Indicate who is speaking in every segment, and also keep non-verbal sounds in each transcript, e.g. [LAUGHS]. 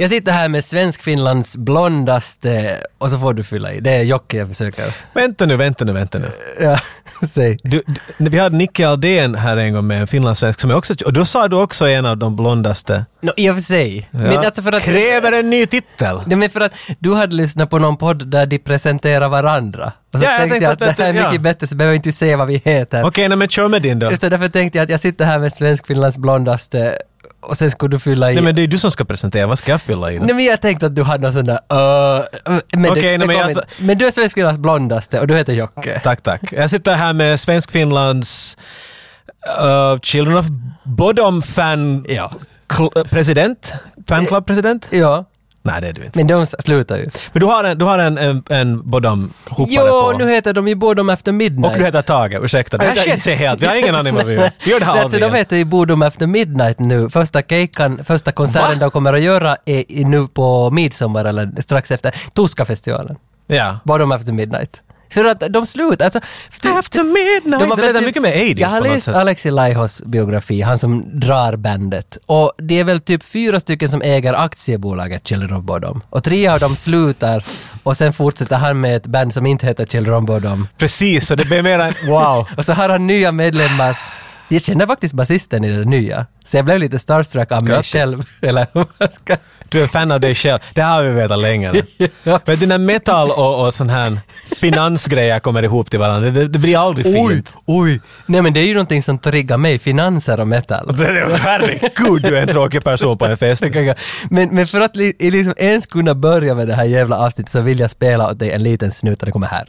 Speaker 1: Jag sitter här med Svenskfinlands blondaste och så får du fylla i. Det är Jocke jag försöker.
Speaker 2: Vänta nu, vänta nu, vänta nu.
Speaker 1: Ja, [LAUGHS] säg.
Speaker 2: Du, du, vi hade Nicke Aldén här en gång med en finlandssvensk som är också... Och då sa du också en av de blondaste.
Speaker 1: No, I och för sig.
Speaker 2: Ja.
Speaker 1: Men alltså för att...
Speaker 2: Kräver en ny titel!
Speaker 1: Nej, men för att du hade lyssnat på någon podd där de presenterar varandra. Och så
Speaker 2: Ja, jag
Speaker 1: tänkte
Speaker 2: tänkte
Speaker 1: jag att
Speaker 2: att
Speaker 1: det här är
Speaker 2: det- ja.
Speaker 1: mycket bättre så behöver jag inte säga vad vi heter.
Speaker 2: Okej, nej, men kör med din då.
Speaker 1: Just det, därför tänkte jag att jag sitter här med Svenskfinlands blondaste och sen skulle du fylla i...
Speaker 2: Nej men det är du som ska presentera, vad ska jag fylla i? då?
Speaker 1: Nej men jag tänkte att du hade någon sån där uh, men,
Speaker 2: Okej,
Speaker 1: det, det
Speaker 2: nej, men
Speaker 1: kom
Speaker 2: jag-
Speaker 1: inte. men du är Svenskfinlands blondaste och du heter Jocke.
Speaker 2: Tack, tack. Jag sitter här med Svensk-Finlands eh, Children of Bodom fan...
Speaker 1: Ja.
Speaker 2: Kl- eh, president? Fanclub-president?
Speaker 1: Ja,
Speaker 2: Nej, det är du inte.
Speaker 1: men de s- slutar ju.
Speaker 2: Men du har en, du har en, en, en Bodom-hopare
Speaker 1: Jo,
Speaker 2: på.
Speaker 1: nu heter de ju Bodom After Midnight.
Speaker 2: och du heter Tage, ursäkta. Det här
Speaker 1: Vänta.
Speaker 2: sket sig helt, vi har ingen aning vad vi gör. Vi gör det här
Speaker 1: Alltså,
Speaker 2: av
Speaker 1: de
Speaker 2: igen.
Speaker 1: heter ju Bodom After Midnight nu. Första keikan, första konserten
Speaker 2: Va?
Speaker 1: de kommer att göra är i- nu på midsommar eller strax efter Tuska-festivalen.
Speaker 2: Ja.
Speaker 1: Bodom After Midnight. För att de slutar, alltså...
Speaker 2: After midnight.
Speaker 1: De har
Speaker 2: det
Speaker 1: väl
Speaker 2: lät
Speaker 1: typ-
Speaker 2: mycket mer 80s
Speaker 1: Jag har
Speaker 2: på något
Speaker 1: läst
Speaker 2: sätt.
Speaker 1: Alexi Laihos biografi, han som drar bandet. Och det är väl typ fyra stycken som äger aktiebolaget Children of Bodom. Och tre av dem slutar och sen fortsätter han med ett band som inte heter Children of Bodom.
Speaker 2: Precis, så det blir mer en... Wow.
Speaker 1: Och så har han nya medlemmar. Jag känner faktiskt basisten i det nya. Så jag blev lite starstruck av mig
Speaker 2: Grattis.
Speaker 1: själv. [LAUGHS] Eller vad man ska...
Speaker 2: Du är fan av dig själv. Det här har vi vetat
Speaker 1: [LAUGHS]
Speaker 2: länge. nu.
Speaker 1: Ja.
Speaker 2: Men när metal och, och sån här finansgrejer kommer ihop till varandra, det, det blir aldrig fint.
Speaker 1: oj. Nej men det är ju någonting som triggar mig, finanser och metal.
Speaker 2: Det är- Herregud, du är en tråkig person på en fest.
Speaker 1: Jag [LAUGHS] kan gå. Men, men för att li, liksom ens kunna börja med det här jävla avsnittet så vill jag spela åt dig en liten snutt och det kommer här.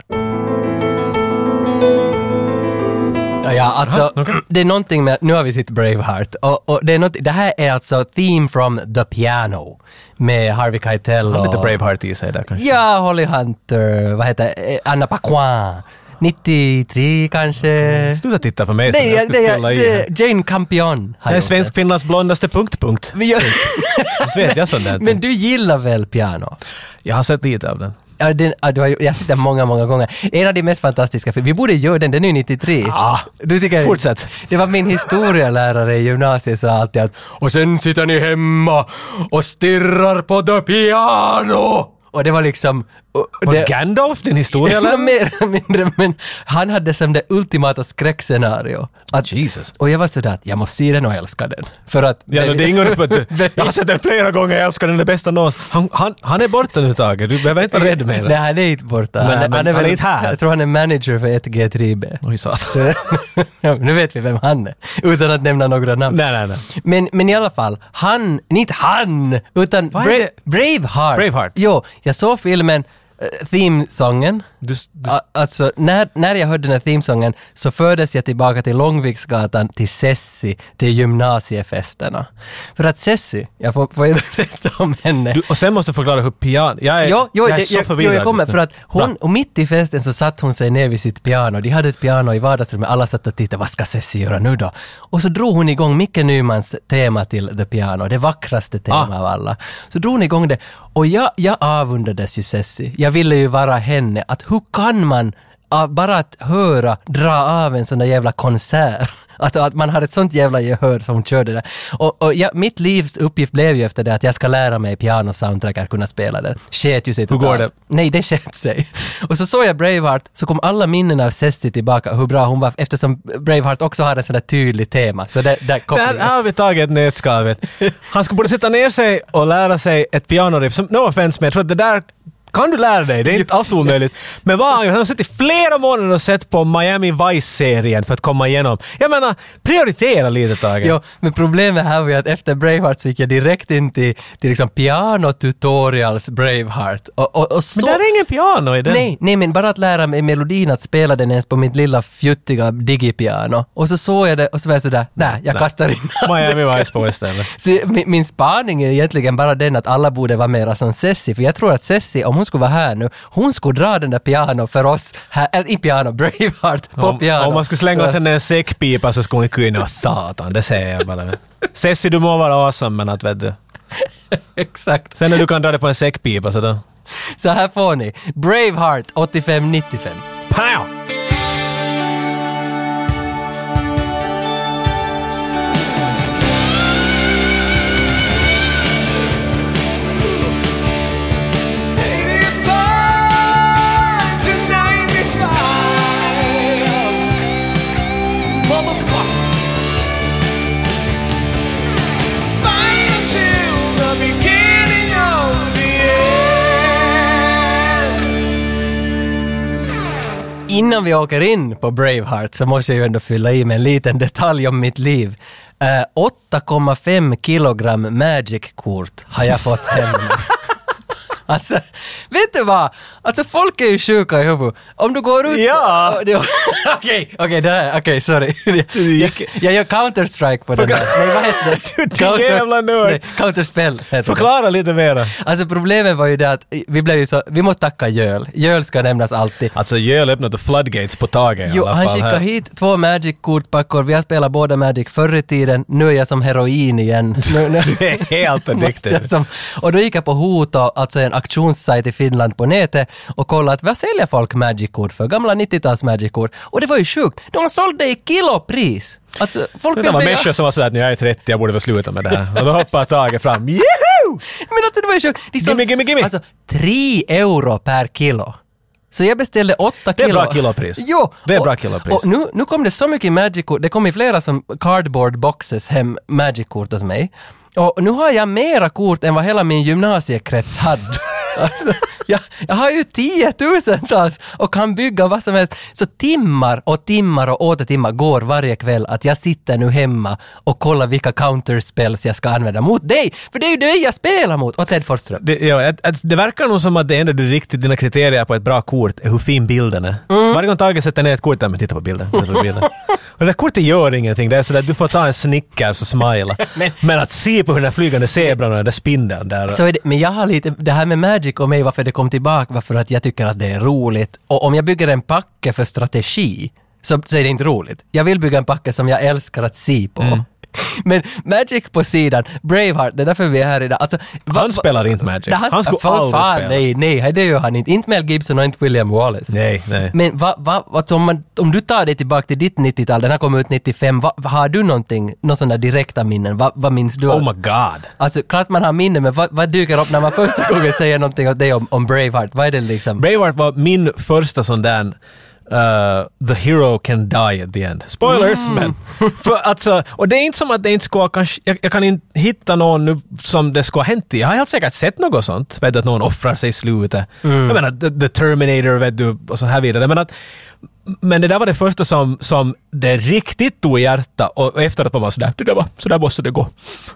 Speaker 1: Ja, Ja, alltså,
Speaker 2: Jaha, okej.
Speaker 1: det är någonting med, nu har vi sitt Braveheart, och, och det, är något, det här är alltså Theme from the Piano med Harvey Keitel och...
Speaker 2: Lite Braveheart i sig där kanske.
Speaker 1: Ja, Holly Hunter, vad heter eh, Anna Paquin, 93 kanske?
Speaker 2: Sluta titta på mig som
Speaker 1: Nej,
Speaker 2: jag
Speaker 1: det,
Speaker 2: skulle
Speaker 1: är-
Speaker 2: spela i.
Speaker 1: det,
Speaker 2: här.
Speaker 1: är Jane Campion har
Speaker 2: Det är
Speaker 1: gjort det.
Speaker 2: Svenskfinlands blondaste punkt-punkt.
Speaker 1: Men jag- [LAUGHS]
Speaker 2: Inte vet jag sånt där.
Speaker 1: Men du gillar väl piano?
Speaker 2: Jag har sett lite av den.
Speaker 1: Ja, den, ja, du har, ju- jag har sett den många, många gånger. En av de mest fantastiska, för vi borde göra den, den är ju 93.
Speaker 2: Ah,
Speaker 1: Du tycker,
Speaker 2: fortsätt.
Speaker 1: Det var min historielärare i gymnasiet sa alltid att och sen sitter ni hemma och stirrar på the piano. Och det var liksom... och
Speaker 2: Var
Speaker 1: det-
Speaker 2: Gandalf din
Speaker 1: [LAUGHS]
Speaker 2: historia
Speaker 1: Ja,
Speaker 2: eller?
Speaker 1: mer eller mindre, men han hade som det ultimata skräckscenario. Att,
Speaker 2: Jesus.
Speaker 1: och jag var sådär att jag måste se den och älska den. För att...
Speaker 2: Ja, no, det är ingen uppe.
Speaker 1: [LAUGHS] Baby-
Speaker 2: Jag har sett den flera gånger, jag älskar den, den bästa någonsin. Han, han, han är borta nu Tage, du behöver inte vara rädd mer.
Speaker 1: Nej, han är inte borta.
Speaker 2: Nej,
Speaker 1: han,
Speaker 2: men han är inte här.
Speaker 1: Jag tror han är manager för 1G3B.
Speaker 2: Oj satan.
Speaker 1: Ja, [LAUGHS] nu vet vi vem han är, utan att nämna några namn.
Speaker 2: Nej, nej, nej.
Speaker 1: Men, men i alla fall, han, nej, inte han, utan
Speaker 2: Vad är
Speaker 1: Bra-
Speaker 2: det?
Speaker 1: Braveheart.
Speaker 2: Braveheart.
Speaker 1: Jo, jag såg filmen, eh, themesången.
Speaker 2: Du, du,
Speaker 1: A- Alltså, när, när jag hörde den här themesången så fördes jag tillbaka till Långviksgatan, till Sessi, till gymnasiefesterna. För att Sessi, jag får, får jag berätta om henne.
Speaker 2: du, och sen måste du förklara hur pian... Jag är,
Speaker 1: Jo, jo,
Speaker 2: jag är
Speaker 1: det-
Speaker 2: så
Speaker 1: jo,
Speaker 2: förvirrad
Speaker 1: jag kommer
Speaker 2: just nu.
Speaker 1: för att hon,
Speaker 2: Bra.
Speaker 1: och mitt i festen så satt hon sig ner vid sitt piano. De hade ett piano i vardagsrummet, alla satt och tittade, vad ska Cessi göra nu då? Och så drog hon igång Micke Nymans tema till The Piano, det vackraste tema
Speaker 2: Ah.
Speaker 1: av alla. Så drog hon igång det och jag, jag avundades ju Cessi. Jag ville ju vara henne, att hur kan man ah, bara att höra dra av en sån där jävla konsert. [LAUGHS] Att, att man har ett sånt jävla gehör som hon körde där. Och, och ja, mitt livs uppgift blev ju efter det att jag ska lära mig piano-soundtrack att kunna spela den. Sket ju sig
Speaker 2: Hur går det?
Speaker 1: Nej, det sket sig. Och så såg jag Braveheart, så kom alla minnen av Cessi tillbaka, hur bra hon var, eftersom Braveheart också hade en sån där tydlig tema. Så det, där
Speaker 2: Där
Speaker 1: kopplingen.
Speaker 2: har vi tagit nätskavet.
Speaker 1: [LAUGHS]
Speaker 2: Han skulle borde sätta ner sig och lära sig ett pianoriff som, no offense, men jag tror att det där kan du lära dig, det är inte alls omöjligt. Men vad har han gjort? Han har suttit i flera månader och sett på Miami Vice-serien för att komma igenom. Jag menar, prioritera lite Tage.
Speaker 1: Jo, men problemet här var ju att efter Braveheart så gick jag direkt in till, till liksom piano-tutorials Braveheart. Och, och, och så...
Speaker 2: Men där är ingen piano i den.
Speaker 1: Nej, nej, men bara att lära mig melodin, att spela den ens på mitt lilla fjuttiga digipiano. Och så såg jag det och så var jag sådär, nej, jag kastar in
Speaker 2: Miami Vice på istället.
Speaker 1: Så min, min spaning är egentligen bara den att alla borde vara mera som Cessi, för jag tror att Cessi, om hon skulle vara här nu, hon skulle dra den där piano för oss, här, eller i piano, [LAUGHS] Braveheart, på
Speaker 2: Om,
Speaker 1: piano.
Speaker 2: om man skulle slänga åt
Speaker 1: För oss.
Speaker 2: henne en säckpipa så skulle hon kunna... Satan, det säger jag bara. Cessi, du må vara awesome, men att vet du.
Speaker 1: Exakt.
Speaker 2: Sen när du kan dra det på en säckpipa så då...
Speaker 1: Så här får ni, Braveheart 8595.
Speaker 2: Pow!
Speaker 3: Thank
Speaker 1: innan vi åker in på Braveheart så måste jag ju ändå fylla i med en liten detalj om mitt liv. Eh, 8,5 kilogram Magic-kort har jag fått hem.
Speaker 2: [LAUGHS]
Speaker 1: Alltså, vet du vad? Alltså folk är ju sjuka i huvudet. Om du går ut...
Speaker 2: Ja.
Speaker 1: Okej, [LAUGHS] okej, det där, okej, sorry.
Speaker 2: gick-
Speaker 1: Jag, jag gör Counter-Strike på den där. Nej, vad heter
Speaker 2: [LAUGHS] Du
Speaker 1: det?
Speaker 2: jävla nörd.
Speaker 1: nej, Counter-spel heter det.
Speaker 2: Förklara lite mera.
Speaker 1: Alltså problemet var ju det att vi blev ju så... Vi måste tacka Jöl. Jöl ska nämnas alltid.
Speaker 2: Alltså Jöl öppnade floodgates på Tage i
Speaker 1: Jo,
Speaker 2: alla
Speaker 1: han
Speaker 2: fall.
Speaker 1: skickade
Speaker 2: här.
Speaker 1: hit två Magic-kortpackor. Vi har spelat båda Magic förr i tiden. Nu är jag som heroin igen.
Speaker 2: [LAUGHS]
Speaker 1: Nu, [LAUGHS] nu.
Speaker 2: Du är helt
Speaker 1: Måste jag
Speaker 2: addicted.
Speaker 1: Som, och då gick jag på Hoto, alltså en auktionssajt i Finland på nätet och kollade att vad säljer folk Magic-kort för? Gamla 90-tals Magic-kort. Och det var ju sjukt. De sålde i kilopris. Alltså, folk
Speaker 2: Det där var
Speaker 1: ville-
Speaker 2: människor som var sådär att jag är 30, jag borde väl sluta med det här. Och då hoppar Tage fram. Juhu!
Speaker 1: [LAUGHS] Men alltså det var ju sjukt. De sålde-
Speaker 2: Gimme, gimme, gimme.
Speaker 1: Alltså, tre euro per kilo. Så jag beställde åtta kilo.
Speaker 2: Det är bra kilopris.
Speaker 1: Jo!
Speaker 2: Det är
Speaker 1: och-
Speaker 2: bra kilopris.
Speaker 1: Och nu, nu kom det så mycket Magic-kort. Det kom ju flera som cardboard boxes hem Magic-kort åt mig. Och nu har jag mera kort än vad hela min gymnasiekrets hade. [LAUGHS] Alltså, jag, jag har ju tiotusentals och kan bygga vad som helst. Så timmar och timmar och åter timmar går varje kväll att jag sitter nu hemma och kollar vilka counterspells jag ska använda mot dig. För det är ju dig jag spelar mot! Och Ted Forsström.
Speaker 2: Det, ja, att, att, det verkar nog som att det enda du riktigt dina kriterier på ett bra kort är hur fin bilden är.
Speaker 1: Mm.
Speaker 2: Varje gång Tage sätter ner ett kort, där, men titta på bilden. Titta
Speaker 1: [LAUGHS]
Speaker 2: på bilden. Och det där kortet gör ingenting. Det är sådär, du får ta en Snickers
Speaker 1: [LAUGHS]
Speaker 2: och smila. men, att se på hur den där flygande zebran och den där spindeln där.
Speaker 1: Så är det, men jag har lite, det här med Magic och mig, varför det kom tillbaka, varför att jag tycker att det är roligt. Och om jag bygger en packe för strategi, så, så är det inte roligt. Jag vill bygga en packe som jag älskar att se på.
Speaker 2: Mm.
Speaker 1: [LAUGHS] Men Magic på sidan, Braveheart, det är därför vi är här idag. Alltså, va-
Speaker 2: han
Speaker 1: va-
Speaker 2: spelar inte Magic.
Speaker 1: Nej,
Speaker 2: Han skulle
Speaker 1: för
Speaker 2: aldrig
Speaker 1: fan,
Speaker 2: spela.
Speaker 1: Nej, nej, det gör han inte. Inte Mel Gibson och inte William Wallace.
Speaker 2: Nej, nej.
Speaker 1: Men va, va, alltså om, man, om du tar dig tillbaka till ditt 90-tal, den här kom ut 95, va, har du någonting, någon sån där direkta minnen? Va, vad minns du?
Speaker 2: Oh my god.
Speaker 1: Alltså klart man har minnen, men vad, vad dyker upp när man första gången säger någonting åt dig om, om Braveheart? Vad är det liksom?
Speaker 2: Braveheart var min första sån där eh, the hero can die at the end. Spoilers, men... [LAUGHS] För alltså, och det är inte som att det inte skulle ha kanske... Jag, jag kan inte hitta någon nu som det skulle ha hänt i. Jag har helt säkert sett något sånt. Vet du, att någon offrar sig i slutet. Jag menar, the, the Terminator, vet du, och så här vidare. Men att... Men det där var det första som, som det riktigt tog i hjärtat och, och efteråt var man sådär, det där var, sådär måste det gå.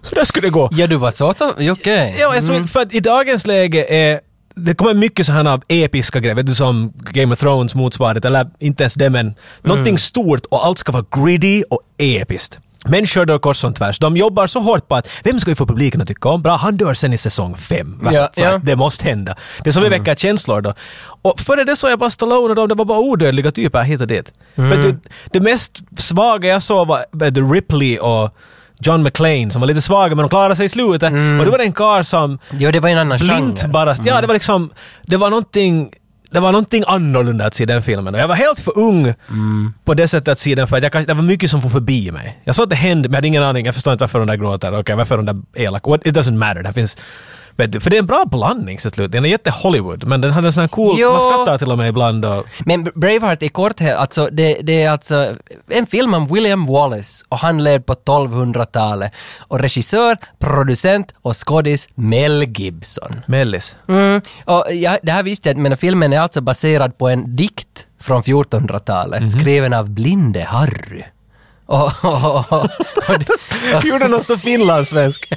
Speaker 2: Sådär skulle det gå.
Speaker 1: Ja, du var så så, okej.
Speaker 2: Ja, jag tror, för att i dagens läge är det kommer mycket sådana här episka grejer, vet du som Game of Thrones motsvarighet, eller inte ens det men någonting stort och allt ska vara gritty och episkt. Människor dör kors och tvärs. De jobbar så hårt på att vem ska vi få publiken att tycka om? Bra, han dör sen i säsong fem. va?
Speaker 1: Ja,
Speaker 2: för att
Speaker 1: ja. Mm.
Speaker 2: det måste hända. Det är så vi väcker känslor då. Och före det såg jag bara Stallone och de, det var bara odödliga typer hit och dit.
Speaker 1: Mm.
Speaker 2: Men du, det mest svaga jag såg var vet du, Ripley och John McClane som var lite svaga men de klarade sig i slutet.
Speaker 1: Mm.
Speaker 2: Och då var det en karl som
Speaker 1: Jo, det var en annan
Speaker 2: blint
Speaker 1: genre.
Speaker 2: bara... Ja, det var liksom... Det var någonting... Det var någonting annorlunda att se den filmen. Och jag var helt för ung på det sättet att se den för att jag, kan- det var mycket som for förbi mig. Jag såg att det hände men jag hade ingen aning. Jag förstår inte varför de där gråter. Okej, varför de där elak. What, it doesn't matter. Det finns... Vet du, för det är en bra blandning till slut. Den är jätte-Hollywood men den hade en sån här cool...
Speaker 1: Jo.
Speaker 2: Man skrattar till och med ibland och...
Speaker 1: Men Braveheart i korthet, alltså det, det är alltså en film om William Wallace och han levde på 1200-talet. Och regissör, producent och skådis Mel Gibson. [LAUGHS]
Speaker 2: Mellis.
Speaker 1: Mm. Och ja, det här visste jag inte, men filmen är alltså baserad på en dikt från 1400-talet skriven av blinde Harry. Och, och, och, och, och,
Speaker 2: Gjorde någon så finlandssvensk.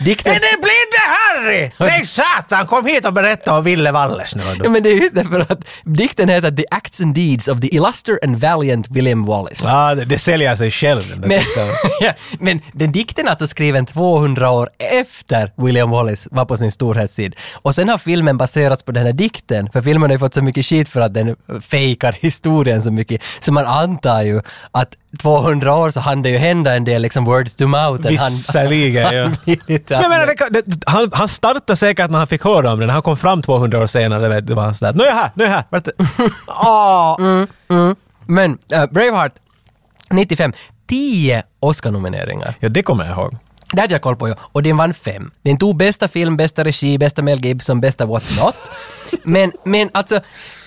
Speaker 1: dikten...
Speaker 2: det blinde Harry? Nej satan, kom hit och berätta om Ville Walles nu.
Speaker 1: Ja, men det är just därför att dikten heter The Acts and Deeds of the Illuster and Valiant William Wallace.
Speaker 2: Ja, det, det säljer sig själv. den där
Speaker 1: Men,
Speaker 2: skiten.
Speaker 1: [LAUGHS] ja, men den dikten är alltså skriven 200 år efter William Wallace var på sin storhetstid. Och sen har filmen baserats på den här dikten, för filmen har ju fått så mycket skit för att den fejkar historien så mycket. Så man antar ju att 200 år så hann det ju hända en del liksom word to mouth. än han-
Speaker 2: Visserligen, ja.
Speaker 1: han [LAUGHS] blir lite
Speaker 2: Men jag menar,
Speaker 1: annorlunda.
Speaker 2: det, kan- det, han, han startade säkert när han fick höra om den. Han kom fram 200 år senare. Vet, det var han sådär, nu är jag här, nu är jag här. Vart Ah. det-
Speaker 1: [LAUGHS]
Speaker 2: Åh!
Speaker 1: Mm. Men äh, Braveheart, 95, 10 Oscar-nomineringar.
Speaker 2: Ja, det kommer jag ihåg.
Speaker 1: Det hade jag koll på ju. Och den vann fem. Den tog bästa film, bästa regi, bästa Mel Gibson, bästa what not. Men, men alltså,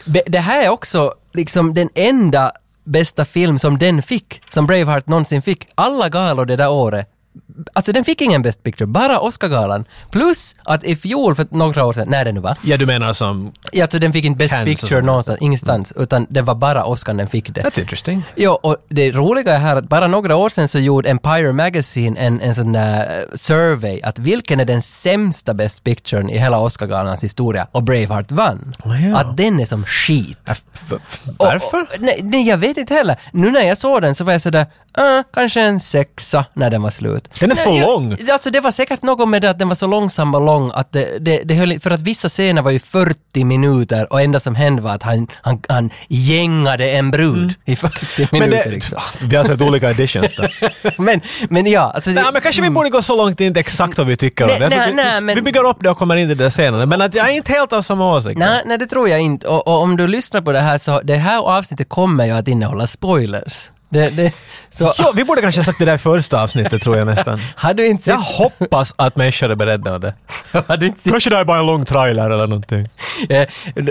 Speaker 1: be- det här är också liksom den enda bästa film som den fick, som Braveheart någonsin fick. Alla galor det där året alltså den fick ingen Best Picture, bara Oscargalan. Plus att i fjol, för några år sedan, när det nu var,
Speaker 2: Ja, du menar som...
Speaker 1: ja, alltså den fick inte Best
Speaker 2: Cannes och
Speaker 1: Picture
Speaker 2: sånt.
Speaker 1: någonstans, ingenstans, utan det var bara Oscar den fick det.
Speaker 2: That's interesting. Äh,
Speaker 1: Ja, och det roliga är här att bara några år sedan så gjorde Empire Magazine en, en sån där eh, survey att vilken är den sämsta Best Picturen i hela Oscargalans historia och Braveheart vann.
Speaker 2: Wow.
Speaker 1: Att den är som skit.
Speaker 2: F- f- f-
Speaker 1: Och-
Speaker 2: Varför?
Speaker 1: och- nej, nej, jag vet inte heller. Nu när jag såg den så var jag sådär, ah, kanske en sexa när den var slut.
Speaker 2: Den är
Speaker 1: nej,
Speaker 2: för
Speaker 1: jag,
Speaker 2: lång.
Speaker 1: Alltså det var säkert något med det att den var så långsam och lång att det, det, det höll, i- för att vissa scener var ju 40 minuter och enda som hände var att han, han, han gängade en brud i 40
Speaker 2: Men
Speaker 1: minuter.
Speaker 2: det,
Speaker 1: liksom.
Speaker 2: [LAUGHS] vi har sett olika editions
Speaker 1: [LAUGHS]
Speaker 2: där.
Speaker 1: men, men ja, alltså,
Speaker 2: Nej, men kanske vi borde gå så långt inte exakt vad vi tycker om
Speaker 1: Nej,
Speaker 2: det. Jag tror
Speaker 1: nej,
Speaker 2: vi,
Speaker 1: nej, men-
Speaker 2: vi bygger upp det och kommer in i det senare. Men att jag är inte helt av samma åsikt.
Speaker 1: Nej, nej, det tror jag inte. Och, och om du lyssnar på det här så, det här avsnittet kommer ju att innehålla spoilers. Det, det, så
Speaker 2: Så, vi borde kanske ha sagt det där i första avsnittet tror
Speaker 1: [LAUGHS]
Speaker 2: jag nästan.
Speaker 1: har du inte
Speaker 2: Jag
Speaker 1: sett...
Speaker 2: hoppas att människor är beredda på det.
Speaker 1: [LAUGHS] Har du inte sett
Speaker 2: Kanske det här är bara en lång trailer eller någonting.
Speaker 1: [LAUGHS] Eh,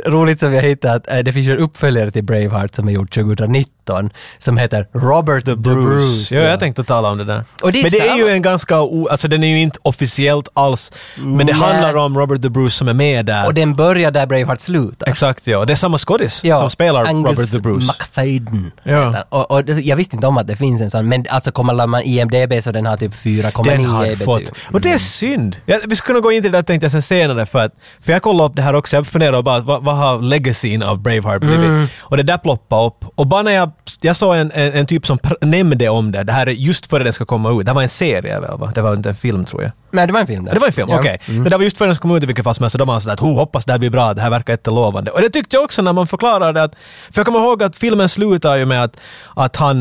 Speaker 1: roligt som jag hittat att eh, det finns ju en uppföljare till Braveheart som är gjord 2019 som heter Robert the, Bruce.
Speaker 2: ja,
Speaker 1: ja.
Speaker 2: jag tänkte tala om det där.
Speaker 1: Och det är
Speaker 2: men det är
Speaker 1: samma-
Speaker 2: ju en ganska... O, alltså den är ju inte officiellt alls. Men det
Speaker 1: Nej.
Speaker 2: handlar om Robert the Bruce som är med där.
Speaker 1: Och den börjar där Braveheart slutar.
Speaker 2: Exakt ja. Det är samma skådis
Speaker 1: Ja,
Speaker 2: som spelar
Speaker 1: Angus
Speaker 2: Robert the Bruce.
Speaker 1: McFadden.
Speaker 2: Ja.
Speaker 1: heter han. Och, och det- jag visste inte om att det finns en sån, men alltså kollar man IMDB så den har typ 4,9
Speaker 2: Den har
Speaker 1: i betyg.
Speaker 2: fått. Och det är synd. Jag, vi skulle kunna gå in till det där tänkte jag sen senare för att, för jag kollade upp det här också, jag funderade bara vad, vad har legacyn av Braveheart blivit?
Speaker 1: Mm.
Speaker 2: Och det där ploppade upp. Och bara när jag, jag såg en, en, en typ som pr- nämnde om det, det här är just före den ska komma ut, det här var en serie väl va? Det var inte en film tror jag.
Speaker 1: Nej, det var en film där.
Speaker 2: Ja, det var en film,
Speaker 1: Ja. Mm.
Speaker 2: okej. Det där var just före den ska komma ut i vilket fall som helst, så då var man sådär att "Ho, hoppas det här blir bra, det här verkar jättelovande. Och det tyckte jag också när man förklarade att, för jag kommer ihåg att filmen slutar ju med att, att han,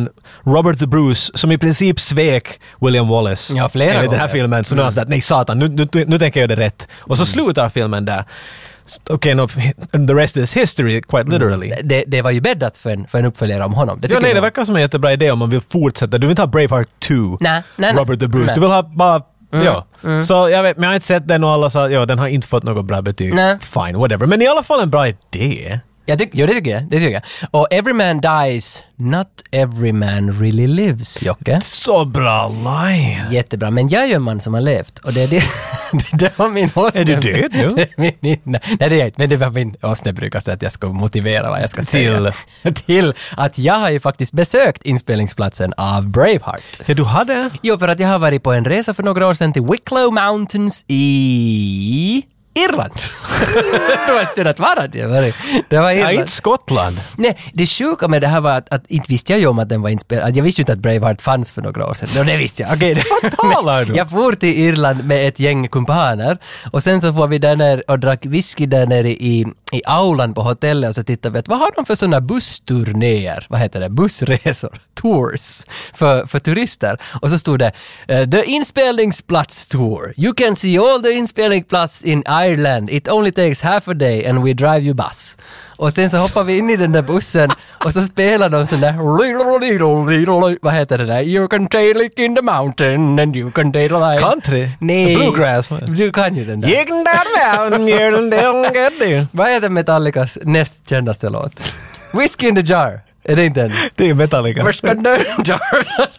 Speaker 2: Robert the Bruce, som i princip svek William Wallace.
Speaker 1: Ja, flera
Speaker 2: enligt den här
Speaker 1: gånger. Mm.
Speaker 2: filmen, så nu är han sådär att nej satan, nu, nu, nu tänker jag göra det rätt. Och så slutar filmen där. S- Okej, no, [LAUGHS] the rest is history, quite literally.
Speaker 1: Det, det var ju bäddat för en, för en uppföljare om honom. Det
Speaker 2: Ja,
Speaker 1: tycker
Speaker 2: nej,
Speaker 1: jag.
Speaker 2: det verkar som en jättebra idé om man vill fortsätta. Du vill inte ha Braveheart 2,
Speaker 1: Nej, nej, nej.
Speaker 2: Robert the Bruce.
Speaker 1: Nej. Mm.
Speaker 2: Du vill ha bara... Ja. Så jag vet, men jag har inte sett den och alla sa ja, den har inte fått något bra betyg.
Speaker 1: Nej.
Speaker 2: Fine, whatever. Men i alla fall en bra idé.
Speaker 1: Jag tyck, ja, det tycker jag. Det tycker jag. Och Every man dies, not every man really lives, Jocke.
Speaker 2: Så bra line!
Speaker 1: Jättebra, men jag är ju en man som har levt och det är det, [LAUGHS] det var min åsne...
Speaker 2: Är du
Speaker 1: [LAUGHS]
Speaker 2: död nu?
Speaker 1: Det är min- min- nej, det är jag inte, men det var min åsne brukar säga att jag ska motivera vad jag ska säga. [LAUGHS] Till att jag har ju faktiskt besökt inspelningsplatsen av Braveheart.
Speaker 2: Ja, du hade...
Speaker 1: Jo, för att jag har varit på en resa för några år sedan till Wicklow Mountains i Irland. [LAUGHS] det var en stund att vara det. var det. Det var
Speaker 2: Ja,
Speaker 1: Irland.
Speaker 2: inte Skottland.
Speaker 1: Nej, det sjuka med det här var att, att inte visste jag ju om att den var inspelad. Att Jag visste ju inte att Braveheart fanns för några år sedan. No, det visste jag. Okej.
Speaker 2: Vad talar du?
Speaker 1: [LAUGHS] jag for till Irland med ett gäng kumpaner och sen så får vi där ner och drack whisky där nere i, i aulan på hotellet och så tittade vi att vad har de för sådana bussturnéer? Vad heter det? Bussresor? [LAUGHS] Tours? För, för turister. Och så stod det eh, “The inspelningsplats tour. You can see all the inspelningsplats in Ireland. It only takes half a day and we drive you bus”. Och sen så hoppar vi in i den där bussen och så spelar de sån där... [LAUGHS] Vad heter det där? “You can tail it in the mountain and you can tail it
Speaker 2: Country?
Speaker 1: Nej.
Speaker 2: Bluegrass?
Speaker 1: Du kan ju den där.
Speaker 2: Gick där down, you're in the wrong goddamn.
Speaker 1: Vad heter Metallicas näst kändaste låt? Whiskey in the jar. Är det inte den?
Speaker 2: Det är Metallica.
Speaker 1: Whiskey in the jar.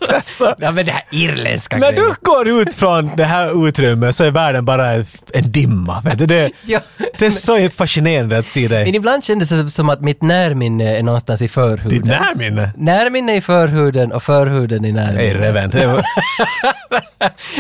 Speaker 2: Alltså.
Speaker 1: ja men det här irländska
Speaker 2: När
Speaker 1: grejen.
Speaker 2: du går ut från det här utrymmet så är världen bara en, en dimma. Vet du? Det,
Speaker 1: [LAUGHS] Ja.
Speaker 2: det är så fascinerande att se dig.
Speaker 1: Men ibland kändes det som att mitt närminne är någonstans i förhuden.
Speaker 2: Ditt närminne?
Speaker 1: Närminne i förhuden och förhuden i
Speaker 2: Nej,
Speaker 1: närminne.
Speaker 2: Reven. Det var-
Speaker 1: [LAUGHS]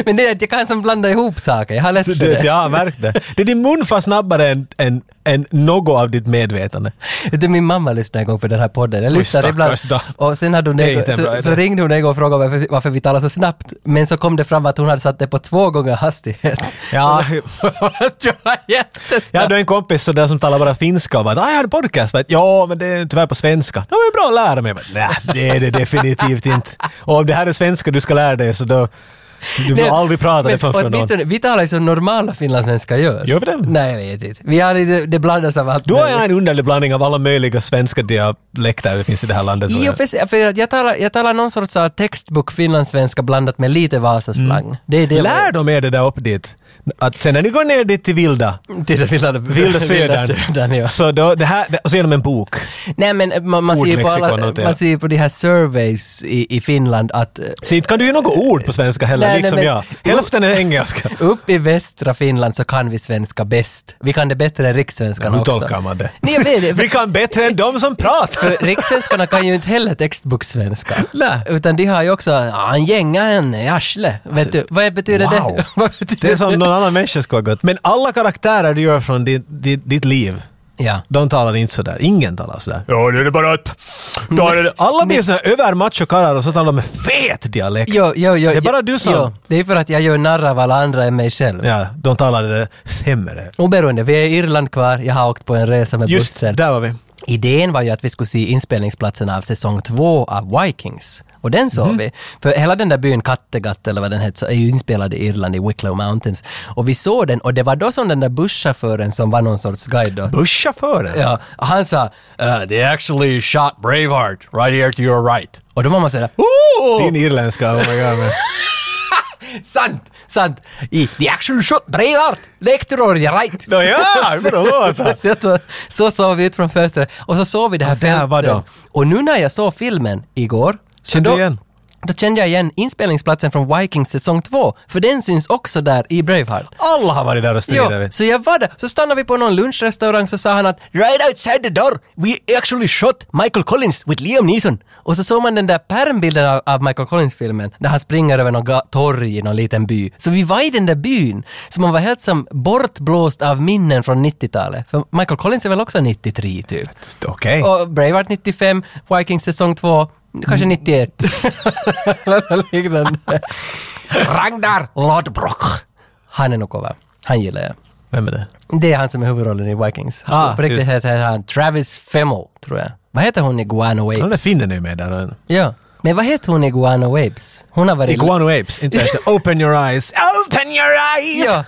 Speaker 1: Men det är att jag kan som blanda ihop saker. Jag har lätt för
Speaker 2: Du,
Speaker 1: det.
Speaker 2: jag har märkt det. Det är din mun fast snabbare än, än, än något av ditt medvetande.
Speaker 1: Vet du, Min mamma lyssnade en gång på den här podden. Jag lyssnade ibland.
Speaker 2: stackars då.
Speaker 1: Och sen hade hon
Speaker 2: Det är
Speaker 1: en,
Speaker 2: inte en bra
Speaker 1: så,
Speaker 2: idé.
Speaker 1: så ringde hon en gång och frågade varför, varför vi talar så snabbt. Men så kom det fram att hon hade satt det på två gånger hastighet.
Speaker 2: Ja,
Speaker 1: [LAUGHS] det var
Speaker 2: jag
Speaker 1: jättesnabbt.
Speaker 2: hade en kompis så där som talar bara finska och bara ah, “Jag har en podcast”. Vet, ja, men det är tyvärr på svenska. Ja, men bra, lära mig. Jag bara, Nej, det är det definitivt inte. Och om det här är svenska du ska lära dig så då... Du
Speaker 1: Nej,
Speaker 2: vill aldrig prata det
Speaker 1: men
Speaker 2: framför någon.
Speaker 1: åtminstone, Vi talar ju som normala finlandssvenskar gör.
Speaker 2: Gör vi det?
Speaker 1: Nej, jag vet inte. Vi har lite, det blandas av allt.
Speaker 2: Du har
Speaker 1: möjligt.
Speaker 2: ju en underlig blandning av alla möjliga svenska dialekter det finns i det här landet.
Speaker 1: Jo, för, för att jag, talar, jag talar någon sorts så
Speaker 2: Mm.
Speaker 1: här textbok finlandssvenska blandat med lite Vasaslang. Det är det
Speaker 2: Lär dem er det där upp dit. Att sen när ni går ner dit till vilda,
Speaker 1: Till det [LAUGHS] vilda,
Speaker 2: vilda södern,
Speaker 1: ja.
Speaker 2: så då, det här, det- och så genom en bok.
Speaker 1: Nej men eh, man, man, ser ju på
Speaker 2: Ordlexikon
Speaker 1: alla,
Speaker 2: och det.
Speaker 1: man ser ju på de här surveys i, i Finland att eh,
Speaker 2: Så inte kan du ju något ord på svenska heller,
Speaker 1: Nej, nej,
Speaker 2: liksom
Speaker 1: men-
Speaker 2: jag. Hälften är [LAUGHS] engelska.
Speaker 1: upp i västra Finland så kan vi svenska bäst. Vi kan det bättre än rikssvenskan
Speaker 2: Hur
Speaker 1: också.
Speaker 2: tolkar man det?
Speaker 1: Nej, jag vet det.
Speaker 2: [LAUGHS] Vi kan bättre än de som pratar! [LAUGHS]
Speaker 1: För rikssvenskarna kan ju inte heller textbokssvenska.
Speaker 2: Nej.
Speaker 1: Utan de har ju också, "Ah, han gänga henne i arslet. Vet du, vad betyder
Speaker 2: Alltså, wow.
Speaker 1: det? [LAUGHS] vad betyder
Speaker 2: Det är som någon annan människa skulle ha gått. Men alla karaktärer du gör från ditt, ditt, ditt liv,
Speaker 1: Ja.
Speaker 2: de talar inte sådär. Ingen talar sådär. Ja, det är bara att... ta det." Alla blir sådana övermachokarlar och så talar de med fet dialekt.
Speaker 1: Jo, jo, jo,
Speaker 2: Det är bara
Speaker 1: jo,
Speaker 2: du som-
Speaker 1: Jo, det är för att jag gör narr av alla andra än mig själv.
Speaker 2: Ja, de talar det sämre.
Speaker 1: Oberoende, vi är i Irland kvar, jag har åkt på en resa med
Speaker 2: Just
Speaker 1: bussen.
Speaker 2: där var vi.
Speaker 1: Idén var ju att vi skulle se inspelningsplatsen av säsong två av Vikings. Och den såg
Speaker 2: Mhm.
Speaker 1: vi. För hela den där byn Kattegatt, eller vad den hette, så är ju inspelad i Irland, i Wicklow Mountains. Och vi såg den, och det var då som den där busschauffören som var någon sorts guide då,
Speaker 2: Busschauffören?
Speaker 1: Ja, han sa uh, “They actually shot Braveheart right here to your right”. Och då var man sådär “Ooh!”
Speaker 2: Din irländska, oh my
Speaker 1: [LAUGHS]
Speaker 2: god. men-
Speaker 1: Sant! Sant! I “They actually shot Braveheart left to your right”. [LAUGHS]
Speaker 2: Nåja, förlåt!
Speaker 1: Så, jag tror- så såg vi ut från fönstret och så såg vi det här
Speaker 2: Ja, där var
Speaker 1: fältet. Och nu när jag såg filmen igår, så
Speaker 2: Kände du
Speaker 1: då,
Speaker 2: igen?
Speaker 1: då kände jag igen inspelningsplatsen från Vikings säsong 2, för den syns också där i Braveheart.
Speaker 2: Alla har varit där och
Speaker 1: Jo,
Speaker 2: stridit. vet du.
Speaker 1: så jag var där. Så stannade vi på någon lunchrestaurang så sa han att “Right outside the door, we actually shot Michael Collins with Liam Neeson”. Och så såg man den där pärmbilden av, av Michael Collins-filmen, där han springer över någon ga- torg i någon liten by. Så vi var i den där byn. Så man var helt som bortblåst av minnen från 90-talet. För Michael Collins är väl också 93 typ.
Speaker 2: Okej.
Speaker 1: Och Braveheart 95, Vikings säsong 2, kanske [LAUGHS] 91. Eller liknande. Ragnar Lodbrok. Han är nog cool, va? Han gillar jag.
Speaker 2: Vem är det?
Speaker 1: Det är han som är huvudrollen i Vikings.
Speaker 2: Ah,
Speaker 1: Han, på riktigt
Speaker 2: just.
Speaker 1: heter han Travis Fimmel, tror jag. Vad heter hon i Guano Apes?
Speaker 2: Ja, där finner ni med där.
Speaker 1: Ja. Men vad heter hon i Guano Apes? Hon har varit...
Speaker 2: Iguano Apes, inte ens. [LAUGHS] Open your eyes, open your eyes!
Speaker 1: Ja.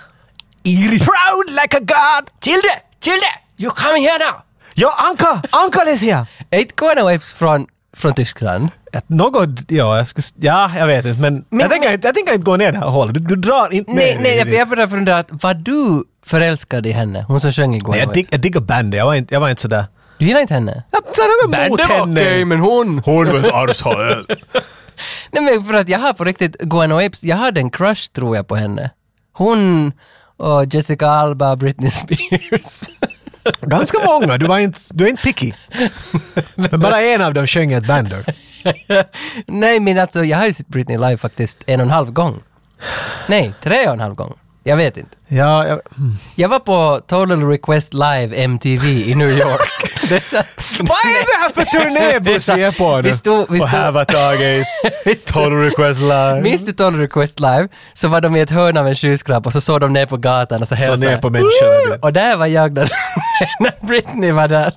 Speaker 2: Irish. Proud like a god!
Speaker 1: Tilde! Tilde! You come here now!
Speaker 2: Ja, Anka! Anka is here!
Speaker 1: Är inte Guano Apes från, från Tyskland?
Speaker 2: Ett- Något, ja, jag skulle, s- ja, jag vet inte, men,
Speaker 1: Men-
Speaker 2: jag, tänker, inte- jag tänker inte gå ner det här hålet. Du, du drar inte
Speaker 1: Nej,
Speaker 2: ner
Speaker 1: nej,
Speaker 2: det.
Speaker 1: för jag började fundera att var du förälskad i henne? Hon som sjöng i Guano
Speaker 2: Nej, jag,
Speaker 1: Apes.
Speaker 2: dig, jag diggar bandy, jag var inte, jag var inte sådär...
Speaker 1: Du gillar inte henne?
Speaker 2: Jag tar mig mot henne!
Speaker 1: men hon...
Speaker 2: Hon var ett arvshåll.
Speaker 1: Nej men för att jag har på riktigt Guano Apes, jag hade en crush tror jag på henne. Hon och Jessica Alba, Britney Spears.
Speaker 2: [LAUGHS] Ganska många, du var inte, du är inte [LAUGHS] picky. Men bara en av dem sjöng ett band. då.
Speaker 1: Nej men alltså jag har ju sett Britney live faktiskt en och en halv gång. Nej, tre och en halv gång. Jag vet inte.
Speaker 2: Ja, jag,
Speaker 1: Jag var på Total Request Live MTV i New York. [LAUGHS] Det är [LAUGHS] så-
Speaker 2: Vad är det här för turnébuss [LAUGHS] vi är på nu?
Speaker 1: Vi stod- vi
Speaker 2: Och här
Speaker 1: stod- [LAUGHS]
Speaker 2: var taget. Total request live.
Speaker 1: Minns du Total Request Live? Så var de i ett hörn av en skyskrapa och så såg de ner på gatan och så
Speaker 2: Så
Speaker 1: hälsade.
Speaker 2: ner på människorna. du.
Speaker 1: Och där var jag när, [LAUGHS] när Britney var där.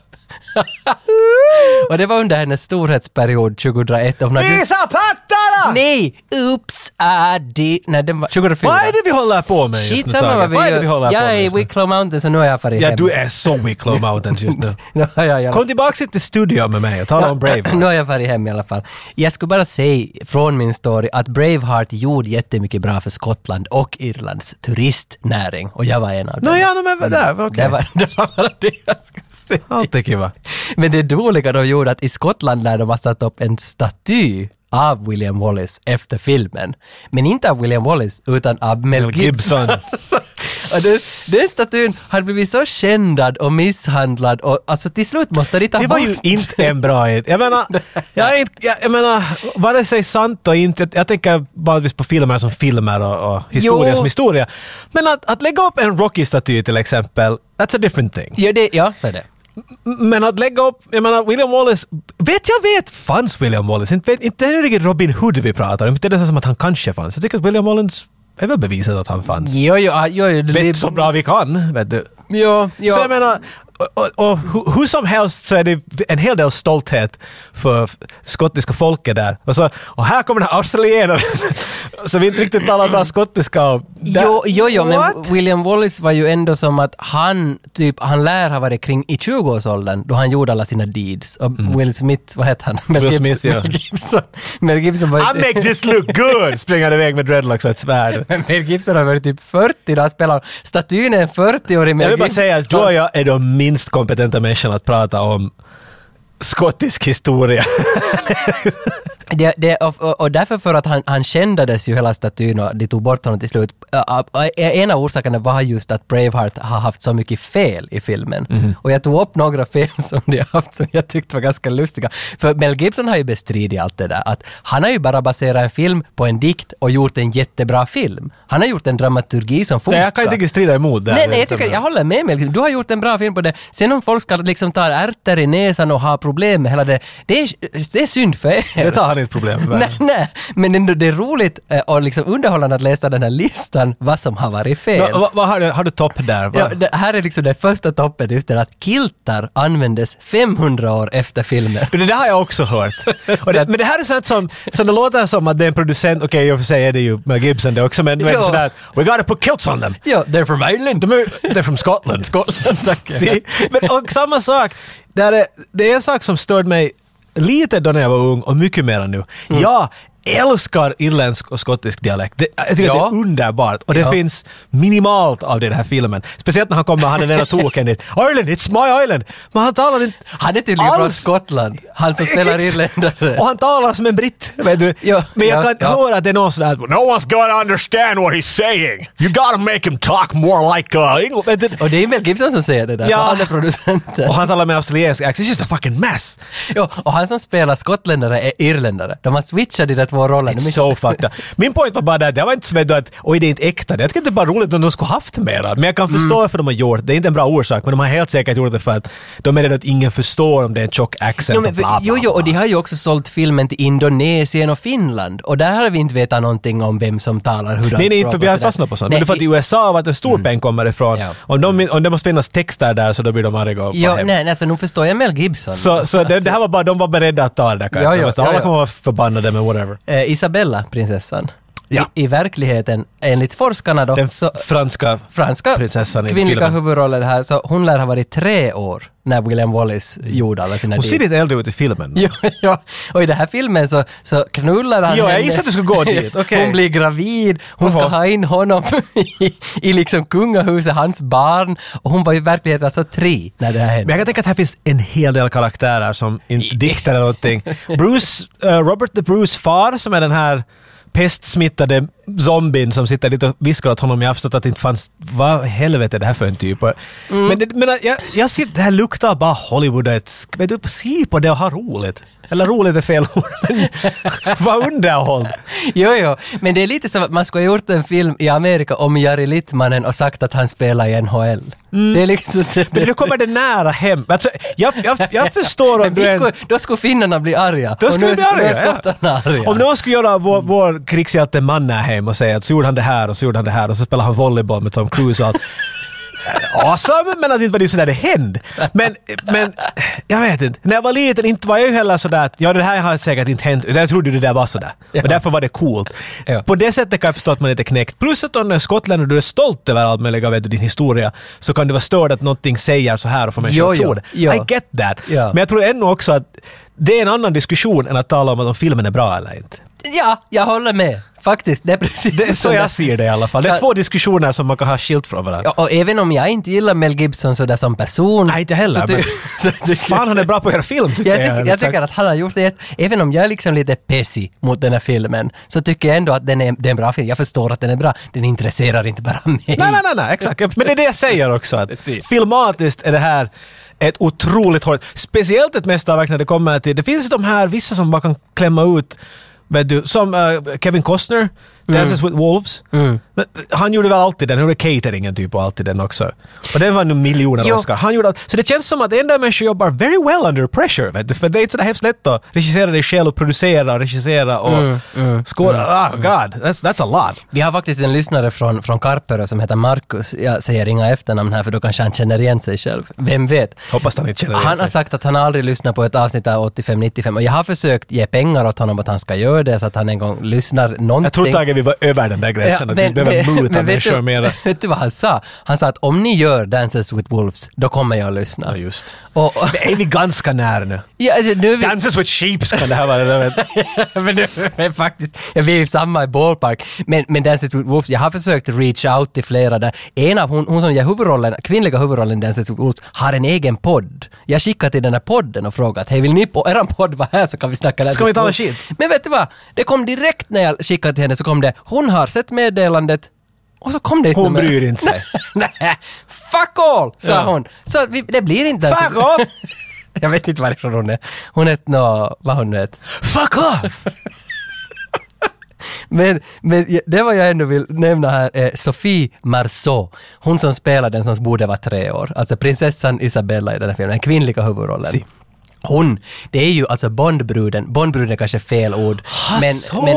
Speaker 1: [LAUGHS] och det var under hennes storhetsperiod 2001. Hon hade,
Speaker 2: Visa pattarna!
Speaker 1: nej! Oops, I did... Nej, den var 2004.
Speaker 2: Vad är det vi håller på med just nu
Speaker 1: Skitsamma
Speaker 2: Tage?
Speaker 1: vad vi
Speaker 2: Vad är det vi håller
Speaker 1: gör.
Speaker 2: på
Speaker 1: Jag är
Speaker 2: med
Speaker 1: i
Speaker 2: just nu?
Speaker 1: Wicklow Mountains och nu har jag farit
Speaker 2: Ja,
Speaker 1: hem.
Speaker 2: du är så Wicklow Mountains just nu.
Speaker 1: [LAUGHS] Nu har jag i alla
Speaker 2: Kom tillbaka till studion med mig och tala om
Speaker 1: Nu [LAUGHS]
Speaker 2: Braveheart.
Speaker 1: har jag varit hem i alla fall. Jag skulle bara säga från min story att Braveheart gjorde jättemycket bra för Skottland och Irlands turistnäring och jag var en av dem.
Speaker 2: Nåja, no, men där, okej.
Speaker 1: Det var, [LAUGHS] det var bara det jag skulle säga.
Speaker 2: Allt är kiva.
Speaker 1: Men det dåliga de gjorde att i Skottland lär de ha satt upp en staty av William Wallace efter filmen. Men inte av William Wallace utan av Mel Gibson.
Speaker 2: Gibson.
Speaker 1: [LAUGHS] Och den, den statyn hade blivit så skändad och misshandlad och alltså till slut måste de ta
Speaker 2: Det var ju
Speaker 1: bort
Speaker 2: inte en bra idé. Jag menar, jag, är inte, jag, jag menar, vare sig sant och inte. Jag tänker vanligtvis på filmer som filmer och, och historia
Speaker 1: Jo.
Speaker 2: som historia. Men att, att lägga upp en Rocky-staty till exempel, that's a different thing.
Speaker 1: Ja, det, ja, så är det.
Speaker 2: M- Men att lägga upp, jag menar William Wallace, vet jag vet fanns William Wallace? Inte, vet, inte är det riktigt Robin Hood vi pratar om, inte är det så som att han kanske fanns. Jag tycker att William Wallace är väl bevisat att han fanns.
Speaker 1: Jo, jo, ah, jo, jo, det-
Speaker 2: Vet så bra vi kan, vet du.
Speaker 1: jo, jo.
Speaker 2: Så jag menar, och, och hu- hur som helst så är det en hel del stolthet för skottiska folket där. Och, så, och här kommer den här australienaren [LAUGHS] som inte riktigt talar bra skottiska. och där-
Speaker 1: Jo, jo, jo men
Speaker 2: What?
Speaker 1: William Wallace var ju ändå som att han, typ, han lär ha varit kring i 20-årsåldern då han gjorde alla sina deeds. Och Will Smith, vad heter han? Mel
Speaker 2: Mm. Will
Speaker 1: Gibson-
Speaker 2: Smith, ja.
Speaker 1: Mel Gibson. Mel Gibson var ju
Speaker 2: I make this look good! Springer han iväg med dreadlocks och ett svärd.
Speaker 1: [LAUGHS] Men [LAUGHS] Mel Gibson har varit typ 40 när han spelar statyn är en 40-årig Mel
Speaker 2: Jag vill bara
Speaker 1: Gibson.
Speaker 2: säga att du och jag är de minst kompetenta människorna att prata om skottisk
Speaker 1: [LAUGHS]
Speaker 2: historia.
Speaker 1: Det, det, och, och- och därför för att han, han kändades ju hela statyn och de tog bort honom till slut. Ä- ä- En av orsakerna var just att Braveheart har haft så mycket fel i filmen.
Speaker 2: Mhm.
Speaker 1: Och jag tog upp några [LAUGHS] fel som de har haft som jag tyckte var ganska lustiga. För Mel Gibson har ju bestridit allt det där. Att han har ju bara baserat en film på en dikt och gjort en jättebra film. Han har gjort en dramaturgi som funkar.
Speaker 2: Nej, jag kan inte riktigt strida emot det. här.
Speaker 1: Nej, nej, jag, tycker, jag håller med mig. Du har gjort en bra film på det. Sen om folk ska liksom ta ärtor i näsan och ha problem med hela det, det är, det är synd för er.
Speaker 2: Det tar han inte problem med.
Speaker 1: Nej, nej, men ändå det är roligt eh, och liksom underhållande att läsa den här listan, vad som har varit fel.
Speaker 2: Nå, vad- vad har, du, har du topp där? Va?
Speaker 1: Ja, det här är liksom den första toppen, just det att kiltar användes 500 år efter filmen.
Speaker 2: Men Det där har jag också hört. Och det, men det här är sånt som, som det låter som att det är en producent, okej i och för sig är det ju Mel Gibson det också, men du
Speaker 1: Ja.
Speaker 2: vet sådär “We gotta put kilts on them”.
Speaker 1: Ja, they're from Ireland.
Speaker 2: De är, they're from Scotland.
Speaker 1: Scotland, tack.
Speaker 2: [LAUGHS] See? Men, och samma sak, där är, det är en sak som störde mig lite då när jag var ung och mycket mer nu.
Speaker 1: Mm.
Speaker 2: Jag älskar irländsk och skottisk dialekt. Det, jag tycker
Speaker 1: Ja.
Speaker 2: att det är underbart och det
Speaker 1: Ja.
Speaker 2: finns minimalt av det i den här filmen. Speciellt när han kommer, han
Speaker 1: [LAUGHS]
Speaker 2: är den ena token dit. Ireland, it's my island! Men han talar inte...
Speaker 1: Han är tydligen från
Speaker 2: Alls.
Speaker 1: Skottland, han som spelar irländare.
Speaker 2: Och han talar som en britt, vet du.
Speaker 1: Ja,
Speaker 2: Men jag
Speaker 1: ja,
Speaker 2: kan
Speaker 1: ja.
Speaker 2: höra att det är någon sådär... No one's gonna understand what he's saying. You gotta make him talk more like uh, England. Vet du.
Speaker 1: Och det är Mel Gibson som säger det där,
Speaker 2: Ja.
Speaker 1: och han är producenten.
Speaker 2: Och han talar med australiensk accent. It's just a fucking mess.
Speaker 1: Ja, och han som spelar skottländare är irländare. De har switchat de där två rollerna.
Speaker 2: It's so fucked up. Min point var bara det, det var inte så vet du, att oj det är inte äkta. Jag tycker det är bara roligt om de skulle haft mera. Men jag kan förstå varför de har gjort det. Det är inte en bra orsak, men de har helt säkert gjort det för att de är rädda att ingen förstår om det är en tjock accent
Speaker 1: Jo,
Speaker 2: och
Speaker 1: men,
Speaker 2: bla, bla,
Speaker 1: jo, jo,
Speaker 2: bla.
Speaker 1: och de har ju också sålt filmen till Indonesien och Finland. Och där har vi inte vetat någonting om vem som talar hurdant
Speaker 2: Nej, nej,
Speaker 1: språk
Speaker 2: för
Speaker 1: och
Speaker 2: vi har
Speaker 1: sådär.
Speaker 2: fastnat på sånt.
Speaker 1: Nej,
Speaker 2: men du får att i
Speaker 1: i-
Speaker 2: USA, vart en stor peng kommer ifrån,
Speaker 1: Ja.
Speaker 2: om, de, om det måste finnas texter där så då blir de arga och
Speaker 1: Jo,
Speaker 2: bara hem.
Speaker 1: nej, alltså nu förstår jag Mel Gibson.
Speaker 2: Så, så det, det här var bara, de var beredda att ta det där kanske.
Speaker 1: Ja, ja,
Speaker 2: De måste- Alla
Speaker 1: ja, ja.
Speaker 2: kommer vara förbannade men whatever.
Speaker 1: Eh, Isabella, prinsessan.
Speaker 2: Ja.
Speaker 1: I, I verkligheten, enligt forskarna då,
Speaker 2: Den
Speaker 1: så
Speaker 2: franska
Speaker 1: franska
Speaker 2: prinsessan i
Speaker 1: kvinnliga
Speaker 2: filmen.
Speaker 1: huvudroller här, så hon lär ha varit tre år när William Wallace gjorde alla sina
Speaker 2: Hon ser
Speaker 1: deals.
Speaker 2: lite äldre ut i filmen.
Speaker 1: Jo, [LAUGHS] ja. Och i den här filmen så, så knullar han
Speaker 2: Jo, jag
Speaker 1: henne.
Speaker 2: gissar att du skulle
Speaker 1: [LAUGHS]
Speaker 2: gå dit. Okej.
Speaker 1: Hon blir gravid, hon ska
Speaker 2: Jaha.
Speaker 1: ha in honom [LAUGHS] i, i liksom kungahuset, hans barn. Och hon var i verkligheten alltså tre när det här
Speaker 2: Men
Speaker 1: hände.
Speaker 2: jag kan tänka att här finns en hel del karaktärer som inte diktar
Speaker 1: [LAUGHS]
Speaker 2: eller någonting. Bruce, eh, Robert the Bruce far som är den här pestsmittade zombien som sitter dit och viskar åt honom. Jag har förstått att det inte fanns... Vad helvete är det här för en typ? Och-
Speaker 1: Mm.
Speaker 2: Men, det, men jag, jag ser det här luktar bara Hollywood. och Ett, sk- vet du, se på det och ha roligt. Eller roligt är fel ord, [LAUGHS] men vad underhåll!
Speaker 1: Jo, jo. Men det är lite som att man skulle ha gjort en film i Amerika om Jari Littmanen och sagt att han spelar i NHL. Det är liksom...
Speaker 2: Mm. Men då kommer det nära hem. Alltså, jag, jag,
Speaker 1: [LAUGHS]
Speaker 2: jag förstår om
Speaker 1: Men
Speaker 2: du
Speaker 1: vi
Speaker 2: är... en-
Speaker 1: skulle, då skulle finnarna bli arga.
Speaker 2: Då skulle
Speaker 1: och
Speaker 2: vi
Speaker 1: nu,
Speaker 2: bli arga.
Speaker 1: Nu är skottarna arga.
Speaker 2: ja. Om någon skulle göra vår, vår krigshjälte Mannerheim och säga att så gjorde han det här och så gjorde han det här och så spelade han volleyboll med Tom Cruise och allt. [LAUGHS] Awesome, men att inte var det sådär det hände. Men, men, jag vet inte. När jag var liten inte var jag ju heller sådär att ja det här har säkert inte hänt. Jag trodde det där var sådär.
Speaker 1: Ja.
Speaker 2: Och därför var det coolt.
Speaker 1: Ja.
Speaker 2: På det sättet kan jag förstå att man inte är knäckt. Plus att om du är skottländare och du är stolt över allt möjligt, vet du, din historia, så kan du vara störd att någonting säger så här och får
Speaker 1: Jo,
Speaker 2: människor att
Speaker 1: jo,
Speaker 2: tro det.
Speaker 1: ja.
Speaker 2: I get that.
Speaker 1: Ja.
Speaker 2: Men jag tror ändå också att det är en annan diskussion än att tala om att om filmen är bra eller inte.
Speaker 1: Ja, jag håller med. Faktiskt, det är precis
Speaker 2: Det är så
Speaker 1: som
Speaker 2: jag ser det i alla fall. Det är
Speaker 1: Så-
Speaker 2: två diskussioner som man kan ha skilt från varandra.
Speaker 1: Ja, och även om jag inte gillar Mel Gibson sådär som person.
Speaker 2: Nej, inte heller,
Speaker 1: Så ty-
Speaker 2: men-
Speaker 1: så tycker
Speaker 2: Fan, han är bra på att göra film
Speaker 1: [LAUGHS]
Speaker 2: tycker [LAUGHS]
Speaker 1: jag,
Speaker 2: jag.
Speaker 1: tycker, jag tycker att han har gjort det, även om jag är liksom lite pessig mot den här filmen, så tycker jag ändå att den är, det är en bra film. Jag förstår att den är bra, den intresserar inte bara mig.
Speaker 2: Nej, nej, nej, nej, exakt. Men det är det jag säger också. Att
Speaker 1: Precis.
Speaker 2: filmatiskt är det här ett otroligt hårt... Speciellt ett mästerverk när det kommer till... Det finns de här, vissa som bara kan klämma ut, vet du, som eh, Kevin Costner. Dances with Wolves. Men eh, Han gjorde väl alltid den, han gjorde cateringen typ och alltid den också. Och den var nu miljoner
Speaker 1: Jo.
Speaker 2: Oscar. Han gjorde allt. Så det känns som att enda människor jobbar very well under pressure, vet du. För det är inte så där hemskt lätt att regissera dig själv och producera och regissera och mm, skåda. Ah, God, that's, that's a lot.
Speaker 1: Vi har faktiskt en lyssnare från, från Karperö som heter Markus. Jag säger inga efternamn här för då kanske han känner igen sig själv. Vem vet?
Speaker 2: Hoppas han alltså, inte känner igen
Speaker 1: Han har
Speaker 2: sig.
Speaker 1: sagt att han aldrig lyssnat på ett avsnitt av 85-95 och jag har försökt ge pengar åt honom att han ska göra det så att han en gång lyssnar någonting.
Speaker 2: Jag tror Tage vi var över den där gränsen, att vi
Speaker 1: [LAUGHS]
Speaker 2: behöver muta människor mera.
Speaker 1: vet du vad han sa? Han sa att om ni gör Dances with Wolves, då kommer jag att lyssna.
Speaker 2: Ja, just.
Speaker 1: Och, och,
Speaker 2: Det är vi ganska nära nu.
Speaker 1: ja, alltså, nu är vi,
Speaker 2: Dances with sheeps kan det här vara. jag vet.
Speaker 1: [LAUGHS] men nu, men faktiskt, jag är i samma ballpark. Men, men Dances with Wolves, jag har försökt reach out till flera där. En av hon, hon som gör huvudrollen, kvinnliga huvudrollen i Dances with Wolves, har en egen podd. Jag skickade till den här podden och frågat, hej vill ni på eran podd vara här så kan vi snacka Dances
Speaker 2: Ska vi
Speaker 1: with
Speaker 2: tala
Speaker 1: Wolves."
Speaker 2: skit?
Speaker 1: Men vet du vad? Det kom direkt när jag skickade till henne så kom det, hon har sett meddelandet och så kom det inte
Speaker 2: Hon
Speaker 1: mer.
Speaker 2: bryr inte sig.
Speaker 1: [LAUGHS] Nej, fuck all, sa
Speaker 2: Ja.
Speaker 1: hon. Så vi, det blir inte Dances-
Speaker 2: Fuck off!
Speaker 1: [LAUGHS] Jag vet inte varifrån hon är. Hon är ett, nå, vad hon nu heter.
Speaker 2: Fuck off!
Speaker 1: Men, men det var jag ändå vill nämna här är Sophie Marceau. Hon som spelar den som borde vara tre år. Alltså prinsessan Isabella i den här filmen, den kvinnliga huvudrollen.
Speaker 2: Si.
Speaker 1: Hon, det är ju alltså Bondbruden, Bondbruden är kanske fel ord,
Speaker 2: Ha, så.
Speaker 1: men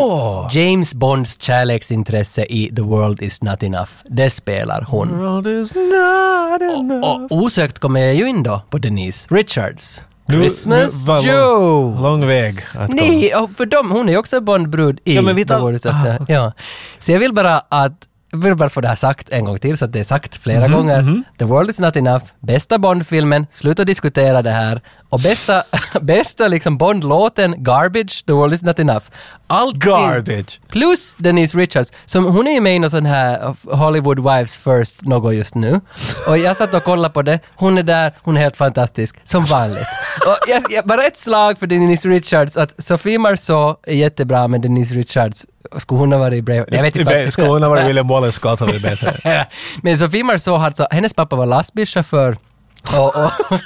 Speaker 1: James Bonds kärleksintresse i The World Is Not Enough, det spelar hon.
Speaker 2: World is not enough.
Speaker 1: Och osökt kommer jag ju in då på Denise Richards.
Speaker 2: Nu-
Speaker 1: Christmas
Speaker 2: nu var lång-
Speaker 1: Joe!
Speaker 2: lång väg att komma.
Speaker 1: Nej, och för dem, hon är ju också Bondbrud i
Speaker 2: Ja, men vi
Speaker 1: The
Speaker 2: tar-
Speaker 1: World Is Not
Speaker 2: Ah,
Speaker 1: Enough. ja. Så jag vill bara att jag vill bara få det här sagt en gång till så att det är sagt flera
Speaker 2: Mhm,
Speaker 1: gånger. The World Is Not Enough, bästa Bond-filmen, sluta diskutera det här. Och bästa, [LAUGHS] bästa liksom Bond-låten, Garbage, The World Is Not Enough. Allting,
Speaker 2: Garbage.
Speaker 1: Plus Denise Richards, som hon är ju med i någon sån här Hollywood Wives First något just nu. Och jag satt och kollade på det, hon är där, hon är helt fantastisk, som vanligt. Och jag, jag, bara ett slag för Denise Richards, att Sophie Marceau är jättebra, men Denise Richards, skulle hon ha varit i Brave? Jag vet inte. vad-
Speaker 2: Skulle hon ha varit William Wallace Scott hade det varit bättre.
Speaker 1: [LAUGHS] men Sophie Marceau, alltså, hennes pappa var lastbilschaufför. Och,
Speaker 2: [LAUGHS]
Speaker 1: och,
Speaker 2: Fan!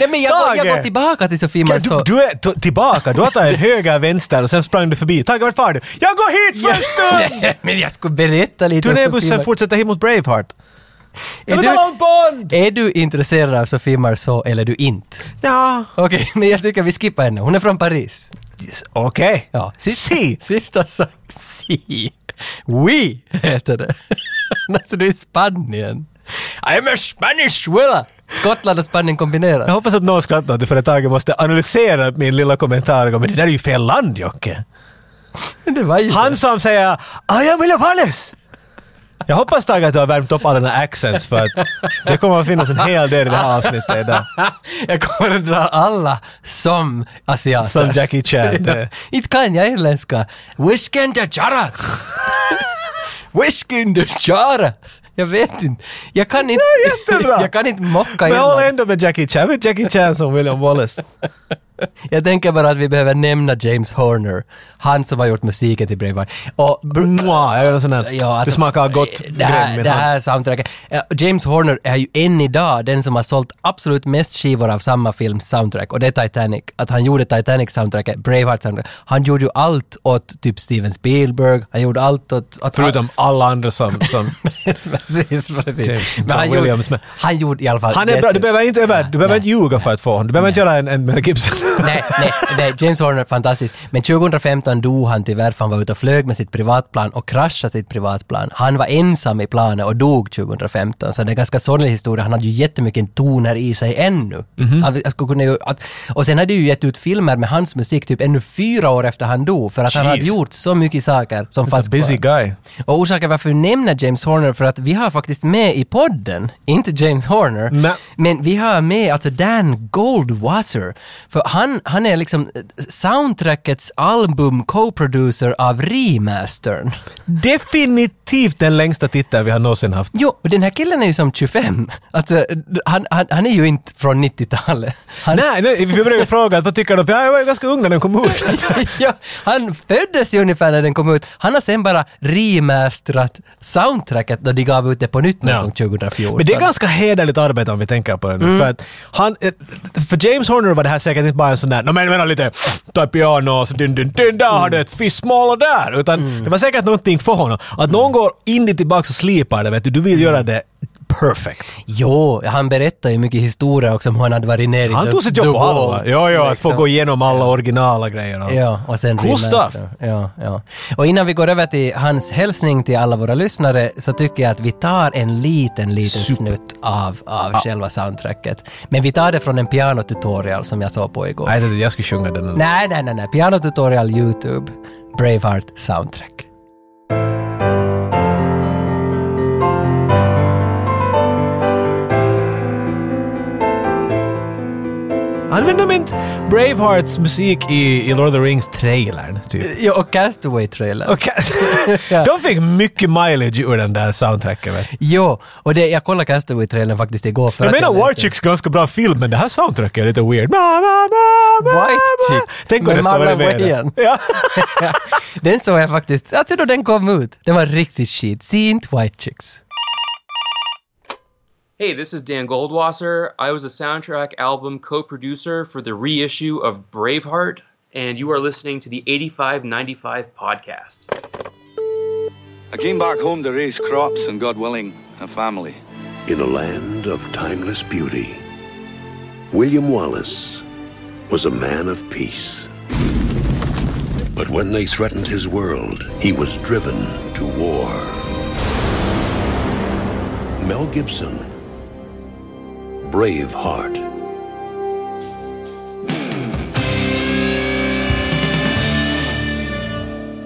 Speaker 1: nej men jag, går- jag går
Speaker 2: Tage!
Speaker 1: tillbaka till Sophie
Speaker 2: Ja,
Speaker 1: Marceau.
Speaker 2: Du, du är t- tillbaka, du har tagit en höger, vänster och sen sprang du förbi. Tage, vart far du? Jag går hit för
Speaker 1: [LAUGHS]
Speaker 2: en stund!
Speaker 1: men jag skulle berätta lite om Sophie
Speaker 2: Turnébussen
Speaker 1: Mar-
Speaker 2: fortsätter hit mot Braveheart. Jag
Speaker 1: Är
Speaker 2: vill
Speaker 1: du-
Speaker 2: tala om Bond!
Speaker 1: Är du intresserad av Sophie Marceau eller är du inte?
Speaker 2: Ja.
Speaker 1: Okej, [LAUGHS] men jag tycker vi skippar henne. Hon är från Paris.
Speaker 2: Yes, Okej.
Speaker 1: Ja, sista,
Speaker 2: Si!
Speaker 1: sista sak. Si. Oui, heter det. [LAUGHS] alltså, du är i Spanien. I'm a Spanish willa. Skottland och Spanien kombinerat.
Speaker 2: Jag hoppas att någon skrattar åt det för att Tage måste analysera min lilla kommentar och gå, men det där är ju fel land, Jocke.
Speaker 1: Det var ju
Speaker 2: Han som säger I am William Wallace! Jag hoppas Tage att du har värmt upp alla dina accents för att det kommer att finnas en hel del i det här avsnittet idag.
Speaker 1: [LAUGHS] Jag kommer att dra alla som asiater.
Speaker 2: Som Jackie Chan.
Speaker 1: [LAUGHS] Ja. Inte kan jag irländska. Whisken de chara. Whisken de chara. Jag vet inte. Jag kan inte, [LAUGHS]
Speaker 2: jättebra.
Speaker 1: jag kan inte mocka
Speaker 2: Men jag
Speaker 1: Irland.
Speaker 2: håller ändå med Jackie Chan. Med Jackie Chan som William Wallace.
Speaker 1: Jag tänker bara att vi behöver nämna James Horner. Han som har gjort musiken till Braveheart. Och
Speaker 2: Mwah, jag gör en sån här.
Speaker 1: Ja, alltså,
Speaker 2: det smakar gott.
Speaker 1: Det
Speaker 2: grädde i
Speaker 1: här,
Speaker 2: min
Speaker 1: det
Speaker 2: hand.
Speaker 1: här soundtracket. Ja, James Horner är ju än idag den som har sålt absolut mest skivor av samma films soundtrack och det är Titanic. Att han gjorde Titanic soundtracket, Braveheart soundtrack. Han gjorde ju allt åt typ Steven Spielberg, han gjorde allt åt... åt
Speaker 2: Förutom alla andra som... som
Speaker 1: [LAUGHS] precis, precis.
Speaker 2: James
Speaker 1: Men han,
Speaker 2: Williams
Speaker 1: gjorde,
Speaker 2: med.
Speaker 1: han gjorde i alla fall...
Speaker 2: han är bra, du
Speaker 1: jätte-
Speaker 2: behöver inte över, du behöver inte ljuga för att få honom. Du behöver inte göra en, en Mel Gibson.
Speaker 1: nej, nej, nej, James Horner, fantastisk. Men 2015 dog han tyvärr för han var ute och flög med sitt privatplan och kraschade sitt privatplan. Han var ensam i planet och dog 2015, så det är en ganska sorglig historia. Han hade ju jättemycket toner i sig ännu.
Speaker 2: Mhm.
Speaker 1: Han, jag skulle kunna, ju- att, och sen hade ju gett ut filmer med hans musik typ ännu fyra år efter han dog, för att han
Speaker 2: Jeez.
Speaker 1: hade gjort så mycket saker som
Speaker 2: A
Speaker 1: fanns
Speaker 2: busy
Speaker 1: kvar.
Speaker 2: guy.
Speaker 1: Och orsaken varför vi nämner James Horner för att vi har faktiskt med i podden, inte James Horner,
Speaker 2: Nej.
Speaker 1: men vi har med alltså Dan Goldwasser. För han, han är liksom soundtrackets album co-producer av remastern.
Speaker 2: Definitivt den längsta titeln vi har någonsin haft.
Speaker 1: Jo, och den här killen är ju som 25. Alltså, han, han, han är ju inte från 90-talet. Han,
Speaker 2: Nej, nej, vi började ju fråga att vad tycker de? För jag var ju ganska ung när den kom
Speaker 1: [LAUGHS]
Speaker 2: ut.
Speaker 1: ja, han föddes ju ungefär när den kom ut. Han har sen bara remasterat soundtracket då de gav ut det på nytt någon
Speaker 2: Ja.
Speaker 1: gång 2014. Mm.
Speaker 2: Men det är ganska hederligt arbete om vi tänker på det nu. För, att han, eh, för James Horner var det här säkert inte bara en sån där, no, men vänta lite, ta ett piano och så dun, dun, dun, där har
Speaker 1: Mm.
Speaker 2: du ett fissmål och där. Utan det var säkert någonting för honom. Att
Speaker 1: Mm.
Speaker 2: någon går in dit tillbaka och slipar det, vet du, du vill göra det perfect.
Speaker 1: Jo, han berättar ju mycket historier också om hur han hade varit nere i
Speaker 2: Han
Speaker 1: The-
Speaker 2: tog sitt jobb
Speaker 1: The
Speaker 2: på allvar.
Speaker 1: Vaults,
Speaker 2: Jo, jo, att få
Speaker 1: liksom.
Speaker 2: gå igenom alla originala grejer. och-
Speaker 1: Ja, och sen
Speaker 2: Cool
Speaker 1: remastern.
Speaker 2: stuff.
Speaker 1: Ja, ja. Och innan vi går över till hans hälsning till alla våra lyssnare så tycker jag att vi tar en liten, liten
Speaker 2: Super.
Speaker 1: snutt av, av själva soundtracket. Men vi tar det från en pianotutorial som jag såg på igår.
Speaker 2: Nej, jag tänkte jag skulle sjunga den.
Speaker 1: Nej, nej, nej, nej. Pianotutorial YouTube, Braveheart soundtrack.
Speaker 2: Använder de inte Bravehearts musik i, i Lord of the Rings-trailern, typ?
Speaker 1: Ja, och Castaway-trailern. [LAUGHS]
Speaker 2: Okej. De fick mycket mileage ur den där soundtracken. vet du.
Speaker 1: Jo, och det, jag kollade Castaway-trailern faktiskt igår för
Speaker 2: Jag
Speaker 1: att
Speaker 2: menar
Speaker 1: läste-
Speaker 2: War Chicks ganska bra film, men det här soundtracket är lite weird. Na, na, na, na,
Speaker 1: White
Speaker 2: na.
Speaker 1: Chicks
Speaker 2: Tänk om
Speaker 1: med
Speaker 2: det ska vara
Speaker 1: Marlon
Speaker 2: med.
Speaker 1: Wayans.
Speaker 2: Ja.
Speaker 1: [LAUGHS] den såg jag faktiskt, alltså då den kom ut. Den var riktigt shit. Se inte White Chicks.
Speaker 3: Hey, this is Dan Goldwasser. I was a soundtrack album co producer for the reissue of Braveheart, and you are listening to the 8595 podcast.
Speaker 4: I came back home to raise crops and, God willing, a family.
Speaker 5: in a land of timeless beauty, William Wallace was a man of peace. But when they threatened his world, he was driven to war. Mel Gibson, Braveheart.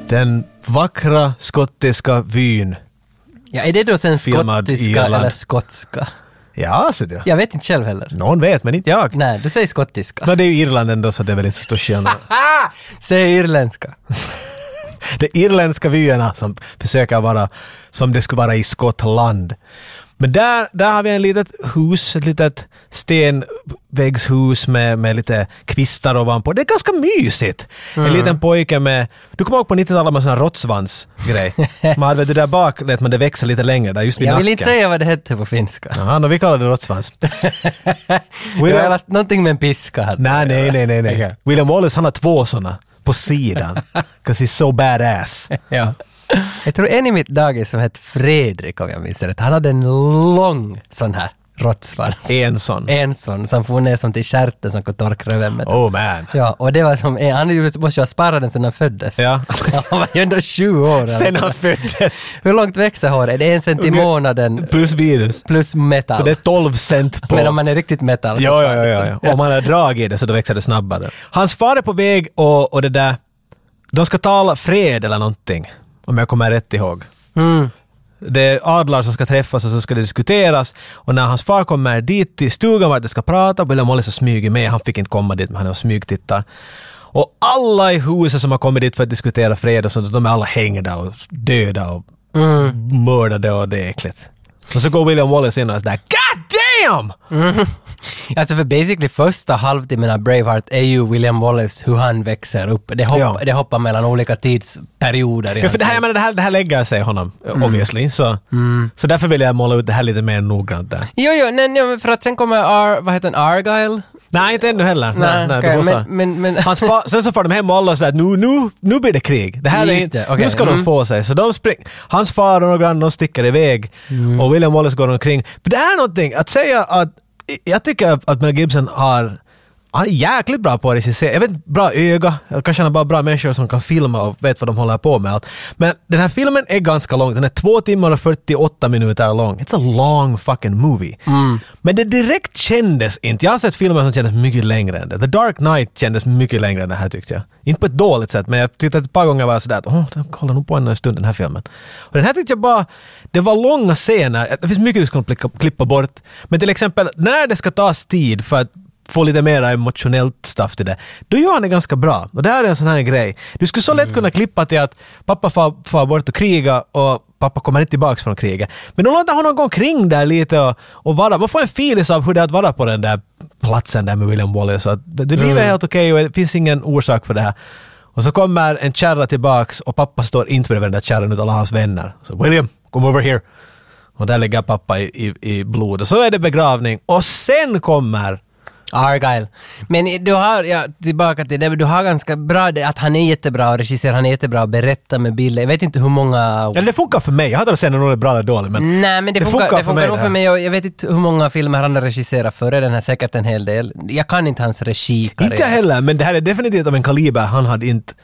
Speaker 2: Den vackra skottiska vyn.
Speaker 1: Ja, är det då sen
Speaker 2: Filmad i
Speaker 1: skottiska
Speaker 2: Irland.
Speaker 1: eller skotska?
Speaker 2: Ja, så det.
Speaker 1: Jag vet inte själv heller.
Speaker 2: Någon vet, men inte jag.
Speaker 1: Nej, du säger skottiska.
Speaker 2: Nå, det är ju Irland ändå, så det är väl inte så stor skillnad.
Speaker 1: Ah! Säg irländska.
Speaker 2: de irländska vyerna som försöker vara som det skulle vara i Skottland. Men där, där har vi en litet hus, ett litet stenväggshus med, med lite kvistar ovanpå. Det är ganska mysigt.
Speaker 1: Mm.
Speaker 2: En liten pojke med... Du kommer ihåg på 90-talet med sån
Speaker 1: [LAUGHS]
Speaker 2: här råttsvansgrej? Man hade det där bak lät man det växa lite längre, där just vid
Speaker 1: Jag
Speaker 2: nacken.
Speaker 1: vill inte säga vad det hette på finska.
Speaker 2: Jaha, nå, vi kallar det
Speaker 1: [LAUGHS]
Speaker 2: råttsvans.
Speaker 1: Det har
Speaker 2: William,
Speaker 1: varit någonting med en piska här.
Speaker 2: nej, nej, nej, nej, nej. William Wallace, han har två såna
Speaker 1: [LAUGHS]
Speaker 2: på sidan. 'Cause he's so badass.
Speaker 1: Ja. Jag tror en i mitt dagis som hette Fredrik om jag minns rätt, han hade en lång sån här råttsvans.
Speaker 2: En sån.
Speaker 1: En sån som for ner som till stjärten som kunde torka röven med den.
Speaker 2: Oh man.
Speaker 1: Ja, och det var som, en- han ju- måste ju ha sparat den sedan han föddes.
Speaker 2: Ja.
Speaker 1: [LAUGHS] Han var ju ändå 20 år.
Speaker 2: Sen [LAUGHS]
Speaker 1: alltså.
Speaker 2: han föddes.
Speaker 1: Hur långt växer håret? Är det en cent i månaden
Speaker 2: Plus virus.
Speaker 1: plus metal?
Speaker 2: Så det är 12 cent på...
Speaker 1: Men om man är riktigt metal alltså. så
Speaker 2: ja, ja, ja, ja, ja. Om man har drag i det så då växer det snabbare. Hans far är på väg och, och det där... De ska tala fred eller någonting. Om jag kommer rätt ihåg. Det är adlar som ska träffas och så ska det diskuteras. Och när hans far kommer dit till stugan vart de ska prata, William Wallace har smugit med. Han fick inte komma dit, men han är och smygtittar. Och alla i huset som har kommit dit för att diskutera fred och sånt, de är alla hängda och döda och mördade och det är äckligt. Och så går William Wallace in och är sådär God damn!
Speaker 1: Alltså för basically första halvtimmen av Braveheart är ju William Wallace hur han växer upp. Det, hopp,
Speaker 2: Ja.
Speaker 1: det hoppar mellan olika tidsperioder. i
Speaker 2: Ja, för
Speaker 1: hans
Speaker 2: det här,
Speaker 1: liv.
Speaker 2: jag menar, det här, det här lägger sig honom, obviously. Så, så därför vill jag måla ut det här lite mer noggrant där.
Speaker 1: Jo, jo, nej, nej, men för att sen kommer Ar, vad heter den, Argyle?
Speaker 2: Nej, inte ännu heller. Nej, nej,
Speaker 1: okej,
Speaker 2: det var så.
Speaker 1: men, men, men,
Speaker 2: Hans fa- sen så får de hem och alla och sådär att nu, nu, nu blir det krig. Det här är
Speaker 1: Just
Speaker 2: inte,
Speaker 1: det, okej.
Speaker 2: Nu ska
Speaker 1: Mm.
Speaker 2: de få sig. Så de spring, hans far och några grannar de sticker iväg
Speaker 1: Mm.
Speaker 2: och William Wallace går omkring. För det här är någonting, att säga att jag tycker att Mel Gibson har han är jäkligt bra på att regissera. Jag vet bra öga, kanske han har bara bra människor som kan filma och vet vad de håller på med. allt. Men den här filmen är ganska lång. Den är två timmar och 48 minuter lång. It's a long fucking movie.
Speaker 1: Mm.
Speaker 2: Men det direkt kändes inte. Jag har sett filmer som kändes mycket längre än det. The Dark Knight kändes mycket längre än det här tyckte jag. Inte på ett dåligt sätt, men jag tyckte att ett par gånger var jag sådär att åh, den kollar nog på en stund den här filmen. Och den här tyckte jag bara, det var långa scener. Det finns mycket du skulle plocka- klippa bort. Men till exempel när det ska tas tid för att få lite mer emotionellt stuff till det. Då gör han det ganska bra. Och det här är en sån här grej. Du skulle så lätt kunna klippa till att pappa far, far bort och kriga och pappa kommer inte tillbaka från kriget. Men de låter honom gå omkring där lite och, och vara. Man får en feeling av hur det är att vara på den där platsen där med William Wallace. Så att det, det livet är helt okej och det finns ingen orsak för det här. Och så kommer en kärra tillbaks och pappa står inte bredvid den där kärran utan alla hans vänner. Så William, come over here. Och där ligger pappa i, i, i blod. Och så är det begravning. Och sen kommer
Speaker 1: Argyle. Men du har, ja, tillbaka till det, du har ganska bra, det- att han är jättebra regissör, han är jättebra att berätta med bilder. Jag vet inte hur många...
Speaker 2: Eller det funkar för mig. Jag hade sett om någon är bra eller dålig, men...
Speaker 1: Nej, men det, funkar, det funkar nog
Speaker 2: det
Speaker 1: för
Speaker 2: här.
Speaker 1: mig. Jag, jag vet inte hur många filmer han har regisserat före den här, säkert en hel del. Jag kan inte hans regikarriär.
Speaker 2: Inte jag heller, men det här är definitivt av en kaliber han hade inte...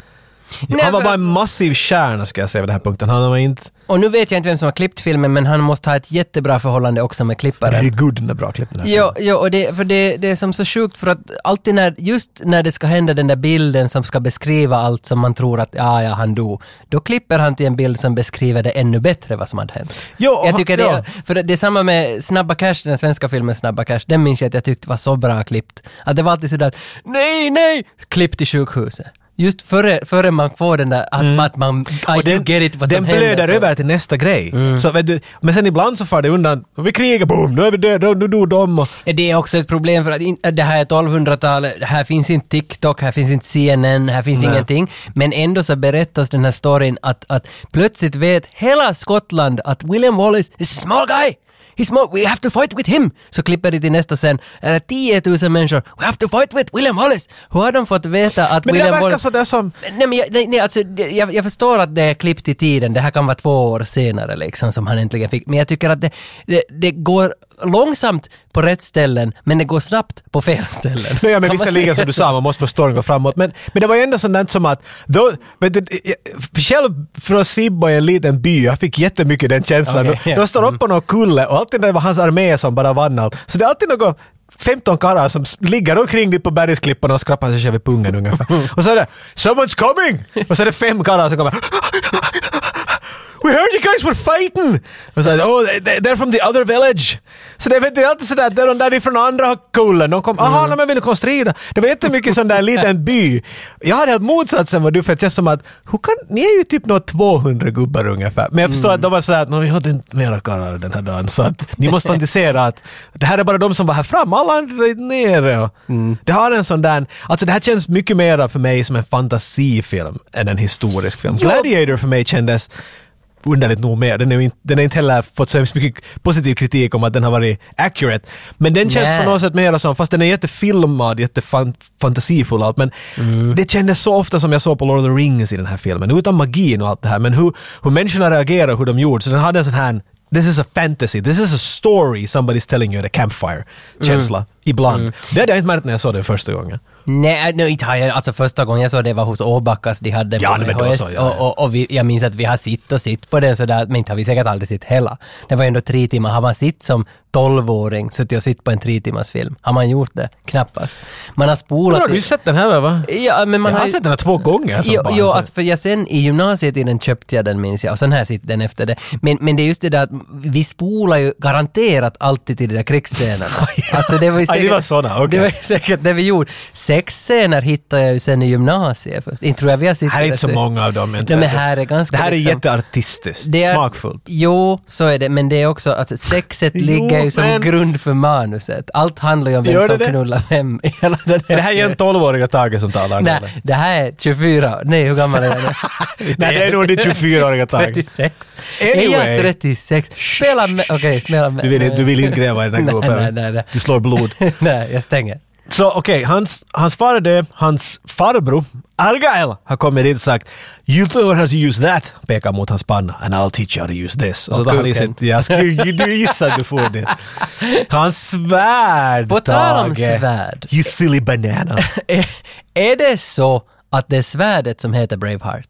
Speaker 1: Nej,
Speaker 2: han var
Speaker 1: men-
Speaker 2: bara en massiv stjärna, ska jag säga vid den här punkten. Han var inte...
Speaker 1: Och nu vet jag inte vem som har klippt filmen, men han måste ha ett jättebra förhållande också med
Speaker 2: Det
Speaker 1: klipparen.
Speaker 2: är gud, den där bra klippen.
Speaker 1: Jo, jo och det, för det, det är som så sjukt för att alltid när, just när det ska hända den där bilden som ska beskriva allt som man tror att ja, ja, han dog, då klipper han till en bild som beskriver det ännu bättre vad som hade hänt.
Speaker 2: Jo, och
Speaker 1: jag
Speaker 2: han-
Speaker 1: tycker det,
Speaker 2: ja.
Speaker 1: för det är samma med Snabba Cash, den svenska filmen Snabba Cash, den minns jag att jag tyckte var så bra klippt. Att det var alltid sådär nej, nej, klipp till sjukhuset. Just före, före man får den där, att, att man, I
Speaker 2: Mm. Och den,
Speaker 1: do get it, vad
Speaker 2: den
Speaker 1: som händer.
Speaker 2: blöder
Speaker 1: så-
Speaker 2: över till nästa grej.
Speaker 1: Mm.
Speaker 2: Så, vet du, men sen ibland så far det undan. Vi krigar, boom, nu är vi döda, nu dog de. Och,
Speaker 1: Det är också ett problem för att in, det här är 1200-talet, här finns inte TikTok, här finns inte CNN, här finns ingenting. Men ändå så berättas den här storyn att, att plötsligt vet hela Skottland att William Wallace is a small guy! He's small, we have to fight with him! Så klipper det till nästa scen, är det 10 000 människor, we have to fight with William Wallace! Hur har de fått veta att
Speaker 2: men det
Speaker 1: William
Speaker 2: där verkar
Speaker 1: Wallace...
Speaker 2: sådär som...
Speaker 1: Nej men jag, nej, nej, alltså, det- jag, jag förstår att det är klippt i tiden, det här kan vara två år senare liksom som han äntligen fick, men jag tycker att det, det, det går långsamt på rätt ställen, men det går snabbt på fel ställen.
Speaker 2: Nej, men
Speaker 1: Kan man säga
Speaker 2: visserligen som du
Speaker 1: så?
Speaker 2: sa, man måste få storyn gå framåt. Men, men det var ju ändå sånt där som att... Då, vet du, jag- själv från Sibbo i en liten by, jag fick jättemycket den känslan.
Speaker 1: Okej, ja.
Speaker 2: De står upp på någon kulle och alltid det var hans armé som bara vann allt. Så det är alltid något 15 karlar som s- ligger omkring dit på bergsklipporna och skrapar sig själva i pungen
Speaker 1: [LAUGHS]
Speaker 2: ungefär. Och så är det “Someone's coming!” och så är det fem karlar som kommer “We heard you guys were fighting!” Och så är det “Oh, they- they're from the other village!” Så det vet, det är alltid sådär, det är de där från andra kullen, de kom
Speaker 1: Mm.
Speaker 2: “Aha, nej, men vill ni komma och strida?” Det var jättemycket sån där liten by. Jag hade helt motsatsen vad du, för att jag som att hur kan, ni är ju typ några 200 gubbar ungefär. Men jag förstår att de var sådär att "Nå, vi hade inte mera karlar den här dagen, så att ni måste fantisera att det här är bara de som var här fram, alla andra är nere. Och Det har en sån där, alltså det här känns mycket mera för mig som en fantasifilm än en historisk film.
Speaker 1: Jo.
Speaker 2: Gladiator för mig kändes underligt nog mer. Den, är ju inte, den har inte heller fått så hemskt mycket positiv kritik om att den har varit accurate. Men den känns
Speaker 1: Nej.
Speaker 2: på något sätt mer som, fast den är jättefilmad, jättefantasifull och allt, men
Speaker 1: Mm.
Speaker 2: det kändes så ofta som jag såg på Lord of the Rings i den här filmen, utan magin och allt det här, men hur, hur människorna reagerar, hur de gjorde, så den hade en sån här This is a fantasy, this is a story somebody's telling you at a campfire-känsla.
Speaker 1: Mm.
Speaker 2: Ibland. Det hade jag inte märkt när jag såg den första gången.
Speaker 1: Nej, nej, inte har jag, alltså första gången jag såg det var hos Åbackas, de hade den
Speaker 2: Ja,
Speaker 1: på
Speaker 2: nej, men då
Speaker 1: VHS,
Speaker 2: så, ja, ja.
Speaker 1: och, och, och vi, jag minns att vi har sitt och sitt på den sådär, men inte har vi säkert aldrig sitt hela. Det var ändå tre timmar, har man sitt som tolvåring, suttit och sitt på en tre timmars film? Har man gjort det? Knappast. Man har
Speaker 2: Bra,
Speaker 1: spolat...
Speaker 2: du har ju sett den här va?
Speaker 1: Ja, men man
Speaker 2: Jag har
Speaker 1: ju-
Speaker 2: sett den här två gånger som
Speaker 1: Jo,
Speaker 2: barn,
Speaker 1: jo
Speaker 2: så-
Speaker 1: alltså för jag sen i gymnasietiden köpte jag den minns jag och sen här sitter den efter det. Men, men det är just det där att vi spolar ju garanterat alltid till de där krigsscenerna. alltså det var ju
Speaker 2: [LAUGHS] Aj,
Speaker 1: säkert,
Speaker 2: det var såna, okej.
Speaker 1: det var ju säkert det vi gjorde. Sexscener hittade jag ju sen i gymnasiet först. Inte tror jag vi har suttit
Speaker 2: Här är
Speaker 1: där
Speaker 2: inte så
Speaker 1: sen.
Speaker 2: många av dem.
Speaker 1: Nej, alltså, men här är ganska
Speaker 2: det här är
Speaker 1: liksom-
Speaker 2: jätteartistiskt,
Speaker 1: Det är-
Speaker 2: smakfullt.
Speaker 1: Jo, så är det, men det är också, alltså sexet
Speaker 2: [LAUGHS] Jo,
Speaker 1: ligger ju som
Speaker 2: men-
Speaker 1: grund för manuset. Allt handlar ju om vem
Speaker 2: Gör det
Speaker 1: som
Speaker 2: det?
Speaker 1: knullar vem. i hela den
Speaker 2: Är det här igen 12-åriga Tage som talar? nu, eller?
Speaker 1: Nej, det här är 24, nej hur gammal är jag
Speaker 2: [LAUGHS]
Speaker 1: nu?
Speaker 2: Nej, det är nog ditt 24-åriga Tage.
Speaker 1: 36.
Speaker 2: Anyway.
Speaker 1: Är jag 36? Spela med... Okej, spela med...
Speaker 2: Du vill, du vill inte gräva i den här
Speaker 1: Nej, nej,
Speaker 2: gåvan.
Speaker 1: nej, nej.
Speaker 2: Du slår blod.
Speaker 1: Nej, jag stänger.
Speaker 2: Så okej, hans, hans far är död, hans farbror Argyle har kommit dit och sagt “You learn how to use that” pekar mot hans panna “and I'll teach you how to use this”. Och så
Speaker 1: Och
Speaker 2: tar han i sig...
Speaker 1: kuken.
Speaker 2: Ja, sku- du gissar att du får det. Hans svärd,
Speaker 1: På tal om
Speaker 2: Tage.
Speaker 1: svärd.
Speaker 2: You
Speaker 1: [LAUGHS]
Speaker 2: silly banana.
Speaker 1: Är, är det så att det är svärdet som heter Braveheart?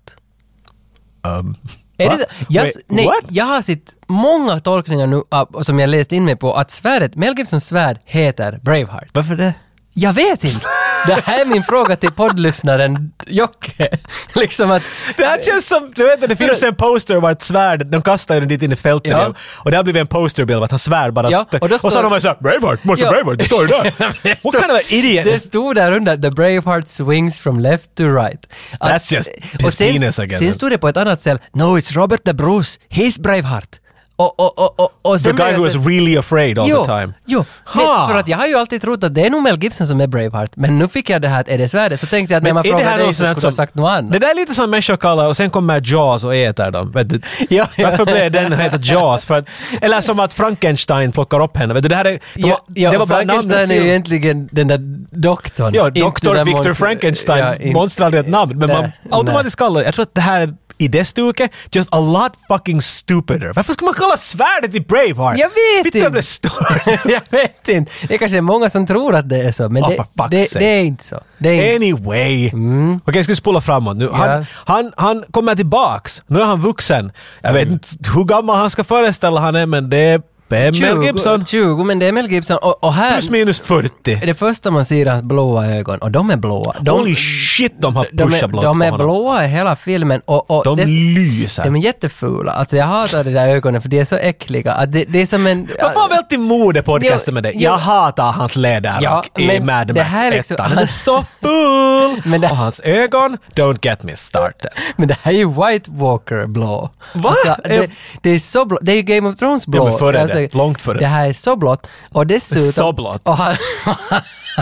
Speaker 2: Um,
Speaker 1: Är
Speaker 2: va?
Speaker 1: det så? Jag,
Speaker 2: Wait,
Speaker 1: nej,
Speaker 2: what?
Speaker 1: jag har sett många tolkningar nu av, som jag läst in mig på att svärdet, Mel Gibsons svärd heter Braveheart.
Speaker 2: Varför det?
Speaker 1: Jag vet inte! Det här är min fråga till poddlyssnaren Jocke. [LAUGHS] Liksom att...
Speaker 2: Det här känns som, du vet det finns en poster var ett svärd, de kastar ju den dit in i fältet
Speaker 1: Ja.
Speaker 2: igen. Och det har blivit en posterbild av att han svär bara
Speaker 1: Ja,
Speaker 2: stö-
Speaker 1: och då
Speaker 2: Och så
Speaker 1: står-
Speaker 2: har de varit såhär “Braveheart,
Speaker 1: [LAUGHS]
Speaker 2: måste
Speaker 1: Ja.
Speaker 2: Braveheart, det står ju där!” What kind of an
Speaker 1: [LAUGHS]
Speaker 2: idiot?
Speaker 1: Det stod där under, the Braveheart swings from left to right. Att-
Speaker 2: That's just his
Speaker 1: och sen,
Speaker 2: penis again. eh.
Speaker 1: Sen stod det på ett annat ställe, no it's Robert the Bruce, he's Braveheart. Och, och, och, och, och
Speaker 2: The
Speaker 1: sen blev
Speaker 2: guy
Speaker 1: jag
Speaker 2: who
Speaker 1: så-
Speaker 2: was really afraid all
Speaker 1: jo,
Speaker 2: the time.
Speaker 1: Jo, men
Speaker 2: Ha!
Speaker 1: för att jag har ju alltid trott att det är nog Mel Gibson som är Braveheart, men nu fick jag det här att är det svärdet, så tänkte jag att när man
Speaker 2: är det
Speaker 1: frågar
Speaker 2: här
Speaker 1: dig
Speaker 2: något
Speaker 1: så
Speaker 2: sånt
Speaker 1: skulle du ha sagt något annat.
Speaker 2: Det där är lite som människor kallar och sen kommer Jaws och äter dem. Vet du?
Speaker 1: [LAUGHS] Ja, ja.
Speaker 2: Varför blev den heter Jaws? För att, eller som att Frankenstein plockar upp henne. Vet du, det här är... de
Speaker 1: Ja,
Speaker 2: har-
Speaker 1: ja,
Speaker 2: det var bara namn och
Speaker 1: Frankenstein är ju
Speaker 2: film.
Speaker 1: egentligen den där doktorn.
Speaker 2: Ja,
Speaker 1: inte
Speaker 2: Dr.
Speaker 1: den
Speaker 2: Victor
Speaker 1: monster-
Speaker 2: Frankenstein.
Speaker 1: Ja, in-
Speaker 2: Monster hade ett namn, men man
Speaker 1: Nej,
Speaker 2: automatiskt kallar Jag tror att det här är i det stuket, just a lot fucking stupider. Varför ska man kalla svärdet i Braveheart?
Speaker 1: Jag vet
Speaker 2: Vittu, jag blev
Speaker 1: inte.
Speaker 2: störd.
Speaker 1: nej. [LAUGHS] jag vet inte. Det är kanske är många som tror att det är så, men
Speaker 2: Ah,
Speaker 1: det,
Speaker 2: för fuck's
Speaker 1: det,
Speaker 2: sake.
Speaker 1: det är inte så. Det är inte.
Speaker 2: Anyway. Okej, jag ska spola framåt nu. Han,
Speaker 1: Mm. Ja.
Speaker 2: han, han kommer tillbaks. Nu är han vuxen. Jag
Speaker 1: Mm.
Speaker 2: vet inte hur gammal han ska föreställa han är, men det är Mel Gibson.
Speaker 1: 20, men det är Mel Gibson. Och, och här...
Speaker 2: Plus minus 40.
Speaker 1: är Det första man ser är hans blåa ögon, och de är blåa. De,
Speaker 2: Holy shit, de har
Speaker 1: de är,
Speaker 2: pushat blått
Speaker 1: de
Speaker 2: på
Speaker 1: är
Speaker 2: honom.
Speaker 1: blåa i hela filmen och, och
Speaker 2: De
Speaker 1: det,
Speaker 2: lyser.
Speaker 1: de är jättefula. Alltså jag hatar de där ögonen för de är så äckliga. Att det, det är som en...
Speaker 2: Vad var väl till modepodcasten
Speaker 1: Jo,
Speaker 2: med dig?
Speaker 1: jo.
Speaker 2: Jag hatar hans läderrock
Speaker 1: Ja,
Speaker 2: i
Speaker 1: men
Speaker 2: Mad
Speaker 1: det
Speaker 2: Max
Speaker 1: här är
Speaker 2: 1.
Speaker 1: liksom-
Speaker 2: Han är så full!
Speaker 1: [LAUGHS] Men det-
Speaker 2: Och hans ögon, don't get me started.
Speaker 1: [LAUGHS] Men det här är ju White Walker blå. Alltså,
Speaker 2: Va?
Speaker 1: det, det är så blå. Det är ju Game of Thrones blå. Alltså,
Speaker 2: Ja, men före det. Långt före det.
Speaker 1: Det här är så blått. Och dessutom...
Speaker 2: Så blått.
Speaker 1: Och han, [LAUGHS]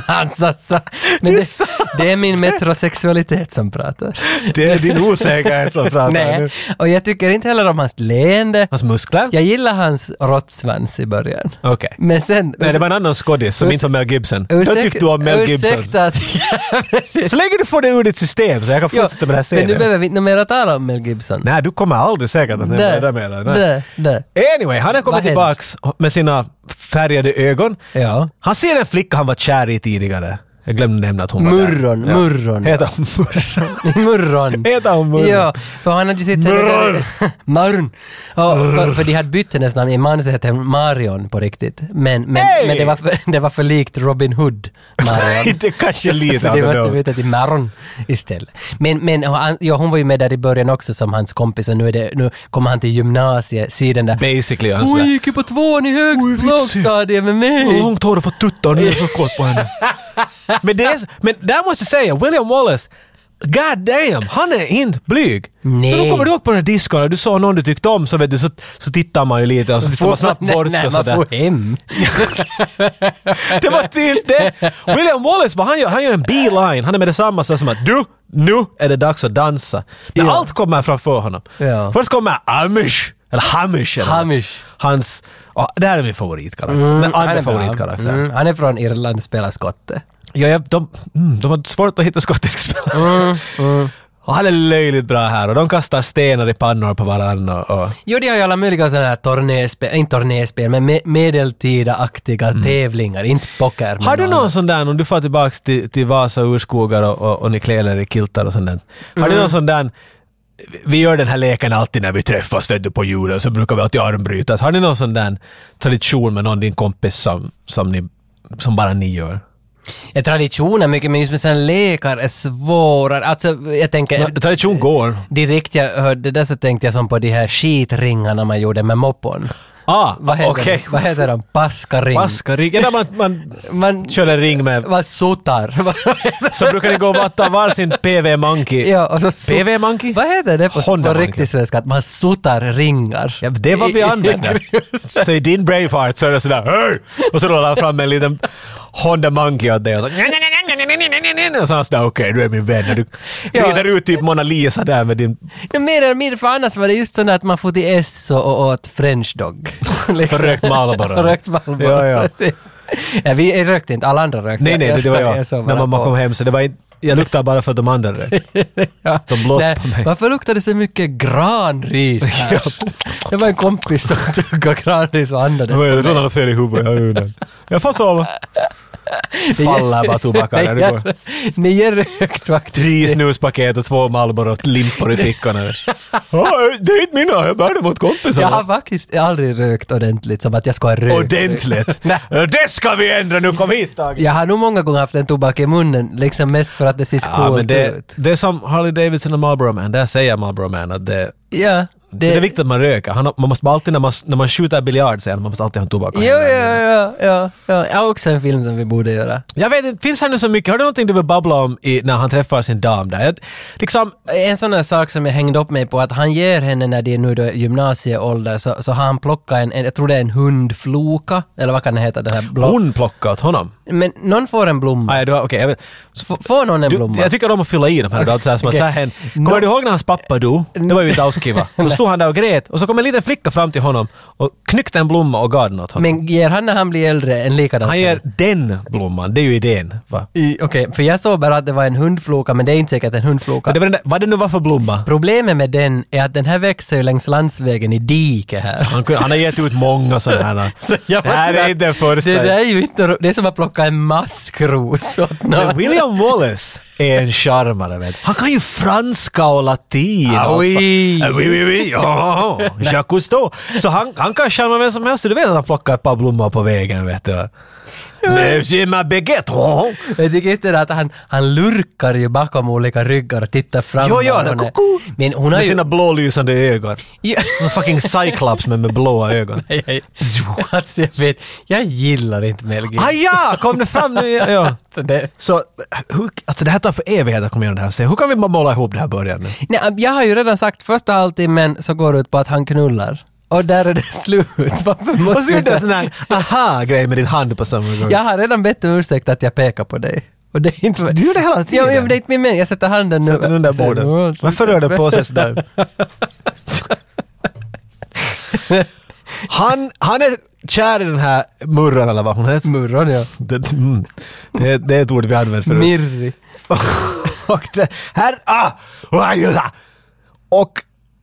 Speaker 1: han satsar. Men
Speaker 2: Du
Speaker 1: det,
Speaker 2: sa
Speaker 1: det är min metrosexualitet som pratar.
Speaker 2: [LAUGHS] Det är din osäkerhet som pratar nu.
Speaker 1: [LAUGHS] Nej. Och jag tycker inte heller om hans leende.
Speaker 2: Hans muskler?
Speaker 1: Jag gillar hans råttsvans i början.
Speaker 2: Okej.
Speaker 1: Men sen...
Speaker 2: Nej, det var en annan skådis som
Speaker 1: Urs-
Speaker 2: inte var Mel Gibson. Jag tyckte du var Mel Gibson.
Speaker 1: Ursäkta att... [LAUGHS] Ja, precis.
Speaker 2: Så länge du får det ur ditt system så jag kan
Speaker 1: Jo,
Speaker 2: fortsätta med den här
Speaker 1: Men nu
Speaker 2: serien.
Speaker 1: behöver vi inte mer tala om Mel Gibson.
Speaker 2: Nej, du kommer aldrig säkert att nämna det där med
Speaker 1: nej, nej.
Speaker 2: Anyway, han har
Speaker 1: Vad
Speaker 2: kommit
Speaker 1: händer?
Speaker 2: tillbaks med sina färgade ögon.
Speaker 1: Ja.
Speaker 2: Han ser en flicka han var kär i tidigare. Jag glömde nämna att hon var
Speaker 1: Murron,
Speaker 2: där.
Speaker 1: Murron.
Speaker 2: Heter hon Murron?
Speaker 1: Murron.
Speaker 2: Heter hon Murron?
Speaker 1: Ja, för han hade ju sett henne där... [LAUGHS] Murron. Ja, för, för de hade bytt hennes namn. I manuset hette hon Marion på riktigt. Men, men,
Speaker 2: Hey!
Speaker 1: men det, var för, [LAUGHS] det var för likt Robin Hood,
Speaker 2: [LAUGHS]
Speaker 1: Marion.
Speaker 2: Inte kanske lite
Speaker 1: Så
Speaker 2: av
Speaker 1: det
Speaker 2: the
Speaker 1: var
Speaker 2: nose.
Speaker 1: byta till Maron istället. Men, men han- ja, hon var ju med där i början också som hans kompis och nu, är det, nu kommer han till gymnasiet, ser den där
Speaker 2: [LAUGHS] Basically, han
Speaker 1: Hon
Speaker 2: sådär.
Speaker 1: gick ju på tvåan i
Speaker 2: Oj,
Speaker 1: högst
Speaker 2: vitsig.
Speaker 1: lågstadiet med
Speaker 2: Hur
Speaker 1: mig!
Speaker 2: långt har du fått tuttar? Nu är jag så kåt på
Speaker 1: [LAUGHS]
Speaker 2: henne. [LAUGHS] men, det är, men där måste jag säga, William Wallace, God damn, han är inte blyg.
Speaker 1: Nej.
Speaker 2: Men då kommer du ihåg på den här diskon och du såg någon du tyckte om så, vet du, så, så tittar man ju lite och så tittar man snabbt
Speaker 1: Nej,
Speaker 2: bort
Speaker 1: nej, man
Speaker 2: och sådär.
Speaker 1: får hem.
Speaker 2: Det var typ det. William Wallace, vad han gör, han gör en beeline. Han är med detsamma så som att du, nu är det dags att dansa. Men
Speaker 1: Ja.
Speaker 2: allt kommer framför honom.
Speaker 1: Ja.
Speaker 2: Först kommer Amish, eller Hamish. Eller vad.
Speaker 1: Hamish.
Speaker 2: Hans, ja, det här är min favoritkaraktär. Den
Speaker 1: Han
Speaker 2: andra
Speaker 1: är bra.
Speaker 2: favoritkaraktären.
Speaker 1: Mm, han är från Irland och spelar skotte.
Speaker 2: Ja, ja de, mm, de har svårt att hitta skottisk spelare.
Speaker 1: Mm,
Speaker 2: Och han är löjligt bra här och de kastar stenar i pannor på varandra. Och, och,
Speaker 1: Jo, det har ju alla möjliga sådana här tornéspel, inte tornéspel, men me- medeltida-aktiga tävlingar, inte poker. men
Speaker 2: Mm.
Speaker 1: eh,
Speaker 2: har du
Speaker 1: något
Speaker 2: någon sån där, om du får tillbaka till, till Vasa urskogar och, och, och ni klär er i kiltar och sånt där. Har
Speaker 1: Mm.
Speaker 2: du någon sån där, vi gör den här leken alltid när vi träffas vet du, på julen, så brukar vi alltid armbrytas. Har ni någon sån där tradition med någon din kompis som, som, ni, som bara ni gör?
Speaker 1: Ja, tradition är mycket, men just med sådana lekar är svårare. Alltså, jag tänker... eh,
Speaker 2: Tradition går.
Speaker 1: Direkt jag hörde det där så tänkte jag som på de här skitringarna man gjorde med moppon.
Speaker 2: Ah,
Speaker 1: Vad
Speaker 2: okej.
Speaker 1: heter, de? Vad heter de? Paskaring?
Speaker 2: Paskaring. Ja, man,
Speaker 1: [LAUGHS]
Speaker 2: man
Speaker 1: Man...
Speaker 2: kör en ring med
Speaker 1: [LAUGHS] Vad sotar?
Speaker 2: Så brukar ni gå och vatta varsin PV Monkey.
Speaker 1: ja, och så so-
Speaker 2: PV Monkey?
Speaker 1: Vad heter det på,
Speaker 2: Honda
Speaker 1: på
Speaker 2: Monkey.
Speaker 1: riktig svenska? Att man sotar ringar.
Speaker 2: Ja, det var vi använde. Så i din Braveheart så är det sådär Hör! Och så rullar han fram en liten Honda Monkey åt dig och så "Nej, nej, nej, nej, nej, nej, nej, nej, nej." Och så han sådär okej du är min vän. Och Du
Speaker 1: Ja.
Speaker 2: rider ut typ Mona Lisa där med din
Speaker 1: Ja, mer eller mindre, för annars var det just sådär att man for till S och, och åt french dog. [LAUGHS]
Speaker 2: Och rökt Marlboro.
Speaker 1: Och rökt Marlboro,
Speaker 2: Ja, ja.
Speaker 1: precis. Ja, vi rökte inte, alla andra rökte.
Speaker 2: Nej nej det, det var jag.
Speaker 1: såg
Speaker 2: När
Speaker 1: bara
Speaker 2: mamma
Speaker 1: på.
Speaker 2: kom hem så det var inte jag luktade bara för att de
Speaker 1: [LAUGHS]
Speaker 2: andra rökte.
Speaker 1: Ja.
Speaker 2: De blåste
Speaker 1: Nej,
Speaker 2: på mig.
Speaker 1: Varför luktar det så mycket
Speaker 2: [LAUGHS]
Speaker 1: granris här? Det var en kompis som [LAUGHS] tuggade granris och andades.
Speaker 2: Jag vet, något fel i huvudet, jag undrar. Jag får sova. Faller bara tobaken när du går.
Speaker 1: Nio rökt faktiskt.
Speaker 2: Tre snuspaket och två Marlboro-limpor
Speaker 1: [LAUGHS]
Speaker 2: i fickorna. oh, det är inte mina, jag bär dem åt kompisarna.
Speaker 1: Jag har faktiskt aldrig rökt ordentligt som att jag ska ha rökt.
Speaker 2: [LAUGHS] Ordentligt!
Speaker 1: Nej.
Speaker 2: det ska vi ändra nu, kom hit Tage!
Speaker 1: Jag har nog många gånger haft en tobak i munnen, liksom mest för att det ser
Speaker 2: Ja,
Speaker 1: coolt
Speaker 2: men det,
Speaker 1: ut.
Speaker 2: det är som Harley Davidson och Marlboro Man, där säger Marlboro Man att det,
Speaker 1: Ja,
Speaker 2: Det, är viktigt att man röker. Han, har- man måste alltid, när man, när man skjuter biljard, säger han, man måste alltid ha en tobak. och
Speaker 1: Jo,
Speaker 2: hänga.
Speaker 1: jo, jo, jo, jo. Ja, också en film som vi borde göra.
Speaker 2: Jag vet inte, finns här nu så mycket? Har du någonting du vill babbla om i, när han träffar sin dam där? Jag, liksom,
Speaker 1: En sån där sak som jag hängde upp mig på att han ger henne när det är nu då gymnasieålder så, så har han plockat en, en, jag tror det är en hundfloka, eller vad kan det heta, den här blå...
Speaker 2: hon plockar åt honom.
Speaker 1: Men någon får en blomma.
Speaker 2: Nej, du har, okej, jag vet.
Speaker 1: F- får någon en
Speaker 2: Du,
Speaker 1: blomma?
Speaker 2: jag tycker om att fylla i de här okay. så här,
Speaker 1: [LAUGHS]
Speaker 2: som
Speaker 1: Okej.
Speaker 2: okay. hen. Kommer
Speaker 1: No.
Speaker 2: du ihåg när hans pappa dog? Det var ju inte alls
Speaker 1: [LAUGHS]
Speaker 2: kiva. Så stod han där och grät och så kom en liten flicka fram till honom och knyckte en blomma och gav den åt honom.
Speaker 1: Men ger han när han blir äldre en likadan?
Speaker 2: han ger den blomman, det är ju idén. Va?
Speaker 1: I- Okej, för jag såg bara att det var en hundfloka, men det är inte säkert en hundfloka.
Speaker 2: Men Det var den där, vad det nu var för blomma?
Speaker 1: Problemet med den är att den här växer ju längs landsvägen i diket här.
Speaker 2: Han, kunde, han har gett ut många sådana här.
Speaker 1: [LAUGHS] Så jag
Speaker 2: det här
Speaker 1: måste-
Speaker 2: är inte den första.
Speaker 1: Det där är ju inte... ro- Det är som att plocka en maskros åt någon.
Speaker 2: [LAUGHS] Men William Wallace är en charmare. Vet. du. Han kan ju franska och latin.
Speaker 1: Ah,
Speaker 2: och
Speaker 1: oui.
Speaker 2: fa- Ah, oui, oui, oui. Ja, Jacques Cousteau. Så han, han kan charma vem som helst. Du vet att han plockar ett par blommor på vägen. Vet du. Monsieur ma baguette. oh.
Speaker 1: Jag tycker just det där att han, han lurkar ju bakom olika ryggar och tittar fram.
Speaker 2: Jo, jo,
Speaker 1: när
Speaker 2: det-
Speaker 1: hon är-
Speaker 2: koko.
Speaker 1: Men hon har
Speaker 2: Med
Speaker 1: ju...
Speaker 2: sina blålysande ögon.
Speaker 1: [LAUGHS] Ja.
Speaker 2: En fucking cyclops men med blåa ögon.
Speaker 1: Nej, nej. [LAUGHS] alltså, jag vet, jag gillar inte Mel Gibson.
Speaker 2: Ah, ja, kom det fram nu? Ja, Ja.
Speaker 1: Det-
Speaker 2: Så hur, alltså det här tar för evighet att komma igenom det här. Så Hur kan vi bara måla ihop det här i början nu?
Speaker 1: Nej, jag har ju redan sagt första halvtimmen så går det ut på att han knullar. Och där är det [LAUGHS] slut. Varför
Speaker 2: Och så
Speaker 1: måste jag
Speaker 2: gjorde jag
Speaker 1: säga-
Speaker 2: en sån här aha-grej med din hand på samma gång.
Speaker 1: Jag har redan bett om ursäkt att jag pekar på dig. Och det är inte...
Speaker 2: Mm. Du gör det hela
Speaker 1: Ja,
Speaker 2: tiden.
Speaker 1: men det är inte min mening. Jag sätter handen nu.
Speaker 2: Den där borden. Varför rör den på sig sådär? Han, han är kär i den här murran eller vad hon heter.
Speaker 1: Murron, ja.
Speaker 2: Det, mm, det, det är ett ord vi använder
Speaker 1: [LAUGHS]
Speaker 2: förut.
Speaker 1: Mirri.
Speaker 2: [LAUGHS] och det här... Ah, ah, ah. och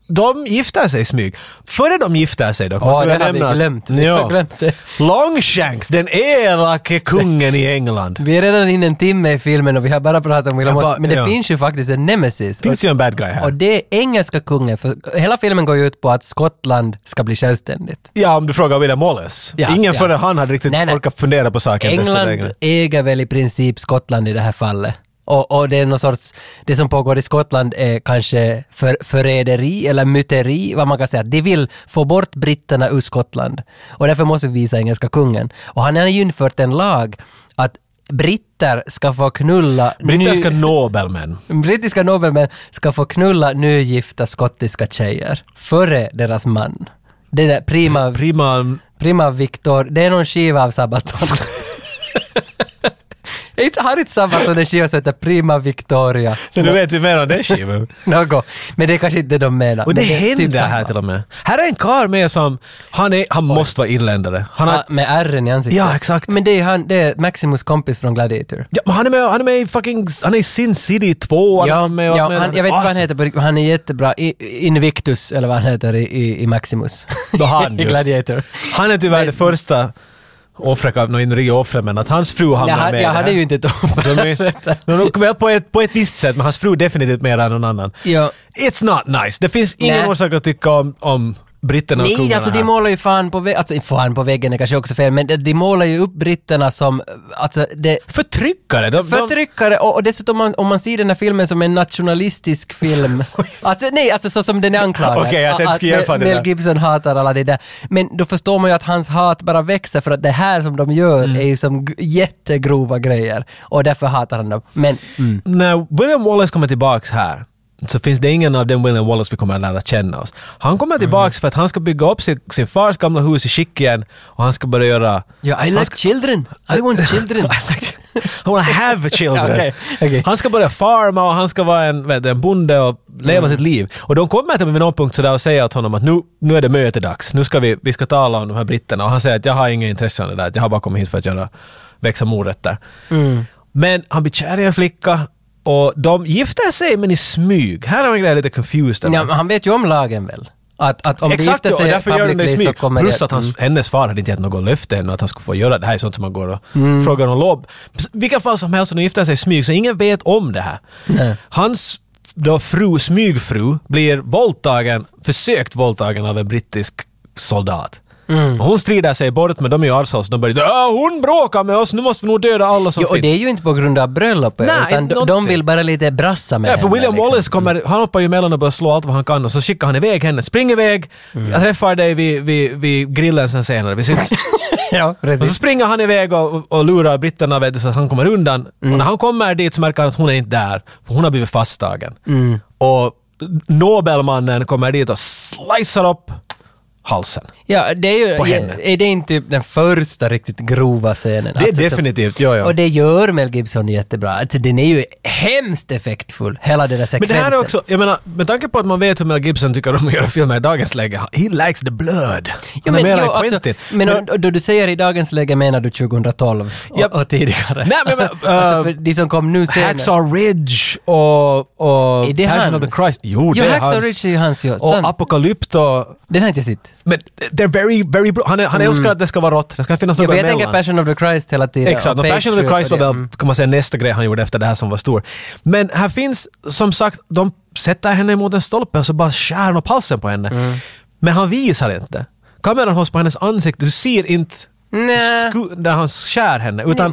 Speaker 2: de gifter sig i smyg. Före de gifter sig dock,
Speaker 1: Ja,
Speaker 2: måste vi
Speaker 1: det har vi
Speaker 2: nämna att-
Speaker 1: glömt. Vi har glömt det.
Speaker 2: Longshanks, den elake kungen i England.
Speaker 1: Vi är redan inne en timme i filmen och vi har bara pratat om William
Speaker 2: Jag bara-
Speaker 1: Wallace. Men det
Speaker 2: ja.
Speaker 1: finns ju faktiskt en nemesis.
Speaker 2: Finns ju en bad guy
Speaker 1: Och
Speaker 2: här.
Speaker 1: det är engelska kungen, för hela filmen går ju ut på att Skottland ska bli självständigt.
Speaker 2: Ja, om du frågar William Wallace.
Speaker 1: Ja,
Speaker 2: Ingen
Speaker 1: ja.
Speaker 2: före han hade riktigt
Speaker 1: Nej, nej.
Speaker 2: orkat fundera på saken. efter
Speaker 1: England
Speaker 2: reglerna.
Speaker 1: äger väl i princip Skottland i det här fallet. Och, och det är någon sorts, det som pågår i Skottland är kanske för, förräderi eller myteri, vad man kan säga. De vill få bort britterna ur Skottland. Och därför måste vi visa engelska kungen. Och han har ju infört en lag att britter ska få knulla
Speaker 2: Britter
Speaker 1: ny-
Speaker 2: ska nobelmän.
Speaker 1: [LAUGHS] brittiska nobelmän ska få knulla nygifta skottiska tjejer före deras man. Det där prima,
Speaker 2: Prima...
Speaker 1: prima Victor, det är någon skiva av Sabaton. [LAUGHS] Inte har inte Sabaton en skiva som heter Prima Victoria?
Speaker 2: Nu vet vi mer om
Speaker 1: [LAUGHS]
Speaker 2: det skivan.
Speaker 1: Något. Men det är kanske inte det de menar.
Speaker 2: Och det,
Speaker 1: Men är typ
Speaker 2: händer
Speaker 1: samma.
Speaker 2: här till och med. Här är en karl med som... Han, är, han måste vara inländare. Han har,
Speaker 1: Ja, med ärren i ansiktet.
Speaker 2: Ja, exakt.
Speaker 1: Men det är, han, det är Maximus kompis från Gladiator.
Speaker 2: ja, men han, är med, han är med i fucking... Han är i Sin City 2. Han är med, och-
Speaker 1: ja
Speaker 2: med, Ah,
Speaker 1: han, jag vet inte vad han heter på riktigt, men han är jättebra. I, Invictus, eller vad han heter i, i, i Maximus.
Speaker 2: Då han
Speaker 1: [LAUGHS] I
Speaker 2: just.
Speaker 1: Gladiator.
Speaker 2: Han är tyvärr det första offret, av- nå, inte riktigt offret, men att hans fru
Speaker 1: Nej,
Speaker 2: hamnar
Speaker 1: han,
Speaker 2: med i
Speaker 1: jag
Speaker 2: det
Speaker 1: hade
Speaker 2: här.
Speaker 1: ju inte ett
Speaker 2: De
Speaker 1: [LAUGHS]
Speaker 2: är- de är väl på ett, på ett visst sätt, men hans fru definitivt mer än någon annan.
Speaker 1: Ja.
Speaker 2: It's not nice. Det finns ingen
Speaker 1: Nej.
Speaker 2: orsak att tycka om, om britterna och
Speaker 1: Nej,
Speaker 2: kungarna
Speaker 1: alltså
Speaker 2: här.
Speaker 1: de målar ju fan på väggen, alltså fan på väggen är kanske också fel, men de- de målar ju upp britterna som, alltså det
Speaker 2: Förtryckare! De,
Speaker 1: Förtryckare och, och dessutom om, om man ser den här filmen som en nationalistisk
Speaker 2: [LAUGHS]
Speaker 1: film. alltså nej, alltså så som den är anklagad.
Speaker 2: Okej, jag tänkte
Speaker 1: Att
Speaker 2: skulle jämföra
Speaker 1: Mel-
Speaker 2: det där.
Speaker 1: Mel Gibson hatar alla det där. Men då förstår man ju att hans hat bara växer för att det här som de gör
Speaker 2: Mm.
Speaker 1: är ju som g- jättegrova grejer. Och därför hatar han dem. Men, mm.
Speaker 2: de, när William Wallace kommer tillbaks här så finns det ingen av den William Wallace vi kommer att lära känna oss. Han kommer tillbaks för att han ska bygga upp sin, sin fars gamla hus i skick igen och han ska börja göra...
Speaker 1: Yeah, I
Speaker 2: han
Speaker 1: like
Speaker 2: ska,
Speaker 1: children. I
Speaker 2: [LAUGHS]
Speaker 1: want children.
Speaker 2: I wanna
Speaker 1: [LAUGHS]
Speaker 2: have children.
Speaker 1: Okej, okej.
Speaker 2: Han ska börja farma och han ska vara en, vet, du, en bonde och leva
Speaker 1: Mm.
Speaker 2: sitt liv. Och de kommer till mig vid någon punkt sådär och säger åt honom att nu, nu är det mötedags. Nu ska vi, vi ska tala om de här britterna. Och han säger att jag har inget intresse av det där. att Jag har bara kommit hit för att göra, växa morötter.
Speaker 1: Mm.
Speaker 2: Men han blir kär i en flicka och de gifter sig men i smyg. Här har en grej jag är lite confused. över.
Speaker 1: Ja, men han vet ju om lagen väl? Att, att om de
Speaker 2: Exakt,
Speaker 1: gifter
Speaker 2: och
Speaker 1: sig
Speaker 2: därför gör de det i
Speaker 1: publicly så
Speaker 2: smyg.
Speaker 1: kommer
Speaker 2: Plus
Speaker 1: det... Mm.
Speaker 2: att hans, hennes far hade inte gett något löfte ännu att han skulle få göra det här. är sånt som man går och
Speaker 1: Mm.
Speaker 2: frågar om lov. Ps- Vilka fall som helst, de gifter sig i smyg, så ingen vet om det här. Hans då fru, smygfru, blir våldtagen, försökt våldtagen av en brittisk soldat.
Speaker 1: Mm.
Speaker 2: Och hon strider sig bort, men de är ju arvshouse. De börjar "Ah, hon bråkar med oss, nu måste vi nog döda alla som
Speaker 1: Jo, och
Speaker 2: finns.
Speaker 1: det är ju inte på grund av bröllopet,
Speaker 2: Nej,
Speaker 1: utan
Speaker 2: inte
Speaker 1: de, de
Speaker 2: någonting.
Speaker 1: vill bara lite brassa med
Speaker 2: Ja, för
Speaker 1: henne,
Speaker 2: William
Speaker 1: liksom.
Speaker 2: Wallace kommer, han hoppar ju emellan och börjar slå allt vad han kan och så skickar han iväg henne. Spring iväg!
Speaker 1: Mm.
Speaker 2: Jag träffar dig vid, vid, vid grillen sen senare,
Speaker 1: [LAUGHS]
Speaker 2: vi syns.
Speaker 1: Ja,
Speaker 2: och så
Speaker 1: precis.
Speaker 2: springer han iväg och, och lurar britterna vet du, så att han kommer undan.
Speaker 1: Mm.
Speaker 2: Och när han kommer dit så märker han att hon är inte där, för hon har blivit fasttagen.
Speaker 1: Mm.
Speaker 2: Och Nobelmannen kommer dit och slicear upp halsen.
Speaker 1: Ja, det är ju...
Speaker 2: På henne.
Speaker 1: Är det inte typ den första riktigt grova scenen?
Speaker 2: Det är
Speaker 1: Alltså, så-
Speaker 2: definitivt, ja, ja.
Speaker 1: Och det gör Mel Gibson jättebra. Alltså, den är ju hemskt effektfull, hela den där
Speaker 2: Men det
Speaker 1: sekvensen.
Speaker 2: här är också, jag menar, med tanke på att man vet hur Mel Gibson tycker om att göra filmer i dagens läge, he likes the blood. Han
Speaker 1: Jo,
Speaker 2: är
Speaker 1: men,
Speaker 2: mer
Speaker 1: jo,
Speaker 2: än
Speaker 1: alltså,
Speaker 2: Quentin.
Speaker 1: men, och- och då du säger i dagens läge menar du 2012 och,
Speaker 2: Japp.
Speaker 1: och tidigare?
Speaker 2: Nej, men- men,
Speaker 1: [LAUGHS] alltså,
Speaker 2: äh,
Speaker 1: för de som kom nu senare.
Speaker 2: Hacksaw Ridge och, och
Speaker 1: Är det
Speaker 2: Passion
Speaker 1: hans?
Speaker 2: of the Christ. Jo, det är hans.
Speaker 1: Hacksaw Ridge är ju hans, ja.
Speaker 2: och
Speaker 1: Sant.
Speaker 2: Apokalypto.
Speaker 1: Den har inte jag sett.
Speaker 2: Men they're very, very bra. Han, är, han älskar att det ska vara rått. Det ska finnas
Speaker 1: Mm. Ja,
Speaker 2: något
Speaker 1: för jag
Speaker 2: emellan.
Speaker 1: tänker Passion of the Christ hela tiden.
Speaker 2: Exakt, och
Speaker 1: och
Speaker 2: Passion of the
Speaker 1: Patriot
Speaker 2: Christ
Speaker 1: och
Speaker 2: var väl,
Speaker 1: det. Mm.
Speaker 2: kan man säga, nästa grej han gjorde efter det här som var stor. Men här finns, som sagt, de sätter henne mot en stolpe och så bara skär han upp halsen på henne.
Speaker 1: Mm.
Speaker 2: Men han visar inte. Kameran hålls på hennes ansikte, du ser inte
Speaker 1: Nej. mm.
Speaker 2: sku- där han skär henne. Utan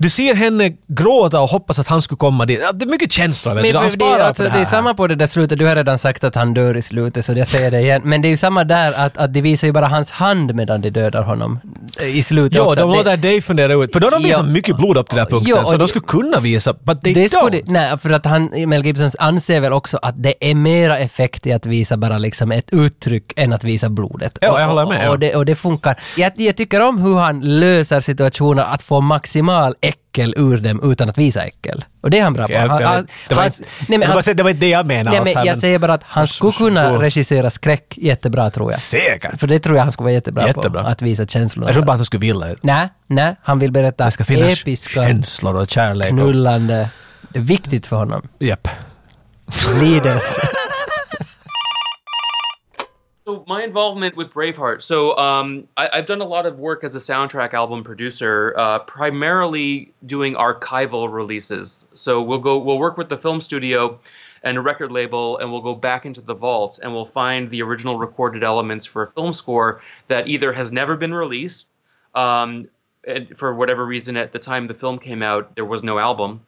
Speaker 2: du ser henne gråta och hoppas att han skulle komma dit. Ja, Det är mycket känsla, vet
Speaker 1: Men
Speaker 2: du. Han
Speaker 1: för det,
Speaker 2: sparar
Speaker 1: är-
Speaker 2: på
Speaker 1: alltså,
Speaker 2: det
Speaker 1: det,
Speaker 2: här.
Speaker 1: är samma på det där slutet, du har redan sagt att han dör i slutet så jag säger det igen. Men det är ju samma där att, att de visar ju bara hans hand medan de dödar honom eh, i slutet
Speaker 2: Ja,
Speaker 1: också.
Speaker 2: de
Speaker 1: Det-
Speaker 2: låter dig fundera ut. För då har de visat
Speaker 1: Ja.
Speaker 2: mycket blod upp till den här punkten,
Speaker 1: Ja, och
Speaker 2: så de
Speaker 1: det-
Speaker 2: skulle kunna visa, but they
Speaker 1: det
Speaker 2: don't.
Speaker 1: skulle, nej, för att han, Mel Gibson anser väl också att det är mera effekt i att visa bara liksom ett uttryck än att visa blodet.
Speaker 2: Ja,
Speaker 1: Och-
Speaker 2: jag håller med,
Speaker 1: Och,
Speaker 2: ja.
Speaker 1: och, det, och det funkar. Jag, jag tycker om hur han löser situationer att få maximal äckel ur dem utan att visa äckel. Och det är han bra på.
Speaker 2: Jag- jag
Speaker 1: Han,
Speaker 2: vet.
Speaker 1: han,
Speaker 2: Det var
Speaker 1: hans-
Speaker 2: inte-
Speaker 1: alltså- nej, men
Speaker 2: jag bara
Speaker 1: hans-
Speaker 2: säger, det var inte det jag menade
Speaker 1: Nej,
Speaker 2: alls
Speaker 1: men
Speaker 2: här,
Speaker 1: jag
Speaker 2: men-
Speaker 1: säger bara att han skulle kunna
Speaker 2: Varsågod.
Speaker 1: regissera skräck jättebra tror jag.
Speaker 2: Säkert.
Speaker 1: För det tror jag han skulle vara jättebra
Speaker 2: Jättebra.
Speaker 1: på. Att visa känslor.
Speaker 2: Jag tror bara att de skulle vilja det.
Speaker 1: Nej, nej. Han vill berätta
Speaker 2: Det ska finnas
Speaker 1: episka,
Speaker 2: känslor och kärlek. och-
Speaker 1: knullande... Det är viktigt för honom.
Speaker 2: Japp.
Speaker 1: Lidelse.
Speaker 3: So my involvement with Braveheart. So um, I, I've done a lot of work as a soundtrack album producer, uh, primarily doing archival releases. So we'll go, we'll work with the film studio and a record label, and we'll go back into the vault and we'll find the original recorded elements for a film score that either has never been released, um, and for whatever reason at the time the film came out there was no album,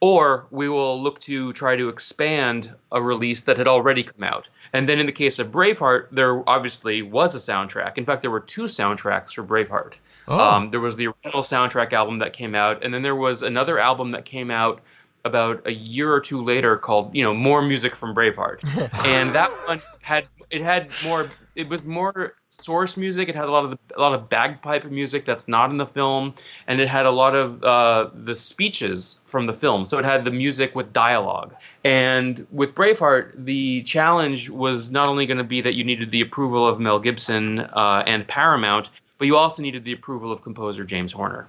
Speaker 3: or we will look to try to expand a release that had already come out. And then in the case of Braveheart, there obviously was a soundtrack. In fact, there were two soundtracks for Braveheart. Um, there was the original soundtrack album that came out, and then there was another album that came out about a year or two later called, you know, More Music from Braveheart. and that one had it had more it was more source music. It had a lot of the, a lot of bagpipe music that's not in the film, and it had a lot of uh, the speeches from the film. So it had the music with dialogue. And with Braveheart, the challenge was not only going to be that you needed the approval of Mel Gibson uh, and Paramount, but you also needed the approval of composer James Horner.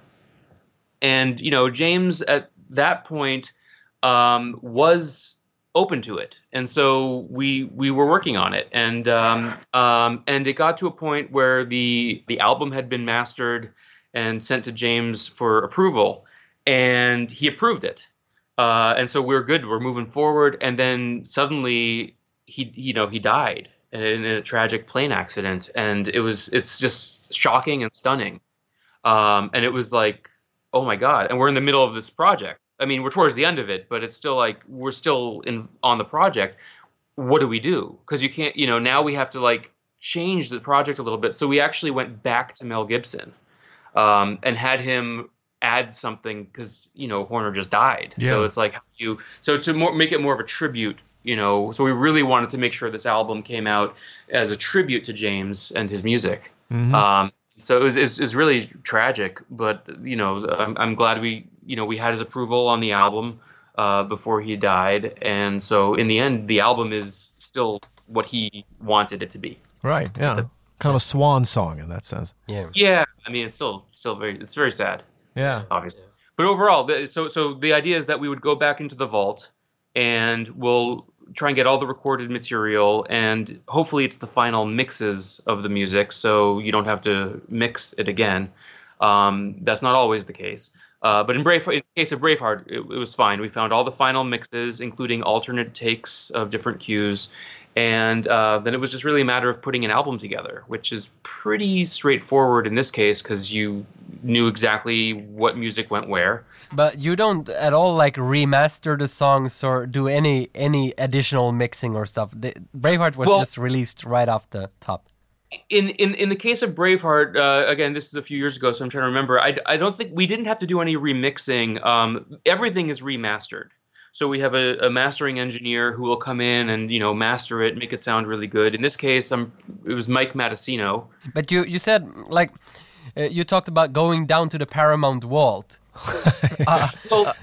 Speaker 3: And you know, James at that point um, was open to it, and so we we were working on it, and um, um, and it got to a point where the the album had been mastered and sent to James for approval, and he approved it, uh, and so we're good, we're moving forward, and then suddenly he you know he died in, in a tragic plane accident, and it was it's just shocking and stunning, um, and it was like oh my god and we're in the middle of this project i mean we're towards the end of it but it's still like we're still in on the project what do we do because you can't you know now we have to like change the project a little bit so we actually went back to mel gibson um, and had him add something because you know horner just died so it's like how do you so to more, make it more of a tribute you know so we really wanted to make sure this album came out as a tribute to james and his music um, so it was, it's, it's really tragic, but you know, I'm, I'm glad we, you know, we had his approval on the album uh, before he died, and so in the end, the album is still what he wanted it to be.
Speaker 2: Right, yeah. Kind of a swan song in that sense.
Speaker 3: Yeah, I mean, it's still, still very, it's very sad,
Speaker 2: Yeah.
Speaker 3: obviously. But overall, the, so, so the idea is that we would go back into the vault, and we'll try and get all the recorded material, and hopefully, it's the final mixes of the music, so you don't have to mix it again. Um, that's not always the case. Uh, but in, Brave, in the case of Braveheart, it, it was fine. We found all the final mixes, including alternate takes of different cues, and uh, then it was just really a matter of putting an album together, which is pretty straightforward in this case because you knew exactly what music went where.
Speaker 1: [LAUGHS] But you don't at all like remaster the songs or do any any additional mixing or stuff. The, Braveheart was
Speaker 3: Well-
Speaker 1: just released right off the top.
Speaker 3: in in in the case of Braveheart, uh, again, this is a few years ago, so I'm trying to remember. I, I don't think we didn't have to do any remixing. Um, everything is remastered, so we have a, a mastering engineer who will come in and you know master it, make it sound really good. In this case, i it was Mike Matasino.
Speaker 1: But you you said like uh, you talked about going down to the Paramount
Speaker 3: [LAUGHS]
Speaker 1: Vault.
Speaker 3: Well,
Speaker 1: Are-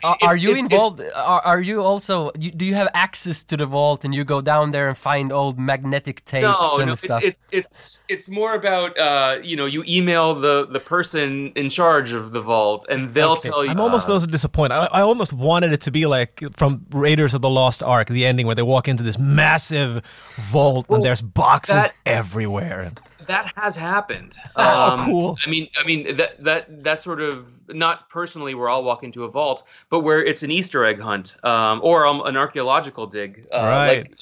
Speaker 1: Uh, are you involved? uh, Are, are you also? You, do you have access to the vault and you go down there and find old magnetic tapes
Speaker 3: no,
Speaker 1: and
Speaker 3: no,
Speaker 1: stuff?
Speaker 3: it's it's it's it's more about uh, you know you email the the person in charge of the vault and they'll
Speaker 1: Okay.
Speaker 3: tell you.
Speaker 2: I'm almost also disappointed. I, I almost wanted it to be like from Raiders of the Lost Ark, the ending where they walk into this massive vault and there's boxes
Speaker 3: that-
Speaker 2: everywhere.
Speaker 3: that has happened.
Speaker 2: [LAUGHS] Oh,
Speaker 3: Um,
Speaker 2: cool.
Speaker 3: I mean, I mean that that that sort of not personally where I'll walk into a vault, but where it's an Easter egg hunt um, or um, an archaeological dig, uh,
Speaker 2: Right.
Speaker 3: like-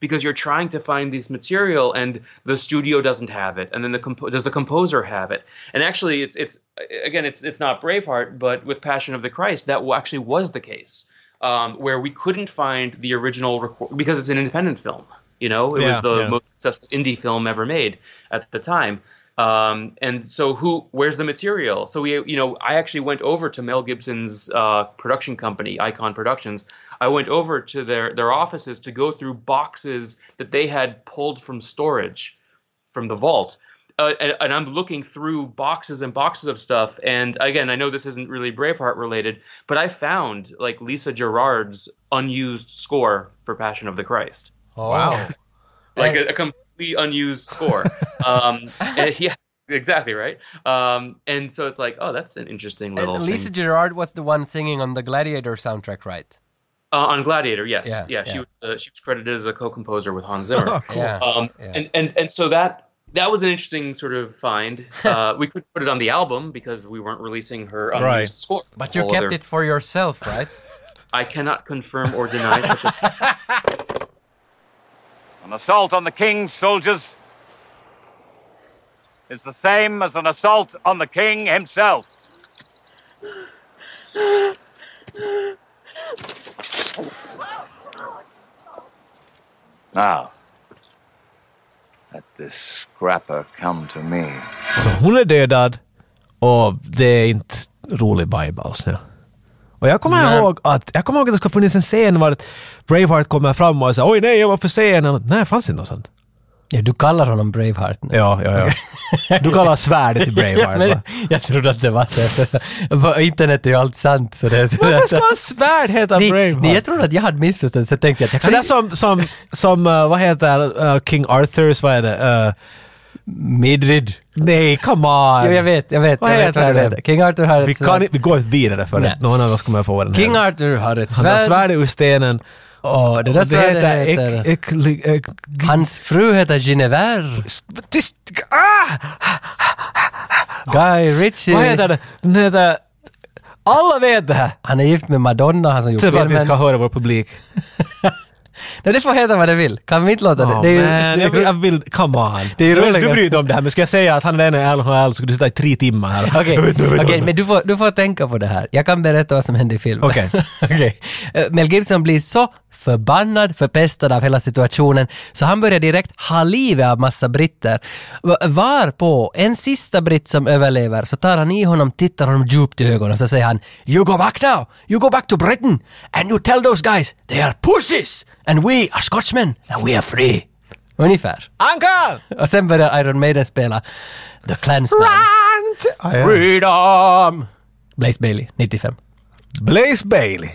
Speaker 3: because you're trying to find this material and the studio doesn't have it, and then the compo- does the composer have it? And actually, it's it's again, it's it's not Braveheart, but with Passion of the Christ, that wa- actually was the case. Um, where we couldn't find the original record because it's an independent film, you know, it
Speaker 2: Yeah,
Speaker 3: was the
Speaker 2: yeah.
Speaker 3: most most successful indie film ever made at the time. Um, and so who where's the material? So we you know I actually went over to Mel Gibson's uh, production company, Icon Productions. I went over to their their offices to go through boxes that they had pulled from storage from the vault. Uh, and, and I'm looking through boxes and boxes of stuff. And again, I know this isn't really Braveheart related, but I found like Lisa Gerard's unused score for Passion of the Christ
Speaker 1: Oh.
Speaker 2: Wow.
Speaker 3: like a, a completely unused score. um,
Speaker 1: [LAUGHS]
Speaker 3: and- yeah, exactly right. Um, and so it's like, oh, that's an interesting
Speaker 1: And
Speaker 3: little
Speaker 1: Lisa
Speaker 3: thing.
Speaker 1: Gerard was the one singing on the Gladiator soundtrack, right?
Speaker 3: Uh, on Gladiator. Yes,
Speaker 1: Yeah,
Speaker 3: yeah,
Speaker 1: yeah.
Speaker 3: she was uh, she was credited as a co-composer with
Speaker 1: [LAUGHS]
Speaker 3: Hans Zimmer.
Speaker 1: Yeah.
Speaker 3: Um,
Speaker 1: Yeah.
Speaker 3: And, and and so that that was an interesting sort of
Speaker 1: [LAUGHS]
Speaker 3: find. Uh, we could put it on the album because we weren't releasing her unused
Speaker 2: Right.
Speaker 3: score.
Speaker 1: But you
Speaker 3: All
Speaker 1: kept
Speaker 3: other-
Speaker 1: it for yourself, right?
Speaker 2: [LAUGHS]
Speaker 3: I cannot confirm or deny such a
Speaker 6: An assault on the king's soldiers is the same as an assault on the king himself. Now, let this scrapper come to me.
Speaker 2: Så hon är dödad och det är inte rolig vibe alls nu. Och jag kommer
Speaker 1: Nej.
Speaker 2: ihåg att, jag kommer ihåg att det ska funnits en scen var att Braveheart kommer fram och säger oj nej jag var för sen. Och, nej, fanns inte något sånt.
Speaker 1: ja, du kallar honom Braveheart nu.
Speaker 2: Ja, ja, ja. Du kallar svärdet till
Speaker 1: Ja,
Speaker 2: Braveheart
Speaker 1: men
Speaker 2: va?
Speaker 1: [LAUGHS] jag trodde att det var [LAUGHS] så. På internet är ju allt sant. Så det är så
Speaker 2: Varför ska hans svärd heta
Speaker 1: Ni-
Speaker 2: Braveheart?
Speaker 1: ni, jag trodde att jag hade missförstått, så tänkte jag att jag
Speaker 2: Så
Speaker 1: kan
Speaker 2: det är
Speaker 1: inte
Speaker 2: som, som, som eh, vad heter eh, King Arthurs, vad är det? Eh,
Speaker 1: Midrid.
Speaker 2: nej, come on!
Speaker 1: Jo, jag vet, jag vet.
Speaker 2: Vad
Speaker 1: jag vet
Speaker 2: heter
Speaker 1: vad det
Speaker 2: den?
Speaker 1: heter. King Arthur har
Speaker 2: Vi,
Speaker 1: ett
Speaker 2: kan,
Speaker 1: svärd.
Speaker 2: inte- vi går inte vidare för
Speaker 1: Nej.
Speaker 2: det. Någon av oss kommer att få vad den
Speaker 1: King
Speaker 2: heter.
Speaker 1: Arthur har ett
Speaker 2: Han har
Speaker 1: svärd.
Speaker 2: svärdet ur stenen.
Speaker 1: Och det där
Speaker 2: Och det
Speaker 1: svärdet
Speaker 2: heter...
Speaker 1: heter...
Speaker 2: ek- ek- ek-
Speaker 1: Hans fru heter Genevieve.
Speaker 2: Tyst! Ah!
Speaker 1: Guy Ritchie.
Speaker 2: Vad heter det? Den heter... Alla vet det här!
Speaker 1: Han är gift med Madonna, han som gjort
Speaker 2: Typ att vi
Speaker 1: filmen.
Speaker 2: ska höra vår publik.
Speaker 1: Nej, det får heta vad det vill. Kan vi inte låta det?
Speaker 2: Oh,
Speaker 1: Det är ju-
Speaker 2: man,
Speaker 1: det
Speaker 2: jag,
Speaker 1: är
Speaker 2: vill,
Speaker 1: ju...
Speaker 2: jag vill, come on.
Speaker 1: Det är ju
Speaker 2: Du-
Speaker 1: roligare.
Speaker 2: du bryr dig om det här, men ska jag säga att han är en i NHL så skulle du sitta i tre timmar här.
Speaker 1: Okej,
Speaker 2: Jag vet inte, jag vet
Speaker 1: okej,
Speaker 2: inte.
Speaker 1: men du får, du får tänka på det här. Jag kan berätta vad som hände i filmen.
Speaker 2: Okej.
Speaker 1: [LAUGHS] Okej. Eh, Mel Gibson blir så förbannad, förpestad av hela situationen, så han börjar direkt ha livet av massa britter. Va- Varpå en sista britt som överlever, så tar han i honom, tittar honom djupt i ögonen, så säger han “You go back now! You go back to Britain! And you tell those guys they are pussies! And we are Scotsmen! And we are free!” Ungefär.
Speaker 2: Uncle!
Speaker 1: Och sen börjar Iron Maiden spela The Clansman.
Speaker 2: Rant! Ah, ja.
Speaker 1: Freedom! Blaze Bailey, 95.
Speaker 2: Blaze Bailey.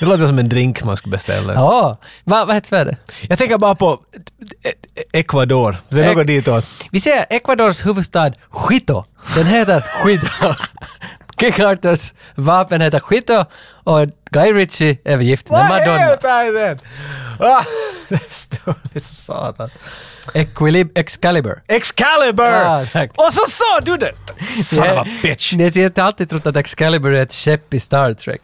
Speaker 2: Det låter som en drink man skulle beställa.
Speaker 1: Ja, vad va heter Sverige?
Speaker 2: Jag tänker bara på eh, Ecuador. Det är
Speaker 1: Ek-
Speaker 2: något ditåt.
Speaker 1: Vi ser Ecuadors huvudstad Quito. Den heter
Speaker 2: [LAUGHS]
Speaker 1: Quito. King Arthurs vapen heter Quito och Guy Ritchie är gift med Madonna.
Speaker 2: det? Ah, [LAUGHS] det står det är så satan.
Speaker 1: Equilib Excalibur.
Speaker 2: Excalibur!
Speaker 1: Ja, tack.
Speaker 2: Och så sa du det! Son of a bitch!
Speaker 1: Ni har alltid trott att Excalibur är ett skepp i Star Trek.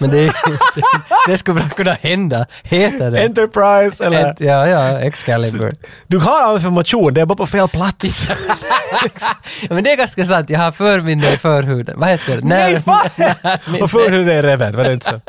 Speaker 1: Men det, är, [LAUGHS] det skulle bra kunna hända. Heter det?
Speaker 2: Enterprise eller...
Speaker 1: Ent- ja, ja,
Speaker 2: [LAUGHS]
Speaker 1: Excalibur.
Speaker 2: du har all information, det är bara på fel plats.
Speaker 1: Ja, men det är ganska sant, jag har förminne i förhuden. Vad heter det?
Speaker 2: Nej,
Speaker 1: [LAUGHS]
Speaker 2: fan!
Speaker 1: min-
Speaker 2: Och för hur det är reven, var
Speaker 1: [LAUGHS]
Speaker 2: det inte så?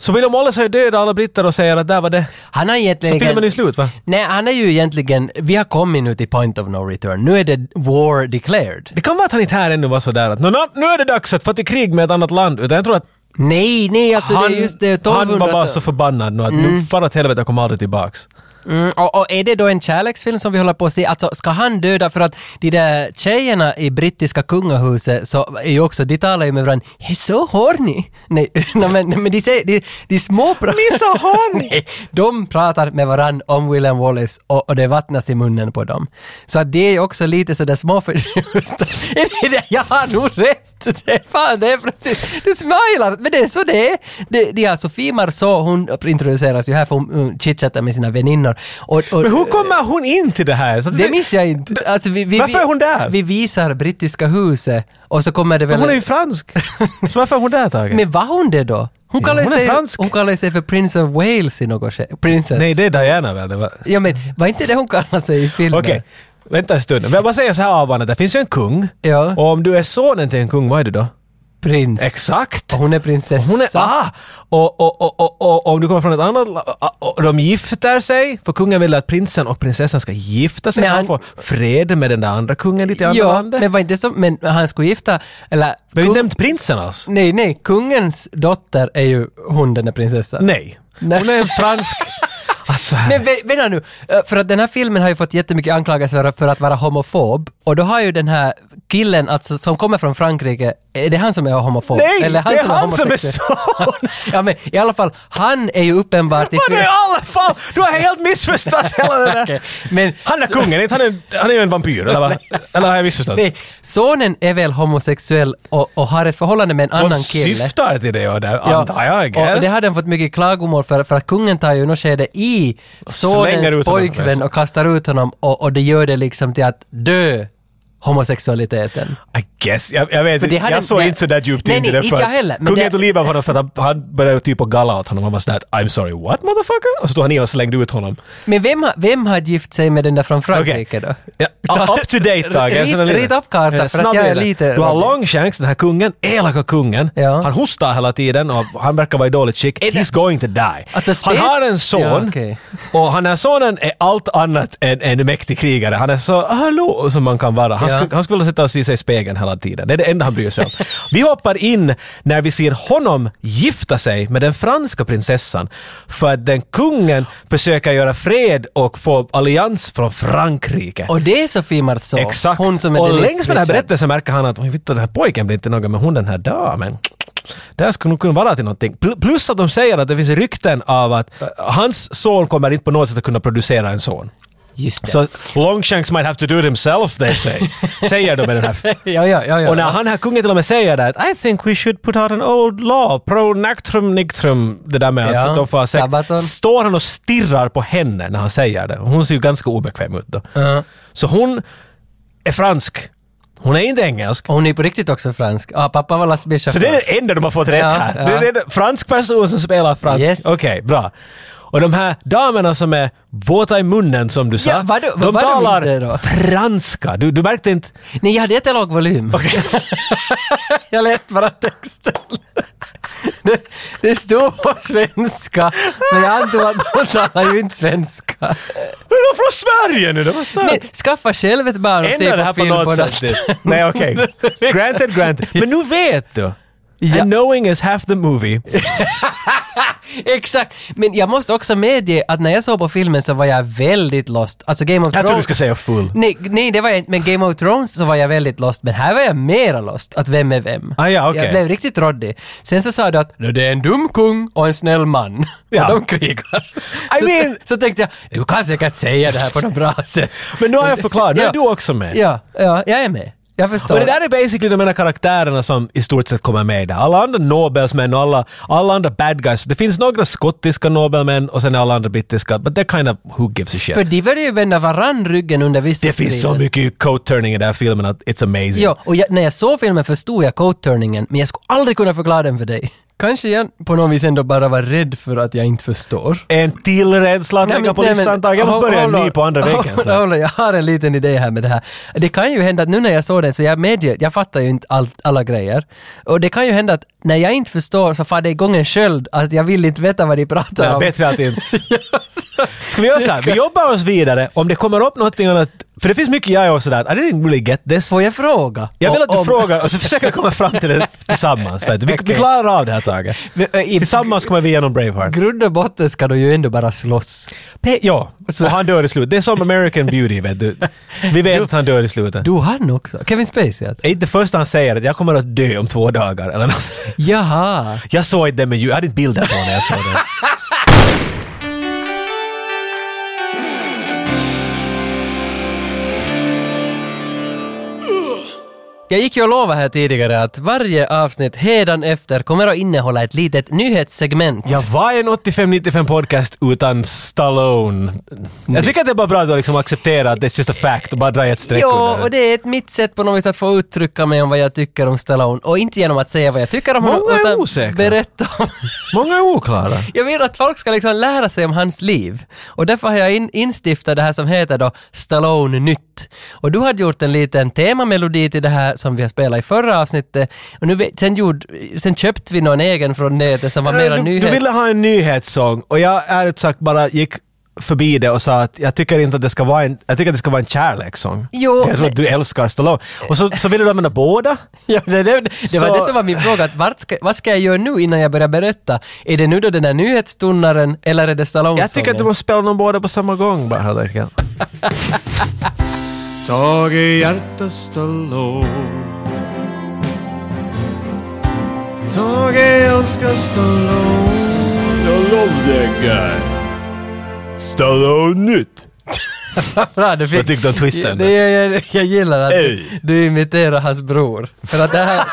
Speaker 2: Så William Wallace har ju dödat alla britter och säger att där var det.
Speaker 1: Han har
Speaker 2: Så
Speaker 1: egentligen...
Speaker 2: filmen är slut va?
Speaker 1: Nej, han är ju egentligen... Vi har kommit nu till point of no return. Nu är det war declared.
Speaker 2: Det kan vara att han inte här ännu var sådär att "Nå, nå, nu är det dags att få till krig med ett annat land. Utan jag tror att
Speaker 1: Nej, nej, alltså
Speaker 2: han,
Speaker 1: det är just det.
Speaker 2: han
Speaker 1: 1200
Speaker 2: var bara så förbannad nu att nu far åt helvete, jag kommer aldrig tillbaks.
Speaker 1: Mm, och, och är det då en kärleksfilm som vi håller på att se? Alltså, ska han döda? För att de där tjejerna i brittiska kungahuset så är ju också, de talar ju med varandra "He's so horny”. Nej, [LAUGHS] nej, men, nej men de säger, de, de små pratar... so horny! [LAUGHS] nej, de pratar med varandra om William Wallace och, och det vattnas i munnen på dem. Så att det är också lite sådär småförtjusta. [LAUGHS] Är det det? Jag har nog rätt! Det är fan, det är precis, det smilar, men det är så det är. Det, det är alltså Sofie Marceau, hon introduceras ju här för hon hon chitchattar med sina väninnor. Och, och,
Speaker 2: Men hur kommer hon in till det här? Så att
Speaker 1: det minns jag inte. Alltså, vi, vi,
Speaker 2: Varför är hon där?
Speaker 1: Vi visar brittiska huset och så kommer det väl...
Speaker 2: Men hon är
Speaker 1: [LAUGHS]
Speaker 2: ju fransk. Så varför är hon där Tage?
Speaker 1: Men var hon det då? Hon
Speaker 2: Ja,
Speaker 1: kallar, ju
Speaker 2: hon är
Speaker 1: sig,
Speaker 2: fransk.
Speaker 1: hon kallar ju sig för Prince of Wales i något skede. Princess.
Speaker 2: Nej, det är Diana väl? Det var...
Speaker 1: Ja men var inte det hon kallar sig i filmen?
Speaker 2: Okej, vänta en stund. Men jag bara säger så här Avan, att det finns ju en kung.
Speaker 1: Ja.
Speaker 2: Och om du är sonen till en kung, vad är du då?
Speaker 1: Prins.
Speaker 2: Exakt!
Speaker 1: Och hon är prinsessa.
Speaker 2: Hon är, ah! Och, och, och, och, och om du kommer från ett annat la- ah, och de gifter sig, för kungen vill att prinsen och prinsessan ska gifta sig.
Speaker 1: Men
Speaker 2: Han,
Speaker 1: han-
Speaker 2: får fred med den där andra kungen lite i andra
Speaker 1: Ja,
Speaker 2: landet.
Speaker 1: men var inte så, men han skulle gifta, eller...
Speaker 2: Vi har ju
Speaker 1: kung-
Speaker 2: inte nämnt prinsen alltså. alls.
Speaker 1: Nej, nej, kungens dotter är ju hon den där prinsessan.
Speaker 2: Nej.
Speaker 1: Nej.
Speaker 2: Hon är en fransk...
Speaker 1: [LAUGHS]
Speaker 2: Alltså,
Speaker 1: Men vä- vänta nu, Eh, för att den här filmen har ju fått jättemycket anklagelser för- för att vara homofob och då har ju den här killen alltså, som kommer från Frankrike, är det han som är homofob?
Speaker 2: Nej!
Speaker 1: Eller
Speaker 2: det är han som är
Speaker 1: homosexuell?
Speaker 2: son!
Speaker 1: [LAUGHS] ja men i alla fall, han är ju uppenbart i
Speaker 2: Vad i
Speaker 1: fil-
Speaker 2: alla fall! Du har helt missförstått hela det där.
Speaker 1: [LAUGHS] Okej, Men
Speaker 2: Han är kungen, inte han är, han är ju en vampyr,
Speaker 1: [LAUGHS]
Speaker 2: eller vad? Eller har jag missförstått?
Speaker 1: nej, sonen är väl homosexuell och, och har ett förhållande med en
Speaker 2: De
Speaker 1: annan kille.
Speaker 2: syftar till det, ja, det
Speaker 1: Ja,
Speaker 2: antar jag. I
Speaker 1: och
Speaker 2: guess.
Speaker 1: det hade han fått mycket klagomål för, för att kungen tar ju något skede i
Speaker 2: slänger ut honom
Speaker 1: sonens pojkvän
Speaker 2: förresten.
Speaker 1: och kastar ut honom och, och det gör det liksom till att dö homosexualiteten.
Speaker 2: I guess. Jag, jag vet
Speaker 1: För det
Speaker 2: inte.
Speaker 1: hade-
Speaker 2: Jag såg
Speaker 1: det-
Speaker 2: inte så där djupt
Speaker 1: Nej,
Speaker 2: in i
Speaker 1: nej,
Speaker 2: det.
Speaker 1: inte
Speaker 2: för
Speaker 1: jag heller, men
Speaker 2: Kungen
Speaker 1: det-
Speaker 2: tog livet av honom för att han, han började typ att galla åt honom. Han var sådär att, I'm sorry, what motherfucker? Och så tog han i och slängde ut honom.
Speaker 1: Men vem, har- vem har gift sig med den där från Frankrike
Speaker 2: Okej.
Speaker 1: då?
Speaker 2: Ja,
Speaker 1: Ta-
Speaker 2: up to date Tage. Jag känner
Speaker 1: Rit,
Speaker 2: lite-
Speaker 1: rit upp kartan för att
Speaker 2: snabb
Speaker 1: jag är
Speaker 2: det.
Speaker 1: lite...
Speaker 2: Du har lång chans, den här kungen, elaka kungen.
Speaker 1: Ja.
Speaker 2: Han hostar hela tiden och han verkar vara i dåligt skick. He's going to die.
Speaker 1: Alltså,
Speaker 2: han
Speaker 1: spet-
Speaker 2: har en son
Speaker 1: Ja, okej.
Speaker 2: och han, den här sonen är allt annat än en mäktig krigare. Han är så hallå som man kan vara. Han,
Speaker 1: Ja.
Speaker 2: skulle, han skulle vilja sätta sig i sig i spegeln hela tiden. Det är det enda han
Speaker 1: [LAUGHS]
Speaker 2: bryr sig om. Vi hoppar in när vi ser honom gifta sig med den franska prinsessan för att den kungen försöker göra fred och få allians från Frankrike.
Speaker 1: Och det är Sofie Marceau.
Speaker 2: Exakt.
Speaker 1: Hon som är
Speaker 2: och
Speaker 1: The Liz
Speaker 2: längs med den här
Speaker 1: Richard.
Speaker 2: berättelsen märker han att "Oj, vittu, den här pojken blir inte någon, men hon den här damen. Det här skulle nog kunna vara till någonting. Pl- Plus att de säger att det finns rykten av att
Speaker 1: Äh.
Speaker 2: eh, hans son kommer inte på något sätt att kunna producera en son.
Speaker 1: Just det.
Speaker 2: Så Longshanks might have to do it himself,
Speaker 1: [LAUGHS]
Speaker 2: they say. säger de med den här
Speaker 1: ja, ja, ja, ja.
Speaker 2: och när han här kungen till och med säger det att I think we should put out an old law, pro nactrum nictrum, det där med
Speaker 1: Ja,
Speaker 2: att de får ha sex.
Speaker 1: Sabaton.
Speaker 2: Står han och stirrar på henne när han säger det. Hon ser ju ganska obekväm ut då. Så hon är fransk. Hon är inte engelsk.
Speaker 1: Och hon är på riktigt också fransk. Ah, pappa var lastbilschaufför.
Speaker 2: Så det är det enda de har fått rätt
Speaker 1: Ja,
Speaker 2: här.
Speaker 1: ja.
Speaker 2: Det är den fransk person som spelar fransk.
Speaker 1: Yes.
Speaker 2: Okej, bra. Och de här damerna som är våta i munnen som du sa,
Speaker 1: Ja, vad- vad-
Speaker 2: de
Speaker 1: vad de
Speaker 2: talar
Speaker 1: inte då?
Speaker 2: franska. Du, du märkte inte...
Speaker 1: Nej, jag hade jättelåg volym. [LAUGHS] jag läste bara texten. Det, det stod på svenska, men jag antog att de talar ju inte svenska.
Speaker 2: Är de från Sverige nu? Det var sant.
Speaker 1: Men skaffa själv ett barn och
Speaker 2: Ändra det här
Speaker 1: se på
Speaker 2: på
Speaker 1: film på
Speaker 2: något
Speaker 1: något
Speaker 2: sätt. Nej, okej. [LAUGHS] Granted, granted. Men nu vet du.
Speaker 1: Ja.
Speaker 2: And knowing is half the movie.
Speaker 1: [LAUGHS] Exakt! Men jag måste också medge att när jag såg på filmen så var jag väldigt lost. Alltså Game of
Speaker 2: Jag
Speaker 1: Thrones...
Speaker 2: tror du ska säga full.
Speaker 1: Nej, nej, det var jag inte. Men Game of Thrones så var jag väldigt lost. Men här var jag mera lost. Att vem är vem?
Speaker 2: Ah, ja, okej.
Speaker 1: Jag blev riktigt råddig. Sen så sa du att "Nå, det är en dum kung och en snäll man. [LAUGHS]
Speaker 2: Ja.
Speaker 1: Och de krigar.
Speaker 2: I
Speaker 1: så,
Speaker 2: mean-
Speaker 1: så tänkte jag, du kan säkert säga det här på något bra sätt.
Speaker 2: Men nu har jag förklarat. Nu är
Speaker 1: Ja.
Speaker 2: du också med.
Speaker 1: Ja, ja, jag är med. Jag förstår.
Speaker 2: Och det där är basically de enda karaktärerna som i stort sett kommer med där. Alla andra Nobelsmän och alla, alla andra bad guys. Det finns några skottiska Nobelmän och sen alla andra brittiska. But they're kind of who gives a shit.
Speaker 1: För de började ju vända varann ryggen under vissa
Speaker 2: det finns så
Speaker 1: strider.
Speaker 2: mycket coat-turning i den här filmen att it's amazing.
Speaker 1: Ja, och jag, när jag såg filmen förstod jag code-turningen, men jag skulle aldrig kunna förklara den för dig. Kanske jag på något vis ändå bara var rädd för att jag inte förstår.
Speaker 2: En till rädsla att
Speaker 1: Nej,
Speaker 2: lägga
Speaker 1: men-
Speaker 2: på
Speaker 1: nej,
Speaker 2: listan
Speaker 1: men-
Speaker 2: ett tag. Jag måste
Speaker 1: håll-
Speaker 2: börja en
Speaker 1: håll-
Speaker 2: ny på andra
Speaker 1: [LAUGHS] håll-
Speaker 2: veckan. snart.
Speaker 1: håll- Jag har en liten idé här med det här. Det kan ju hända att nu när jag såg den så jag medger, jag fattar ju inte allt, alla grejer. Och det kan ju hända att när jag inte förstår så far det igång en sköld att jag vill inte veta vad de pratar
Speaker 2: Nej,
Speaker 1: om. [LAUGHS] Alltså,
Speaker 2: bättre att inte. Ska vi göra så här? Vi jobbar oss vidare. Om det kommer upp någonting annat. För det finns mycket jag är också där. I didn't really get this.
Speaker 1: Får jag fråga?
Speaker 2: Jag vill att du
Speaker 1: Om-
Speaker 2: frågar och så försöker vi komma fram till det tillsammans. Vet du. Vi, vi
Speaker 1: Okej.
Speaker 2: klarar av det här taget.
Speaker 1: Men, äh, i-
Speaker 2: Tillsammans kommer vi igenom Braveheart.
Speaker 1: grund och botten ska du ju ändå bara slåss.
Speaker 2: Pe- ja,
Speaker 1: Så-
Speaker 2: och han dör i slutet. Det är som American Beauty, vet du. Vi vet att han dör i slutet.
Speaker 1: Du han också? Kevin Spacey alltså?
Speaker 2: Det är inte det första han säger att jag kommer att dö om två dagar eller något.
Speaker 1: Jaha.
Speaker 2: Jag såg inte det med ljud. Jag hade inte bilder på när jag såg det.
Speaker 1: Jag gick ju och lovade här tidigare att varje avsnitt efter kommer att innehålla ett litet nyhetssegment.
Speaker 2: Ja, vad är en 85-95 podcast utan Stallone? Jag tycker att det är bara bra att du liksom accepterar att det är just a fact och bara dra ett streck
Speaker 1: Ja,
Speaker 2: under
Speaker 1: och det är ett mitt sätt på något vis att få uttrycka mig om vad jag tycker om Stallone. Och inte genom att säga vad jag tycker om
Speaker 2: Många
Speaker 1: honom,
Speaker 2: är
Speaker 1: utan
Speaker 2: osäkra.
Speaker 1: berätta om... [LAUGHS]
Speaker 2: Många är oklara.
Speaker 1: Jag vill att folk ska liksom lära sig om hans liv. Och därför har jag in, instiftat det här som heter då Stallone Nytt. Och du hade gjort en liten temamelodi till det här som vi har spelat i förra avsnittet. Och nu, vet- sen, gjord, sen köpte vi någon egen från nätet som var mera
Speaker 2: Eh, du,
Speaker 1: nyhets...
Speaker 2: du ville ha en nyhetssång och jag ärligt sagt bara gick förbi det och sa att jag tycker inte att det ska vara en, jag tycker att det ska vara en kärlekssång.
Speaker 1: Jo,
Speaker 2: För jag tror att du älskar Stallone. Och så, så ville du använda båda.
Speaker 1: [LAUGHS] Ja, det, det, det var
Speaker 2: Så-
Speaker 1: det som var min fråga, att vart ska, vad ska jag göra nu innan jag börjar berätta? Är det nu då den där nyhetstunnaren eller är det Stallone
Speaker 2: Jag tycker att du måste spela dem båda på samma gång bara helt enkelt.
Speaker 7: Tage Hjärta Stallone Tage älskar Stallone I love that guy
Speaker 2: Stallone-nytt!
Speaker 1: Bra, du fick,
Speaker 2: Vad tyckte du om twisten?
Speaker 1: Det, jag, jag, jag gillar att du,
Speaker 2: Ey.
Speaker 1: du imiterar hans bror. För att det
Speaker 2: [LAUGHS]
Speaker 1: här,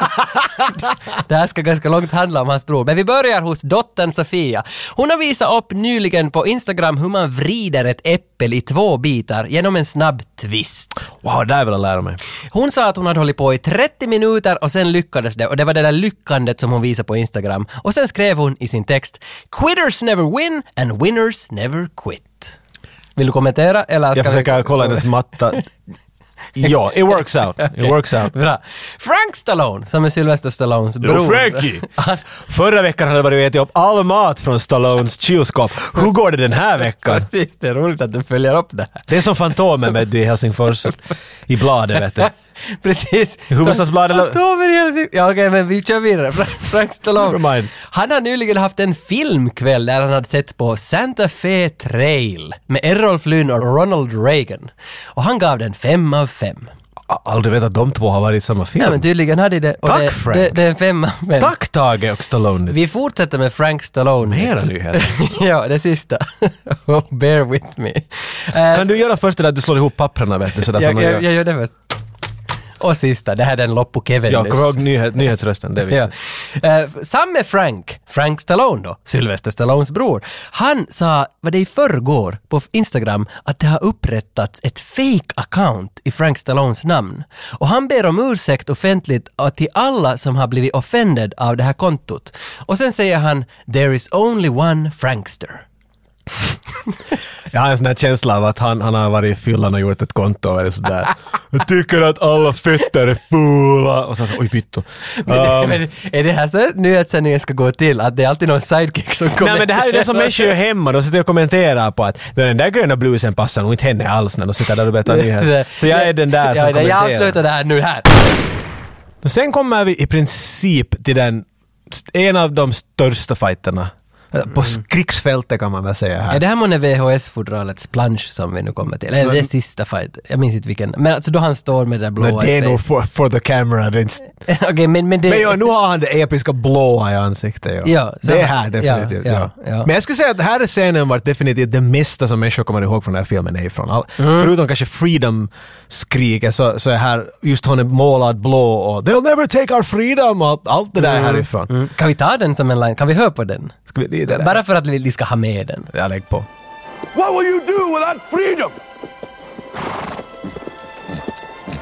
Speaker 1: det här ska ganska långt handla om hans bror. Men vi börjar hos dottern Sofia. Hon har visat upp nyligen på Instagram hur man vrider ett äpple i två bitar genom en snabb twist.
Speaker 2: Wow, det här vill jag lära mig.
Speaker 1: Hon sa att hon hade hållit på i 30 minuter och sen lyckades det och det var det där lyckandet som hon visade på Instagram. Och sen skrev hon i sin text “Quitters never win and winners never quit”. Vill du kommentera eller ska
Speaker 2: Jag försöker
Speaker 1: vi...
Speaker 2: kolla hennes [LAUGHS] matta. Ja, it works out. [LAUGHS] It works out.
Speaker 1: Bra. Frank Stallone, som är Sylvester Stallones bror.
Speaker 2: Jo,
Speaker 1: [LAUGHS]
Speaker 2: Frankie! [LAUGHS] Förra veckan hade jag varit och ätit upp all mat från Stallones kylskåp. Hur går det den här veckan?
Speaker 1: Precis, det är roligt att du följer upp det här. [LAUGHS]
Speaker 2: Det är som Fantomen med du i Helsingfors i bladet vet du.
Speaker 1: Precis.
Speaker 2: Huvudstadsbladet-
Speaker 1: Fantomen i Helsingfors. Ja, okej, men vi kör vidare. Fra- [LAUGHS] Frank
Speaker 2: Never
Speaker 1: Stallone.
Speaker 2: mind.
Speaker 1: Han har nyligen haft en filmkväll där han hade sett på Santa Fe Trail med Errol Flynn och Ronald Reagan. Och han gav den fem av fem.
Speaker 2: A- Aldrig vet att de två har varit i samma film.
Speaker 1: Ja, men tydligen hade det. och
Speaker 2: Tack,
Speaker 1: det,
Speaker 2: Frank.
Speaker 1: Det, det är en fem av fem.
Speaker 2: Tack Tage och Stallone!
Speaker 1: Vi fortsätter med Frank Stallone.
Speaker 2: Mera nyheter.
Speaker 1: [LAUGHS] ja, det sista. [LAUGHS] Oh, Bear with me. Eh,
Speaker 2: Kan du göra först det där att du slår ihop papperna vet du sådär som
Speaker 1: jag,
Speaker 2: man gör?
Speaker 1: jag, jag gör det först. Och sista, det här är den loppu Kevin
Speaker 2: Ja, kom ihåg nyhet, nyhetsrösten, det är
Speaker 1: Ja.
Speaker 2: viktigt.
Speaker 1: Eh, samme Frank, Frank Stallone då, Sylvester Stallones bror, han sa, vad det i förrgår, på Instagram, att det har upprättats ett fake account i Frank Stallones namn. Och han ber om ursäkt offentligt eh, till alla som har blivit offended av det här kontot. Och sen säger han, “There is only one Frankster”.
Speaker 2: Jag har en sån här känsla av att han, han har varit i fyllan och gjort ett konto eller sådär. Jag tycker att alla fötter är fula. Och sen så, oj vittu.
Speaker 1: [LAUGHS]
Speaker 2: Ehm,
Speaker 1: Men är det här så nyhetssändningen ska gå till? Att det är alltid någon sidekick som kommer?
Speaker 2: Nej men det här är det som människor gör hemma. De sitter och kommenterar på att den där gröna blusen passar nog inte henne alls när de sitter där
Speaker 1: [LAUGHS]
Speaker 2: och berättar nyheter. Så jag är den
Speaker 1: Ja,
Speaker 2: där som
Speaker 1: det- Jag
Speaker 2: kommenterar.
Speaker 1: avslutar det här nu här.
Speaker 2: Och Sen kommer vi i princip till den, en av de största fighterna. Alltså, På krigsfältet kan man väl säga
Speaker 1: Mm. Ja,
Speaker 2: här.
Speaker 1: det här månne VHS-fodralets plansch som vi nu kommer till. Eller det är sista fight. Jag minns inte vilken. Men alltså då han står med det där blåa
Speaker 2: Men det är
Speaker 1: i
Speaker 2: nog
Speaker 1: face.
Speaker 2: for, for the camera. Det är inte-
Speaker 1: [LAUGHS] Okej, men, men det...
Speaker 2: Men ja, nu har han det episka blåa i ansiktet. Ja.
Speaker 1: Ja, så
Speaker 2: det är
Speaker 1: han-
Speaker 2: här definitivt.
Speaker 1: ja,
Speaker 2: Ja,
Speaker 1: ja, ja.
Speaker 2: Men jag skulle säga att här är scenen vart definitivt det mesta som människor kommer ihåg från den här filmen är ifrån. All,
Speaker 1: Mm.
Speaker 2: Förutom kanske freedom-skriket så, så är här just hon är målad blå och “They'll never take our freedom” och allt, allt det där är härifrån.
Speaker 1: Mm. Kan vi ta den som en line? Kan vi höra på den?
Speaker 2: Ska vi, det är det där.
Speaker 1: Bara för att vi vi ska ha med den.
Speaker 2: Jag lägger på.
Speaker 7: What will you do without freedom?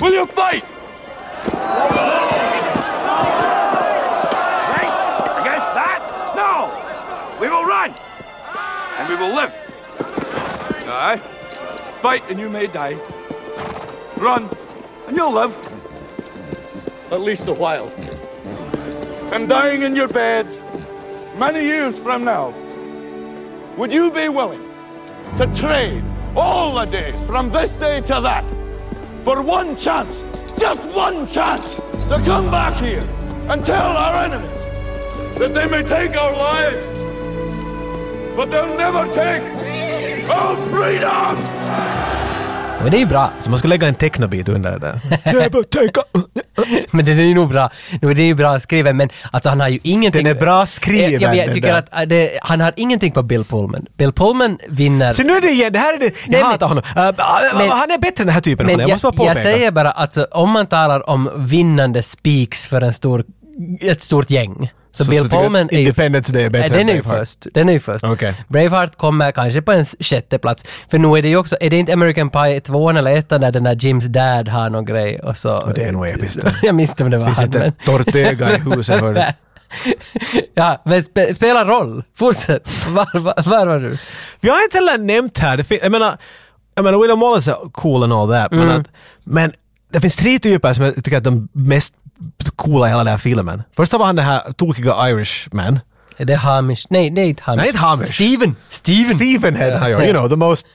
Speaker 7: Will you fight? Right? Against that? No! We will run! And we will live! Aye? Fight and you may die. Run and you'll live. At least a while. And dying in your beds many years from now. Would you be willing to trade all the days from this day to that for one chance, just one chance, to come back here and tell our enemies that they may take our lives, but they'll never take our freedom!
Speaker 1: Men det är ju
Speaker 2: [LAUGHS]
Speaker 1: bra.
Speaker 2: Så man ska lägga en technobit under
Speaker 1: [LAUGHS]
Speaker 2: det där. Never take a...
Speaker 1: Men den är ju nog bra. Nu är det ju bra skriven men alltså han har ju ingenting...
Speaker 2: Den är bra skriven,
Speaker 1: Jag, jag,
Speaker 2: den
Speaker 1: jag tycker
Speaker 2: där.
Speaker 1: att äh, det, han har ingenting på Bill Pullman. Bill Pullman vinner...
Speaker 2: Så nu är det igen, det här är det... Jag
Speaker 1: Nej, men-
Speaker 2: hatar honom. Äh, äh,
Speaker 1: men-
Speaker 2: han är bättre än den här typen av
Speaker 1: Men
Speaker 2: honom. Jag,
Speaker 1: jag,
Speaker 2: måste bara
Speaker 1: jag,
Speaker 2: påpeka.
Speaker 1: säger bara alltså om man talar om vinnande speaks för en stor, ett stort gäng. Så,
Speaker 2: Så- så
Speaker 1: Bill
Speaker 2: tycker du
Speaker 1: Pullman
Speaker 2: att
Speaker 1: är ju...
Speaker 2: Independence Day är bättre
Speaker 1: Nej,
Speaker 2: än
Speaker 1: den är ju
Speaker 2: Braveheart?
Speaker 1: först. Den är ju först.
Speaker 2: Okej.
Speaker 1: Braveheart kommer kanske på en s- sjätte plats. För nu är det ju också, är det inte American Pie 2 eller 1 där den där Jims dad har någon grej och så...
Speaker 2: Och det är nog episkt. det.
Speaker 1: [LAUGHS] jag minns inte om det var
Speaker 2: Finns
Speaker 1: han
Speaker 2: inte
Speaker 1: Alltså, men...
Speaker 2: ett torrt öga i
Speaker 1: [LAUGHS]
Speaker 2: huset för det.
Speaker 1: ja, men spe, spela roll. Fortsätt. Var, var, var var du?
Speaker 2: Vi har inte heller nämnt här, det fin- jag menar, jag menar William Wallace är cool and all that,
Speaker 1: Mm.
Speaker 2: men, att, men det finns tre typer som jag tycker att de mest coola i hela den här filmen. Första var han den här tokiga Irishman.
Speaker 1: Är det Hamish? Nej, det är inte Hamish.
Speaker 2: Nej, inte Hamish.
Speaker 1: Steven.
Speaker 2: [LAUGHS]
Speaker 1: Steven.
Speaker 2: Steven heter han ju, you know, the most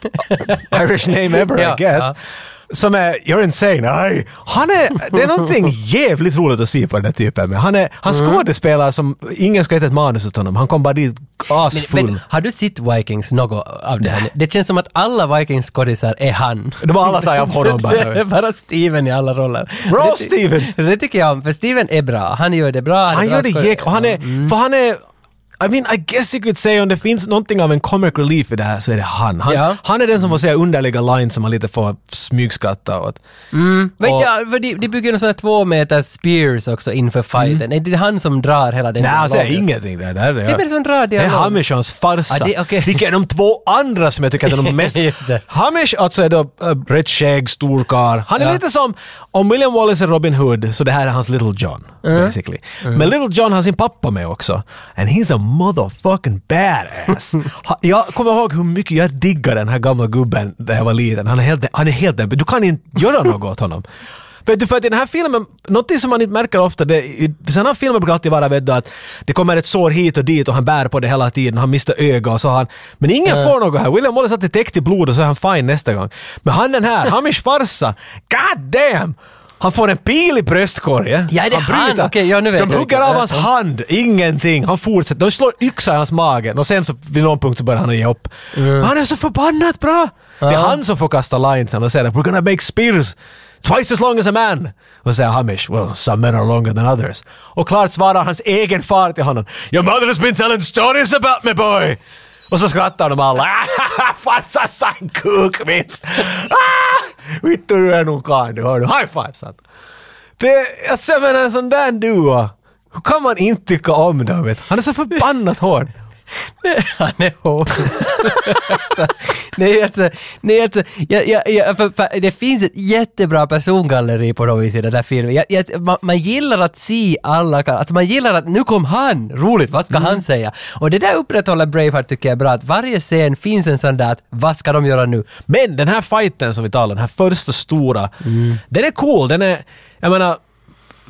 Speaker 2: Irish name ever
Speaker 1: Ja,
Speaker 2: I guess.
Speaker 1: ja.
Speaker 2: Som är, you're insane, aj. Han är, det är någonting jävligt roligt att se på den här typen. Men han är, han
Speaker 1: Mm.
Speaker 2: skådespelar som, ingen ska heta ett manus åt honom, han kom bara dit asfull.
Speaker 1: Men, men, har du sett Vikings något av det? här? Det känns som att alla Vikings-skådisar är han.
Speaker 2: De har alla tagit av honom
Speaker 1: [LAUGHS] Det är
Speaker 2: bara.
Speaker 1: bara Steven i alla roller.
Speaker 2: Bra,
Speaker 1: Det ty-
Speaker 2: Stevens!
Speaker 1: [LAUGHS] Det tycker jag om, för Steven är bra. Han gör det bra.
Speaker 2: Han
Speaker 1: är Mm. bra
Speaker 2: gör det
Speaker 1: skåd-
Speaker 2: jäkligt, och han är, för han är I mean, I guess you could say om det finns någonting av en comic relief i det här så är det han. Han,
Speaker 1: Ja.
Speaker 2: han är den som får säga underliga lines som man lite får smygskratta
Speaker 1: Mm.
Speaker 2: åt.
Speaker 1: Vet
Speaker 2: Och-
Speaker 1: jag, för de, de bygger en sån här två meter spears också inför fighten. Är det han som drar hela den
Speaker 2: Mm. Nej, alltså, han säger
Speaker 1: dialogen?
Speaker 2: ingenting där. där
Speaker 1: Vem är det som drar
Speaker 2: Det är
Speaker 1: dialog?
Speaker 2: Hamishans farsa.
Speaker 1: Ah, det- okej.
Speaker 2: Vilka är de två andra som jag tycker att
Speaker 1: [LAUGHS]
Speaker 2: de är de mest...
Speaker 1: Just det.
Speaker 2: Hamish alltså är då äh, rätt skägg, stor karl. Han är
Speaker 1: Ja.
Speaker 2: lite som, om William Wallace är Robin Hood så det här är hans Little John. Basically. Men Little John har sin pappa med också. And he's a motherfucking badass. Ha- jag kommer ihåg hur mycket jag diggar den här gamla gubben när jag var liten. Han är helt, han är helt Du kan inte göra något åt honom. Vet du, för att i den här filmen, något som man inte märker ofta, det, i sådana filmer brukar alltid vara vet du, att det kommer ett sår hit och dit och han bär på det hela tiden, han mister öga och så har han... Men ingen får något här. William Wallace alltid täckt i blod och så är han fine nästa gång. Men han den här, Hamish farsa, god damn! Han får en pil i bröstkorgen.
Speaker 1: Ja, det är han.
Speaker 2: bryter.
Speaker 1: Okej, ja, nu vet
Speaker 2: De
Speaker 1: jag
Speaker 2: hugger
Speaker 1: vilken.
Speaker 2: av hans
Speaker 1: Ja.
Speaker 2: hand, ingenting. Han fortsätter. De slår yxa i hans mage och sen så vid någon punkt så börjar han att ge upp. Men han är så förbannat bra! Det är han som får kasta linesen och säger att “We're gonna make spears twice as long as a man”. Och säger Hamish “Well, some men are longer than others”. Och klart svarar hans egen far till honom “Your mother has been telling stories about me boy”. Och så skrattar de alla. [LAUGHS] “Farsa sa en kukvits!” Ah! “Vittu, du är nog karl, du hör du. High five!” sa han. Det, alltså jag menar en sån där duo. Hur kan man inte tycka om dem? Vet? du? Han är så förbannat hård.
Speaker 1: Han är hård. [LAUGHS] alltså, nej, alltså, nej, alltså, jag, jag, jag, för, för, det finns ett jättebra persongalleri på något vis i den där filmen. Jag, jag, man, man gillar att se alla, kan- alltså man gillar att nu kom han, roligt, vad ska
Speaker 2: Mm.
Speaker 1: han säga? Och det där upprätthåller Braveheart tycker jag är bra, att varje scen finns en sån där att vad ska de göra nu?
Speaker 2: Men den här fighten som vi talar om, den här första stora, den är cool. Den är, jag menar,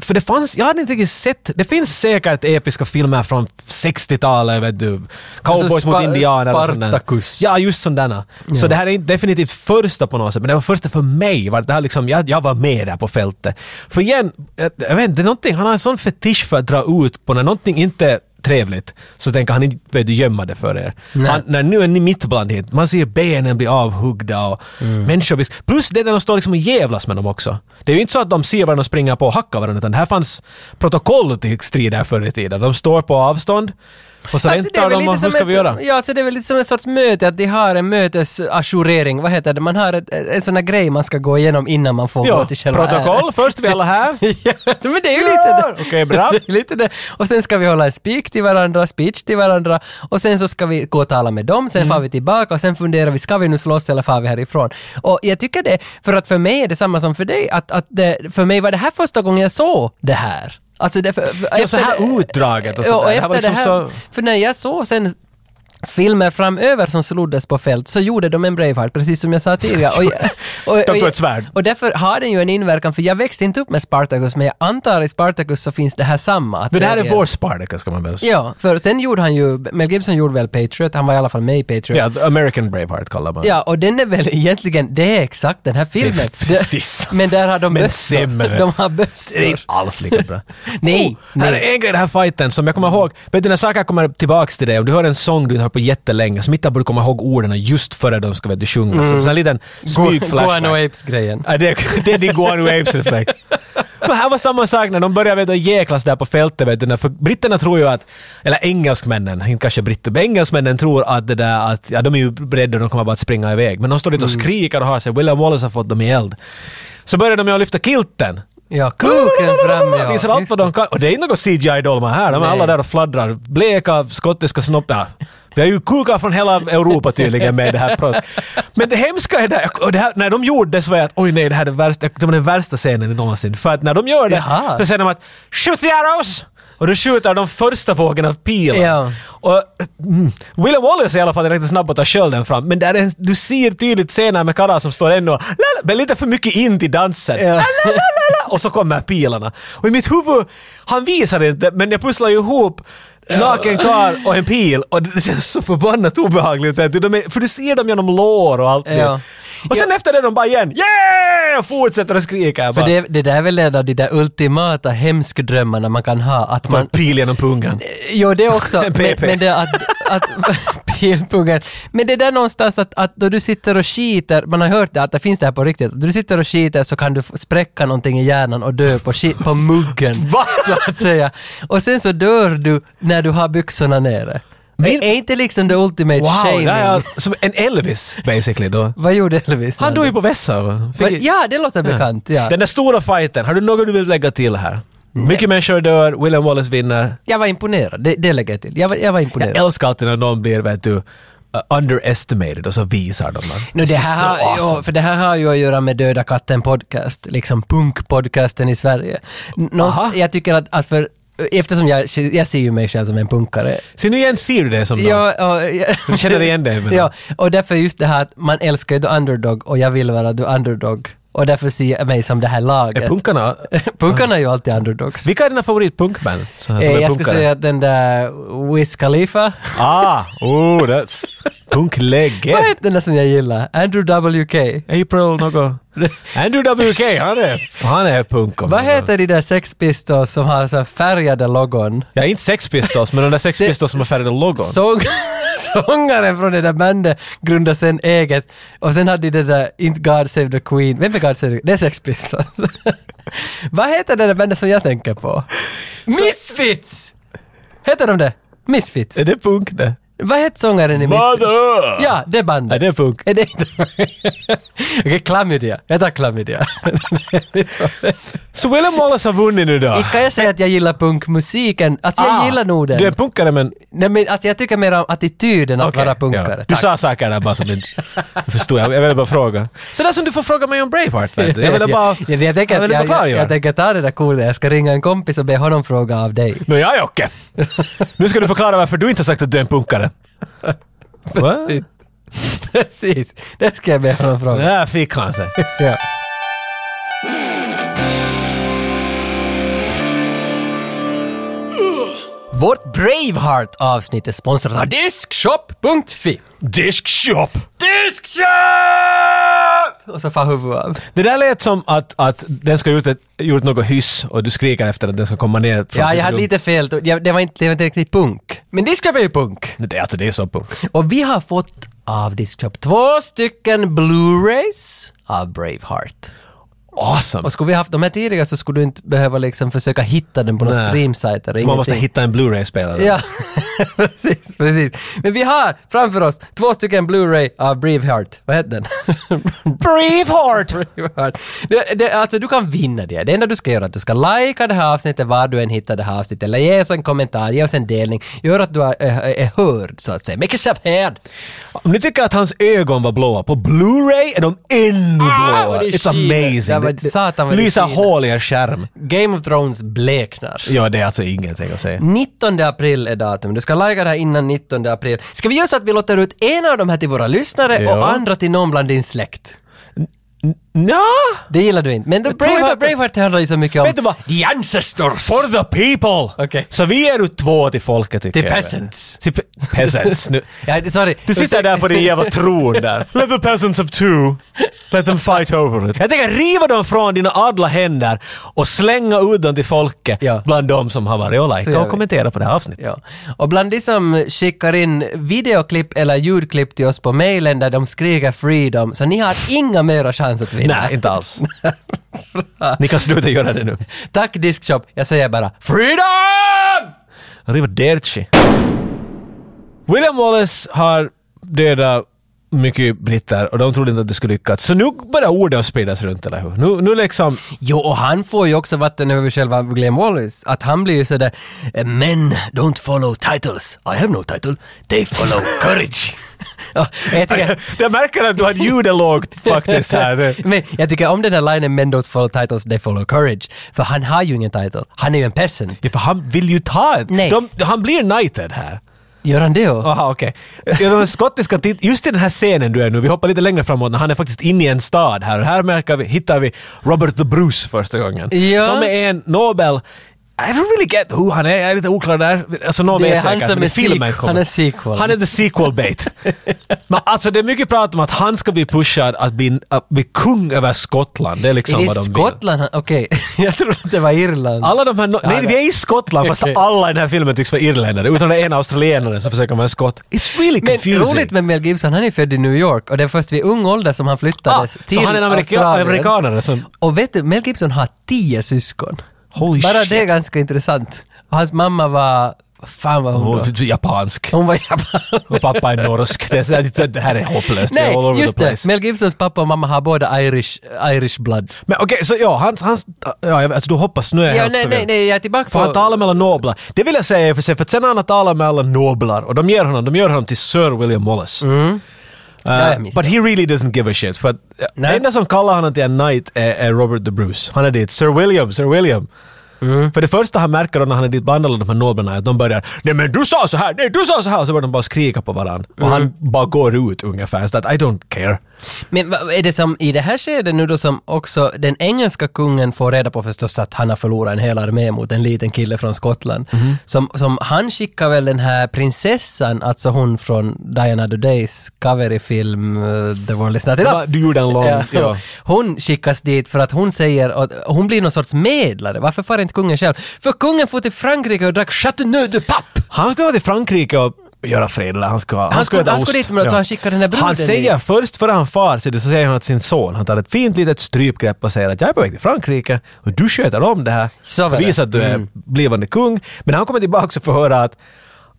Speaker 2: för det fanns, jag hade inte riktigt sett, det finns säkert episka filmer från 60-talet, vet du. Cowboys
Speaker 1: Alltså,
Speaker 2: mot
Speaker 1: Spa-
Speaker 2: indianer och sånt där.
Speaker 1: Spartacus.
Speaker 2: Ja, just sådana. Så det här är inte definitivt första på något sätt, men det var första för mig. Var det här liksom, jag, jag var med där på fältet. För igen, jag, jag vet inte, det är någonting, han har en sån fetisch för att dra ut på när någonting inte är trevligt, så tänker han inte behöver gömma det för er. Han, när nu är ni mitt bland hit, man ser benen bli avhuggda och människor blir... Plus det är när de står liksom och jävlas med dem också. Det är ju inte så att de ser varandra och springer på och hackar varandra, utan det här fanns protokoll till strider förr i tiden. De står på avstånd och
Speaker 1: Alltså,
Speaker 2: så väntar de och hur ska
Speaker 1: ett,
Speaker 2: vi göra?
Speaker 1: Ja, alltså det är väl lite som en sorts möte, att de har en mötesajourering, vad heter det? Man har ett, en sån här grej man ska gå igenom innan man får gå
Speaker 2: Ja,
Speaker 1: till själva
Speaker 2: protokoll, först vi alla här.
Speaker 1: [LAUGHS] ja, men det är ju
Speaker 2: Ja!
Speaker 1: lite det.
Speaker 2: Okej, bra.
Speaker 1: [LAUGHS] Det är lite det. Och sen ska vi hålla en spik till varandra, speech till varandra och sen så ska vi gå och tala med dem,
Speaker 2: Mm.
Speaker 1: sen far vi tillbaka och sen funderar vi, ska vi nu slåss eller far vi härifrån? Och jag tycker det, för att för mig är det samma som för dig, att, att det, för mig var det här första gången jag såg det här. Alltså det, för, för,
Speaker 2: Ja, så här utdraget och sådär.
Speaker 1: och
Speaker 2: Det här
Speaker 1: efter
Speaker 2: var
Speaker 1: det
Speaker 2: liksom
Speaker 1: här,
Speaker 2: så-
Speaker 1: För när jag såg sen filmer framöver som sloddes på fält så gjorde de en Braveheart, precis som jag sa
Speaker 2: [LAUGHS]
Speaker 1: tidigare. Och, jag- och,
Speaker 2: De
Speaker 1: och,
Speaker 2: tog ett svärd.
Speaker 1: och därför har den ju en inverkan, för jag växte inte upp med Spartacus, men jag antar i Spartacus så finns det här samma. att
Speaker 2: Men det här är
Speaker 1: är-
Speaker 2: vår Spartacus kan man väl säga.
Speaker 1: Ja, för sen gjorde han ju, Mel Gibson gjorde väl Patriot, han var i alla fall med i Patriot.
Speaker 2: Ja, The American Braveheart kallar man det.
Speaker 1: Ja, och den är väl egentligen, det är exakt den här
Speaker 2: Det
Speaker 1: filmen.
Speaker 2: är precis.
Speaker 1: Det- Men där har de
Speaker 2: Men
Speaker 1: bössor.
Speaker 2: sämre.
Speaker 1: De har
Speaker 2: Det är
Speaker 1: bössor.
Speaker 2: inte alls lika bra.
Speaker 1: [LAUGHS] Nej,
Speaker 2: oh, här
Speaker 1: nej.
Speaker 2: är en grej i den här fighten som jag kommer ihåg. Vet du när saker kommer tillbaks till dig, om du hör en sång du inte hört på jättelänge, så mitt i borde du komma ihåg orden just före de ska vet, du sjunga.
Speaker 1: Mm.
Speaker 2: Så, så en liten smyg-flashback.
Speaker 1: Guano Apes-grejen.
Speaker 2: Ja, det, är- det är din Guano Apes-effekt. Men här var samma sak när de började vet, du, jäklas där på fältet. Vet du, när- för britterna tror ju att, eller engelskmännen, inte kanske britter, men engelsmännen tror att det där att, ja de är ju beredda, de kommer bara att springa iväg. Men de står dit och skriker och har sig, William Wallace har fått dem i eld. Så började de med att lyfta kilten.
Speaker 1: Ja, kuken fram ja.
Speaker 2: Visar allt
Speaker 1: Just
Speaker 2: vad de kan. Och det är inte några CGI-dolmar här. De är
Speaker 1: Nej.
Speaker 2: alla där och fladdrar. Bleka skottiska snoppar. Vi har ju kukar från hela Europa tydligen med det här pratet. Men det hemska är det, och det här, när de gjorde det så var jag att oj nej, det här är den värsta, det var den värsta scenen någonsin. För att när de gör det,
Speaker 1: Jaha.
Speaker 2: så säger de att “Shoot the arrows!” och då skjuter de första vågen av pilen.
Speaker 1: Ja.
Speaker 2: Och, mm, William Wallace är i alla fall direkt snabb att ta skölden fram, men där är, en- du ser tydligt scener med karlar som står ännu och lala, men lite för mycket in till dansen.
Speaker 1: Ja.
Speaker 2: Lalalala, och så kommer pilarna. Och i mitt huvud, han visar inte, men jag pusslar ju ihop naken karl och en pil och det känns så förbannat obehagligt. ut. De är, för du ser dem genom lår och allt det.
Speaker 1: Ja.
Speaker 2: Och sen efter det de bara igen “Yeah!” och fortsätter att skrika.
Speaker 1: För
Speaker 2: Bara,
Speaker 1: det, det där är väl en av de där ultimata hemskdrömmarna man kan ha. Att
Speaker 2: bara
Speaker 1: man, Eh,
Speaker 2: en pil genom pungen.
Speaker 1: Jo, det
Speaker 2: [LAUGHS]
Speaker 1: också.
Speaker 2: En
Speaker 1: men,
Speaker 2: PP.
Speaker 1: men det att, att [LAUGHS] pilpungen. Men det där någonstans att, att då du sitter och skiter, man har hört det, att det finns det här på riktigt. Då du sitter och skiter så kan du f- spräcka någonting i hjärnan och dö på, skit, på muggen.
Speaker 2: [LAUGHS] Va?
Speaker 1: Så att säga. Och sen så dör du när du har byxorna nere.
Speaker 2: Min-
Speaker 1: Är inte liksom the ultimate
Speaker 2: Wow,
Speaker 1: shaming?
Speaker 2: där är jag, som en Elvis basically då.
Speaker 1: Vad gjorde Elvis?
Speaker 2: Han
Speaker 1: när
Speaker 2: dog ju på vässa. va?
Speaker 1: Va-
Speaker 2: Fick-
Speaker 1: Ja, det låter bekant. Ja.
Speaker 2: Den där stora fighten, har du något du vill lägga till här? Mycket människor dör, William Wallace vinner.
Speaker 1: Jag var imponerad, det, det lägger jag till. Jag var, jag var imponerad.
Speaker 2: Jag älskar alltid när någon blir, vet du, uh, underestimated och så visar de man.
Speaker 1: Nu, det,
Speaker 2: It's
Speaker 1: här,
Speaker 2: so awesome.
Speaker 1: ja, för det här har ju att göra med Döda katten podcast, liksom punkpodcasten i Sverige. N-
Speaker 2: Aha.
Speaker 1: Någonst, jag tycker att, att för, eftersom jag, jag ser ju mig själv som en punkare.
Speaker 2: Så nu igen ser du det som någon.
Speaker 1: Ja, och, ja.
Speaker 2: Du känner igen dig, menar du?
Speaker 1: Ja, och därför just det här att man älskar ju the underdog och jag vill vara the underdog. Och därför ser jag mig som det här
Speaker 2: Är
Speaker 1: laget.
Speaker 2: punkarna...
Speaker 1: [LAUGHS] Punkarna är ju alltid underdogs.
Speaker 2: Vilka är dina favoritpunkband? Så här,
Speaker 1: Eh,
Speaker 2: som är
Speaker 1: jag skulle
Speaker 2: punkare?
Speaker 1: säga att den där Wiz Khalifa, [LAUGHS]
Speaker 2: Ah! Oh, that's... Punkläge!
Speaker 1: vad heter den där som jag gillar? Andrew WK.
Speaker 2: April något...
Speaker 1: [LAUGHS]
Speaker 2: Andrew WK, han är... Han är punk om
Speaker 1: Vad
Speaker 2: någon.
Speaker 1: heter de där Sex Pistols som har så här färgade logon?
Speaker 2: Ja, inte Sex Pistols, men de där Sex
Speaker 1: Se-
Speaker 2: Pistols som har färgade logon.
Speaker 1: Sång, [LAUGHS] sångaren från det där bandet grundade sen eget och sen hade de det där Inte God Save the Queen. Vem är God Save the Det är Sex Pistols. [LAUGHS] Vad heter det där bandet som jag tänker på? Misfits! Heter de det? Misfits?
Speaker 2: Är det punk det?
Speaker 1: Vad heter sångaren i Misfits?
Speaker 2: Mother!
Speaker 1: Ja, det bandet.
Speaker 2: Är det punk?
Speaker 1: Är det inte... [LAUGHS] Okej, klamydia. Jag tar klamydia. [LAUGHS]
Speaker 2: Så William Wallace har vunnit nu då?
Speaker 1: Inte kan jag säga att jag gillar punkmusiken. Alltså jag gillar nog den.
Speaker 2: Du Ah, är punkare men...
Speaker 1: Nej men alltså jag tycker mer om attityden att
Speaker 2: Okej,
Speaker 1: vara punkare.
Speaker 2: ja. Du
Speaker 1: Tack.
Speaker 2: sa saker där bara som inte... Jag förstod, jag jag ville bara fråga. Så där som du får fråga mig om Braveheart vet du.
Speaker 1: [LAUGHS]
Speaker 2: Jag ville bara...
Speaker 1: jag, jag, tänker,
Speaker 2: jag
Speaker 1: jag,
Speaker 2: ville bara
Speaker 1: jag, jag,
Speaker 2: klargöra.
Speaker 1: tänker ta det där kortet, jag ska ringa en kompis och be honom fråga av dig. [LAUGHS]
Speaker 2: Nåja Jocke! Nu ska du förklara varför du inte har sagt att du är en punkare. Va?
Speaker 1: Precis, det ska jag be honom fråga.
Speaker 2: Där fick han sig.
Speaker 1: Ja. Vårt Braveheart-avsnitt är sponsrat av Diskshop.fi.
Speaker 2: Diskshop!
Speaker 1: Diskshop! Och så far huvudet av.
Speaker 2: Det där lät som att, att den ska ha gjort, ett, gjort något hyss och du skriker efter att den ska komma ner från
Speaker 1: Ja,
Speaker 2: sitt
Speaker 1: jag hade
Speaker 2: rum.
Speaker 1: lite fel. Jag- Det var inte, det var inte riktigt punk. Men Diskshop är ju punk.
Speaker 2: Det, alltså det är så punk.
Speaker 1: Och vi har fått av Discshop två stycken Blu-rays av Braveheart.
Speaker 2: Awesome!
Speaker 1: Och skulle vi haft de här tidigare så skulle du inte behöva liksom försöka hitta den på några
Speaker 2: Nej.
Speaker 1: streamsajter.
Speaker 2: Man måste
Speaker 1: ingenting.
Speaker 2: hitta en Blu-ray-spelare.
Speaker 1: Ja, [LAUGHS] precis, precis. Men vi har framför oss två stycken Blu-ray av Braveheart. Vad heter den? [LAUGHS]
Speaker 2: Braveheart!
Speaker 1: Braveheart. Det, det, alltså du kan vinna det. Det enda du ska göra är att du ska likea det här avsnittet var du än hittar det här avsnittet. Eller ge oss en kommentar, ge oss en delning. Gör att du är, är, är hörd så att säga. Make yourself heard.
Speaker 2: Om ni tycker att hans ögon var blåa, på Blu-ray är de ännu
Speaker 1: Ah,
Speaker 2: blåa.
Speaker 1: vad det
Speaker 2: It's
Speaker 1: skiner.
Speaker 2: amazing.
Speaker 1: Ja,
Speaker 2: Det,
Speaker 1: vad vad satan vad det
Speaker 2: Lysa
Speaker 1: fina.
Speaker 2: hål i en skärm.
Speaker 1: Game of Thrones bleknar.
Speaker 2: Ja, det är alltså ingenting att säga.
Speaker 1: 19 april är datum. Du ska lajka det här innan 19 april. Ska vi göra så att vi låter ut en av de här till våra lyssnare
Speaker 2: Ja.
Speaker 1: och andra till någon bland din släkt?
Speaker 2: Nja?
Speaker 1: Det gillar du inte. Men the
Speaker 2: Jag tror inte
Speaker 1: Braveheart,
Speaker 2: att-
Speaker 1: Braveheart handlar ju så mycket om...
Speaker 2: Vet du vad?
Speaker 1: The ancestors!
Speaker 2: For the people!
Speaker 1: Okej.
Speaker 2: Så vi är ut två till folket tycker
Speaker 1: Till
Speaker 2: jag.
Speaker 1: peasants.
Speaker 2: Till pe- peasants. Nu.
Speaker 1: [LAUGHS] Ja, sorry.
Speaker 2: Du sitter
Speaker 1: Ursäk-
Speaker 2: där på din jävla tron där. Let the peasants of two, let them fight over it. Jag tänker riva dem från dina adla händer och slänga ut dem till folket
Speaker 1: Ja.
Speaker 2: bland de som har varit och
Speaker 1: Så gör
Speaker 2: likat och
Speaker 1: vi.
Speaker 2: kommenterat på det här avsnittet.
Speaker 1: [LAUGHS] Ja. Och bland de som skickar in videoklipp eller ljudklipp till oss på mejlen där de skriker freedom, så ni har inga mera chans att vinna.
Speaker 2: Nej, inte [LAUGHS] alls. Ni kan sluta göra det nu.
Speaker 1: Tack Diskshop, jag säger bara freedom!
Speaker 2: Arrivederci. William Wallace har dödat mycket britter och de trodde inte att det skulle lyckas. Så nu börjar orden spridas runt, eller hur? Nu, nu liksom...
Speaker 1: Jo, och han får ju också vatten över själva Glenn Wallace, att han blir ju sådär "Eh, “Men don't follow titles, I have no title, they
Speaker 2: [LAUGHS]
Speaker 1: follow courage”. ja, jag tycker,
Speaker 2: Jag märker att du har ljudet lågt faktiskt här.
Speaker 1: Men jag tycker om den där linen “Men don't follow titles, they follow courage”, för han har ju ingen title, han är ju en peasant.
Speaker 2: [LAUGHS] Ja, för han vill ju ta ett.
Speaker 1: Nej.
Speaker 2: De, han blir knighted här.
Speaker 1: Gör han det? då?
Speaker 2: Aha, okej. Ja, de skottiska tit- Just i den här scenen du är nu, vi hoppar lite längre framåt när han är faktiskt inne i en stad här. Och här märker vi, hittar vi Robert the Bruce första gången.
Speaker 1: Ja.
Speaker 2: Som är en Nobel... I don't really get who han är, jag är lite oklar där. Alltså Nobel
Speaker 1: Det är han
Speaker 2: säkert,
Speaker 1: som
Speaker 2: men
Speaker 1: är sequel.
Speaker 2: filmen kommer.
Speaker 1: Han är sequel.
Speaker 2: Han är the sequel bait.
Speaker 1: [LAUGHS]
Speaker 2: men alltså det är mycket prat om att han ska bli pushad att bli, att bli kung över Skottland. Det är liksom
Speaker 1: Är
Speaker 2: vad
Speaker 1: det
Speaker 2: de vill.
Speaker 1: Skottland? han- Okej, [LAUGHS] jag trodde att det var Irland.
Speaker 2: Alla de här... No-
Speaker 1: Ja,
Speaker 2: nej,
Speaker 1: det-
Speaker 2: vi är i
Speaker 1: [LAUGHS]
Speaker 2: Skottland fast alla i den här filmen tycks vara irländare. Utan det är en australienare som försöker vara en skott. It's really
Speaker 1: men
Speaker 2: confusing.
Speaker 1: roligt med Mel Gibson, han är född i New York och det är först vid ung ålder som han
Speaker 2: ah,
Speaker 1: flyttades till
Speaker 2: så han är en amerika-
Speaker 1: Australien.
Speaker 2: amerikanare som...
Speaker 1: Och vet du, Mel Gibson har tio syskon.
Speaker 2: Holy
Speaker 1: Bara
Speaker 2: shit.
Speaker 1: det är ganska intressant. Och hans mamma var... Vad fan var hon
Speaker 2: Hon
Speaker 1: då?
Speaker 2: är typ japansk.
Speaker 1: Hon var japan.
Speaker 2: Och pappa är norsk. Det, det, det här är hopplöst. det
Speaker 1: Nej,
Speaker 2: är all over
Speaker 1: just
Speaker 2: the
Speaker 1: det.
Speaker 2: place.
Speaker 1: Mel Gibsons pappa och mamma har båda Irish, Irish blood.
Speaker 2: Men okej, så ja, hans... hans ja, jag vet, alltså, du hoppas nu är jag
Speaker 1: Ja,
Speaker 2: helt
Speaker 1: nej, nej,
Speaker 2: förvirrad.
Speaker 1: nej, jag är tillbaka
Speaker 2: För han
Speaker 1: på...
Speaker 2: talar med alla noblar. Det vill jag säga i och för sig, för att sen har han talat med alla noblar och de ger honom, de gör honom till Sir William Wallace. Uh,
Speaker 1: Mm. Ja, jag missade.
Speaker 2: but he really doesn't give a shit. För att, uh,
Speaker 1: Nej.
Speaker 2: det enda som kallar honom till en knight är, är Robert the Bruce. Han är dit, Sir William, Sir William.
Speaker 1: Mm.
Speaker 2: För det första han märker då när han är dit bland alla de här noblarna är att de börjar “Nej men du sa så här, nej du sa så här” och så börjar de bara skrika på varandra.
Speaker 1: Mm.
Speaker 2: Och han bara går ut ungefär. Så att I don't care.
Speaker 1: Men vad- är det som i det här skedet nu då som också den engelska kungen får reda på förstås att han har förlorat en hel armé mot en liten kille från Skottland.
Speaker 2: Mhm.
Speaker 1: Som, som han skickar väl den här prinsessan, alltså hon från Diana Dudays coverfilm uh, The World Is Not
Speaker 2: Det var-
Speaker 1: Enough.
Speaker 2: Du gjorde en lång...
Speaker 1: Ja.
Speaker 2: ja.
Speaker 1: [LAUGHS] Hon skickas dit för att hon säger att hon blir någon sorts medlare. Varför far inte kungen själv? För kungen får till Frankrike och drack Chateauneuf du Pape!
Speaker 2: Han ska vara till Frankrike och göra fred. Eller han ska, han
Speaker 1: ska-
Speaker 2: äta
Speaker 1: han ska
Speaker 2: ost.
Speaker 1: dit med att han skickar den där bruden
Speaker 2: Han säger först före han far så, det, så säger han att sin son, han tar ett fint litet strypgrepp och säger att jag är på väg till Frankrike och du sköter om det här.
Speaker 1: Så var det. Mm.
Speaker 2: Visa att du är blivande kung. Men han kommer tillbaka och får höra att,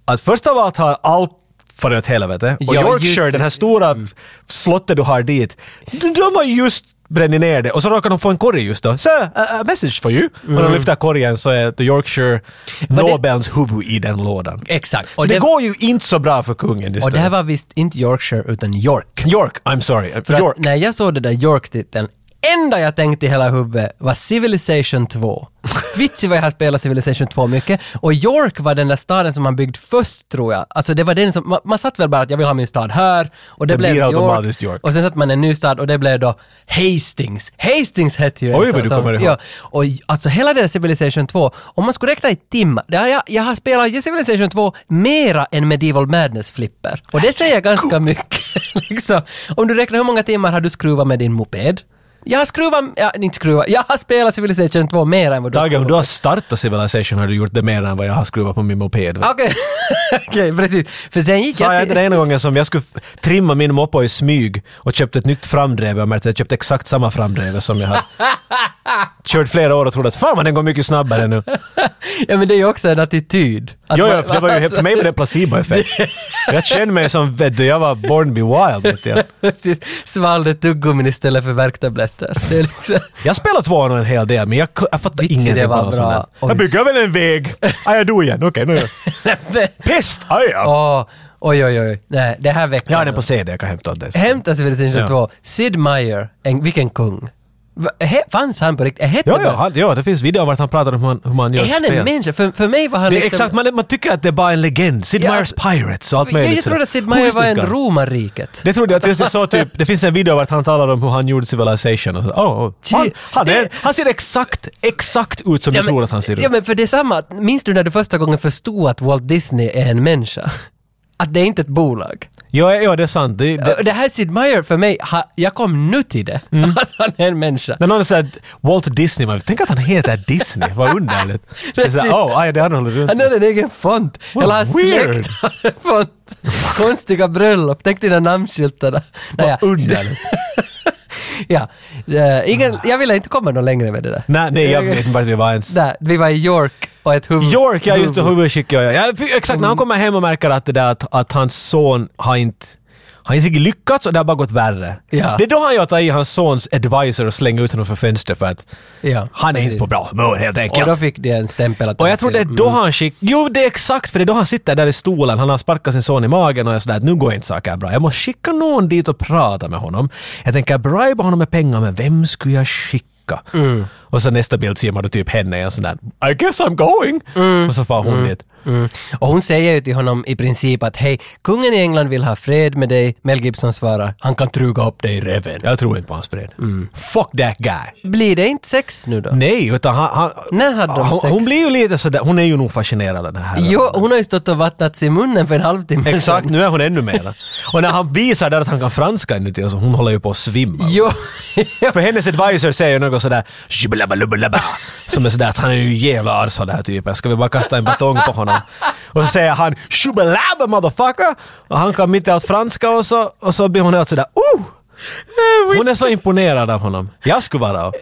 Speaker 2: att först av allt har allt farit åt helvete. Och
Speaker 1: Ja,
Speaker 2: Yorkshire,
Speaker 1: just det.
Speaker 2: den här stora
Speaker 1: Mm.
Speaker 2: slottet du har dit, de, de har just bränt ner det och så råkar de få en korg just då. Så, a message for you. Och de lyfter korgen så är The Yorkshire
Speaker 1: Mm. det-
Speaker 2: Nobels huvud i den lådan.
Speaker 1: Exakt.
Speaker 2: Så det, går ju inte så bra för kungen just
Speaker 1: och
Speaker 2: nu.
Speaker 1: det här var visst inte Yorkshire utan York.
Speaker 2: York, I'm sorry.
Speaker 1: För
Speaker 2: York.
Speaker 1: Att när jag såg det där York-titeln, enda jag tänkte i hela huvudet var Civilization 2. Vitsi vad jag har spelat Civilization 2 mycket. Och York var den där staden som man byggde först tror jag. Alltså det var den som, man, man satt väl bara att jag vill ha min stad här och det,
Speaker 2: Det
Speaker 1: blev
Speaker 2: blir
Speaker 1: York.
Speaker 2: automatiskt York.
Speaker 1: Och sen satte man en ny stad och det blev då Hastings. Hastings hette ju en
Speaker 2: Oj, vad
Speaker 1: sån
Speaker 2: du
Speaker 1: som-
Speaker 2: kommer ihåg.
Speaker 1: Ja, och j- alltså hela det där Civilization 2, om man skulle räkna i timmar, det har jag, jag har spelat ju Civilization 2 mera än Medieval Madness-flipper. Och det säger ganska mycket. [LAUGHS] liksom. Om du räknar hur många timmar har du skruvat med din moped? Jag har skruvat, ja, inte skruvat, jag har spelat Civilization 2 mera än vad du har
Speaker 2: Tage, om
Speaker 1: skruvat.
Speaker 2: du har startat Civilization har du gjort det mer än vad jag har skruvat på min moped.
Speaker 1: Okej, [LAUGHS] Okej, precis. För sen gick
Speaker 2: Sa jag
Speaker 1: jag
Speaker 2: inte den ena gången som jag skulle f- trimma min moppe i smyg och köpte ett nytt framdreve och märkte att jag köpte exakt samma framdreve som
Speaker 1: [LAUGHS]
Speaker 2: jag hade kört flera år och trodde att fan vad den går mycket snabbare nu.
Speaker 1: Ja men det är ju också en attityd. Att
Speaker 2: Jo,
Speaker 1: man- Alltså,
Speaker 2: jo, för det
Speaker 1: [LAUGHS]
Speaker 2: var ju, för mig var det placeboeffekt. Jag kände mig som, vet du, jag var born be wild. Vet jag.
Speaker 1: Precis, svalde tuggummin istället för värktabletter. Det är liksom... [LAUGHS]
Speaker 2: Jag spelar tvåan en hel del, men jag, ku- jag fattar
Speaker 1: Vitsi, det
Speaker 2: ingenting
Speaker 1: var
Speaker 2: på någon sån
Speaker 1: bra.
Speaker 2: där.
Speaker 1: Oj.
Speaker 2: Jag bygger väl en väg. Ah, jag dog igen. Okej, nu är
Speaker 1: [LAUGHS]
Speaker 2: jag... Pest! Ah, ja.
Speaker 1: Åh, oj, oj, oj. Nej, det här veckan.
Speaker 2: Jag har den på CD, jag kan hämta åt dig.
Speaker 1: Hämta Civilization
Speaker 2: Ja.
Speaker 1: 2. Sid Meier, en, vilken kung. Va- he- Fanns han på riktigt? Hette
Speaker 2: Jo, jo,
Speaker 1: det-
Speaker 2: han, jo, det finns video vart han pratar om hur man, hur man gör
Speaker 1: Är han en
Speaker 2: spel.
Speaker 1: människa? För, för mig var han
Speaker 2: Det är
Speaker 1: liksom...
Speaker 2: exakt, man, man tycker att det är bara en legend. Sid
Speaker 1: Ja,
Speaker 2: Meier's Pirates och allt
Speaker 1: jag,
Speaker 2: möjligt.
Speaker 1: jag trodde att Sid
Speaker 2: Who
Speaker 1: Meier
Speaker 2: is
Speaker 1: var
Speaker 2: this
Speaker 1: en
Speaker 2: guy?
Speaker 1: romarriket.
Speaker 2: Det trodde jag tills det så typ, det finns en video vart han talar om hur han gjorde Civilization och så, oh, oh. Han,
Speaker 1: Gee,
Speaker 2: han,
Speaker 1: det-
Speaker 2: är, han ser exakt, exakt ut som du tror att han ser ut.
Speaker 1: Ja, men för det är samma. Minns du när du första gången förstod att Walt Disney är en människa? [LAUGHS] Att det är inte ett bolag.
Speaker 2: ja, ja, det är sant. Det, det, Mm.
Speaker 1: Det här Sid Meier för mig, ha, jag kom nu till det. [LAUGHS] Att han är en människa.
Speaker 2: när någon säger Walt Disney, man tänk att han heter Disney,
Speaker 1: [LAUGHS]
Speaker 2: vad underligt. Det är så här,
Speaker 1: Precis.
Speaker 2: oh, aj, det han håller runt
Speaker 1: Han
Speaker 2: med.
Speaker 1: har en egen font.
Speaker 2: Vad
Speaker 1: Eller hans
Speaker 2: weird.
Speaker 1: släkt har en font. Konstiga bröllop. Tänk dina namnskyltarna. Naja.
Speaker 2: Underligt.
Speaker 1: [LAUGHS]
Speaker 2: Ah.
Speaker 1: Ja. Eh, Ingen, jag ville inte komma någon längre med det där.
Speaker 2: nej, nej, jag vet inte vart vi var ens.
Speaker 1: Där, vi var i York och ett huvud...
Speaker 2: York, ja just det,
Speaker 1: huvud-
Speaker 2: huvudskick. Ja, ja. ja, fy- exakt, när
Speaker 1: Mm.
Speaker 2: han kommer hem och märker att, det där, att, att hans son har inte har inte riktigt lyckats och det har bara gått värre.
Speaker 1: Ja.
Speaker 2: Det är då han gör att ta i hans sons advisor och slänga ut honom för fönstret för att
Speaker 1: Ja,
Speaker 2: han är
Speaker 1: precis.
Speaker 2: inte på bra humör helt
Speaker 1: Och
Speaker 2: enkelt.
Speaker 1: då fick de en stämpel att...
Speaker 2: Och jag tror det är
Speaker 1: Mm.
Speaker 2: då han skick... Jo, det är exakt för det är då han sitter där i stolen. Han har sparkat sin son i magen och är sådär att nu går inte saker bra. Jag måste skicka någon dit och prata med honom. Jag tänker briba honom med pengar, men vem skulle jag skicka?
Speaker 1: Mm.
Speaker 2: Och så nästa bild ser man då typ henne i en sån där I guess I'm going! Och så far hon dit.
Speaker 1: Mm. Och hon säger ju till honom i princip att hej, kungen i England vill ha fred med dig. Mel Gibson svarar, han kan truga upp dig i reven.
Speaker 2: Jag tror inte på hans fred.
Speaker 1: Mm.
Speaker 2: Fuck that guy!
Speaker 1: Blir det inte sex nu då?
Speaker 2: Nej, utan han... han
Speaker 1: När hade de
Speaker 2: hon,
Speaker 1: sex?
Speaker 2: hon blir ju lite sådär, hon är ju nog fascinerad av den här.
Speaker 1: Jo, hon har ju stått och vattnats i munnen för en halvtimme
Speaker 2: Exakt, nu är hon ännu mer. Och när han visar där att han kan franska inuti, alltså, hon håller ju på att svimma.
Speaker 1: Jo, [LAUGHS]
Speaker 2: För hennes advisor säger ju något sådär "Shibbalabbalabbalaba", som är sådär att han är ju jävla arsa den här typen. typ. Ska vi bara kasta en batong på honom? Och så säger han “Shubbalabba motherfucker” och han kan mitt i allt franska och så, och så blir hon helt sådär “Oh!” Hon är så imponerad av honom. Jag skulle vara
Speaker 1: [LAUGHS]
Speaker 2: av.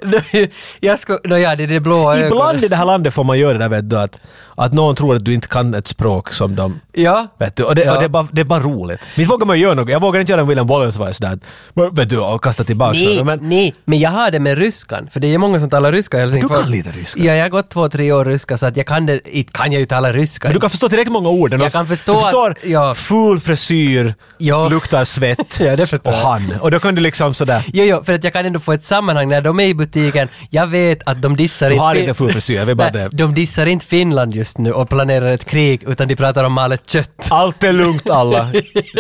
Speaker 1: jag skulle... Nåja, det är det blåa
Speaker 2: Ibland i det här landet får man göra det där vet du att, att någon tror att du inte kan ett språk som de
Speaker 1: Ja.
Speaker 2: Vet du, och det,
Speaker 1: Ja.
Speaker 2: och det, är, bara, det är bara roligt. Visst vågar man göra något? Jag vågar inte göra en William Wallace-vajs där. Vet du, och kasta tillbaka
Speaker 1: Nej,
Speaker 2: något, men-
Speaker 1: nej, men jag har det med ryskan, för det är många som talar ryska i Helsingfors.
Speaker 2: Du kan lite ryska.
Speaker 1: Ja, jag har gått två, tre år ryska, så att jag kan det, inte kan jag ju tala ryska.
Speaker 2: Men du kan förstå tillräckligt många ord.
Speaker 1: Jag kan förstå
Speaker 2: du förstår
Speaker 1: att- ja.
Speaker 2: ful frisyr,
Speaker 1: Ja.
Speaker 2: luktar
Speaker 1: [LAUGHS] [LAUGHS]
Speaker 2: svett
Speaker 1: Ja, det förstår
Speaker 2: och
Speaker 1: jag.
Speaker 2: han. Och då kan du liksom sådär...
Speaker 1: Jo, jo, för att jag kan ändå få ett sammanhang när de är i butiken. Jag vet att de dissar
Speaker 2: Du
Speaker 1: inte...
Speaker 2: har
Speaker 1: Fin-
Speaker 2: inte full frisyr, jag vet bara
Speaker 1: Nej,
Speaker 2: det.
Speaker 1: de dissar inte Finland just nu och planerar ett krig, utan de pratar om malet kött.
Speaker 2: Allt är
Speaker 1: [LAUGHS]
Speaker 2: lugnt alla.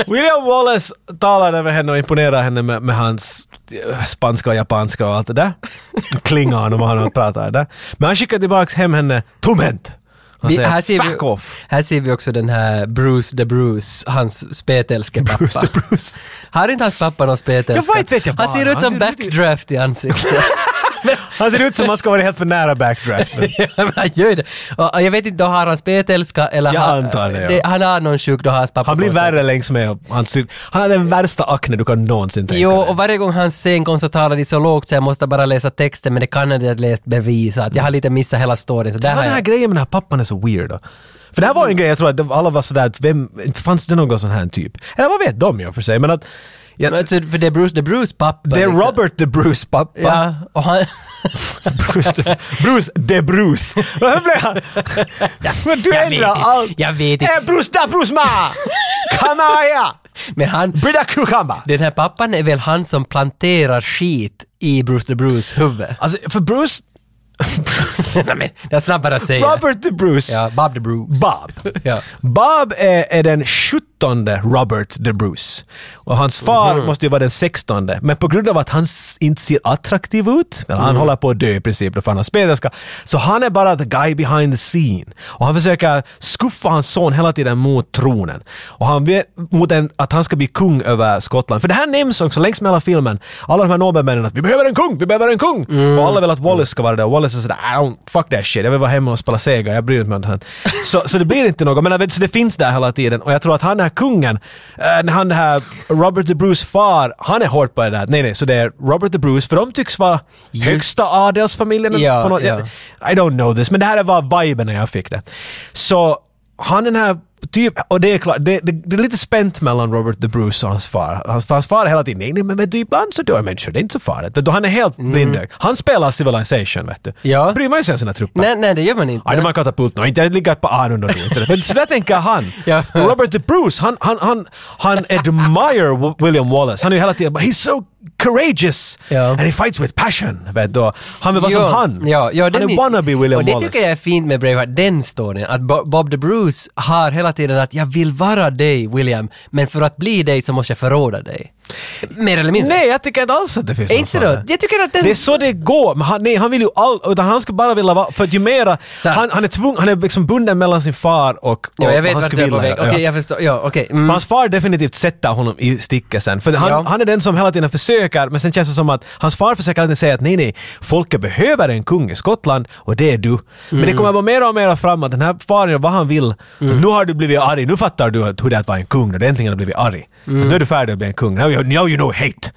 Speaker 2: William Wallace talade med henne och imponerade henne med, med hans eh, spanska och japanska och allt
Speaker 1: [LAUGHS]
Speaker 2: det där. Klingan om han pratar där. Men han skickade tillbaks hem henne tomhänt. Han
Speaker 1: Vi,
Speaker 2: säger
Speaker 1: här, ser
Speaker 2: “fuck
Speaker 1: vi,
Speaker 2: off”.
Speaker 1: här ser vi också den här Bruce the Bruce, hans spetälske pappa.
Speaker 2: Bruce the Bruce.
Speaker 1: Har inte hans pappa någon spetälska?
Speaker 2: Jag vet, vet jag
Speaker 1: Han
Speaker 2: bara.
Speaker 1: ser ut
Speaker 2: Han
Speaker 1: som
Speaker 2: ser ut i-
Speaker 1: backdraft i
Speaker 2: [LAUGHS]
Speaker 1: ansiktet.
Speaker 2: Han ser ut som han ska vara helt för nära backdraften.
Speaker 1: Ja, men han gör det. Och och jag vet inte, då har han spetälska eller...
Speaker 2: Jag
Speaker 1: han-
Speaker 2: antar det, ja.
Speaker 1: Han har någon sjuk, då har hans pappa
Speaker 2: Han blir
Speaker 1: på sig.
Speaker 2: värre längs med. och Han, ser, han har den värsta akne du kan någonsin tänka
Speaker 1: Jo,
Speaker 2: dig.
Speaker 1: och varje gång han scenkonst så talar de så lågt så jag måste bara läsa texten men det kan jag inte läst bevisa att jag har lite missat hela storyn så där
Speaker 2: Vad
Speaker 1: har
Speaker 2: den här
Speaker 1: jag...
Speaker 2: grejen med den här pappan är så weird då. För det här var en grej, jag tror att det- alla var sådär att vem, inte fanns det någon sån här typ? Eller vad vet de i och för sig, men att... Ja,
Speaker 1: Men Alltså, för det är Bruce, det är Bruce pappa.
Speaker 2: det är
Speaker 1: liksom.
Speaker 2: Robert the Bruce pappa.
Speaker 1: Ja, och han...
Speaker 2: [LAUGHS]
Speaker 1: [LAUGHS]
Speaker 2: Bruce, the, Bruce the Bruce. [LAUGHS] Varför blev han... Men [LAUGHS] du
Speaker 1: jag vet
Speaker 2: ändrar
Speaker 1: inte.
Speaker 2: allt.
Speaker 1: Jag vet inte.
Speaker 2: Eh, Bruce da Bruce ma! Kanaya!
Speaker 1: Men han...
Speaker 2: Brida kukamba!
Speaker 1: Den här pappan är väl han som planterar skit i Bruce the Bruce huvud?
Speaker 2: Alltså, för Bruce...
Speaker 1: [LAUGHS] Nej men, jag ska bara säga det.
Speaker 2: Robert the Bruce.
Speaker 1: Ja, Bob the Bruce.
Speaker 2: Bob.
Speaker 1: Ja.
Speaker 2: Bob är, är den 17 Robert the Bruce. Och hans far måste ju vara den 16 Men på grund av att han s- inte ser attraktiv ut, eller han håller på att dö i princip då för han har spelerska, så han är bara the guy behind the scene. Och han försöker skuffa hans son hela tiden mot tronen. Och han vet mot en, att han ska bli kung över Skottland. För det här nämns också längs med hela filmen. Alla de här Nobelmännen att vi behöver en kung, vi behöver en kung!
Speaker 1: Mm.
Speaker 2: Och alla vill att Wallace ska vara där. Och Wallace är sådär I don't, fuck that shit, jag vill vara hemma och spela Sega, jag bryr mig inte om det här. [LAUGHS] Så, så det blir inte något. Men jag vet, så det finns där hela tiden. Och jag tror att han den här kungen, eh, när han den här Robert the Bruce far, han är hårt på det där. Nej nej, så det är Robert the Bruce, för de tycks vara högsta adelsfamiljen.
Speaker 1: Ja,
Speaker 2: på något,
Speaker 1: ja.
Speaker 2: I don't know this, men det här var viben när jag fick det. Så han den här Typ, och det är klart, det, det, det är lite spänt mellan Robert the Bruce och hans far. Hans, för hans far är hela tiden nej, nej men vet du, ibland så dör människor, det är inte så farligt. Vet du, han är helt blindögd. Han spelar Civilization, vet du.
Speaker 1: Mm. Ja.
Speaker 2: Bryr man ju sig om sina trupper.
Speaker 1: Nej, nej, det gör man inte.
Speaker 2: Aj, de har katapult nu. Inte ligga på anun och inte. Men så där tänker han.
Speaker 1: [LAUGHS] Ja.
Speaker 2: Robert the Bruce, han, han, han, han admire William Wallace. Han är ju hela tiden bara, he's so courageous
Speaker 1: Ja.
Speaker 2: and he fights with passion. Vet du? Han vill vara som han.
Speaker 1: Ja, ja,
Speaker 2: han är wannabe William
Speaker 1: Och det
Speaker 2: Wallace.
Speaker 1: tycker jag är fint med Braveheart, den storyn. Att Bo- Bob the Bruce har hela tiden att jag vill vara dig, William, men för att bli dig så måste jag förråda dig. Mer eller mindre.
Speaker 2: Nej, jag tycker inte alls att det finns
Speaker 1: Är
Speaker 2: någon
Speaker 1: inte
Speaker 2: sån
Speaker 1: då?
Speaker 2: här.
Speaker 1: Jag tycker att den...
Speaker 2: Det är så det går. Men han, nej, han vill ju all, utan han skulle bara vilja vara... För att ju mera...
Speaker 1: Sant.
Speaker 2: Han, han är tvungen, han är liksom bunden mellan sin far och, och
Speaker 1: ja, jag vet
Speaker 2: vad han
Speaker 1: vart
Speaker 2: skulle
Speaker 1: du är på
Speaker 2: vilja.
Speaker 1: väg.
Speaker 2: göra.
Speaker 1: Okej,
Speaker 2: Ja.
Speaker 1: jag förstår. Ja, okej. Mm.
Speaker 2: För hans far definitivt sätter honom i sticket sen. För han,
Speaker 1: Ja.
Speaker 2: han är den som hela tiden försöker, men sen känns det som att hans far försöker alltid säga att nej, nej, folket behöver en kung i Skottland och det är du. Men
Speaker 1: Mm.
Speaker 2: det kommer bara mer och mer fram att den här faren gör vad han vill. Nu har du blivit arg, nu fattar du att- hur det är att vara en kung när du äntligen har blivit arg.
Speaker 1: Mm.
Speaker 2: Nu är du färdig att bli en kung. Now you, now you know hate.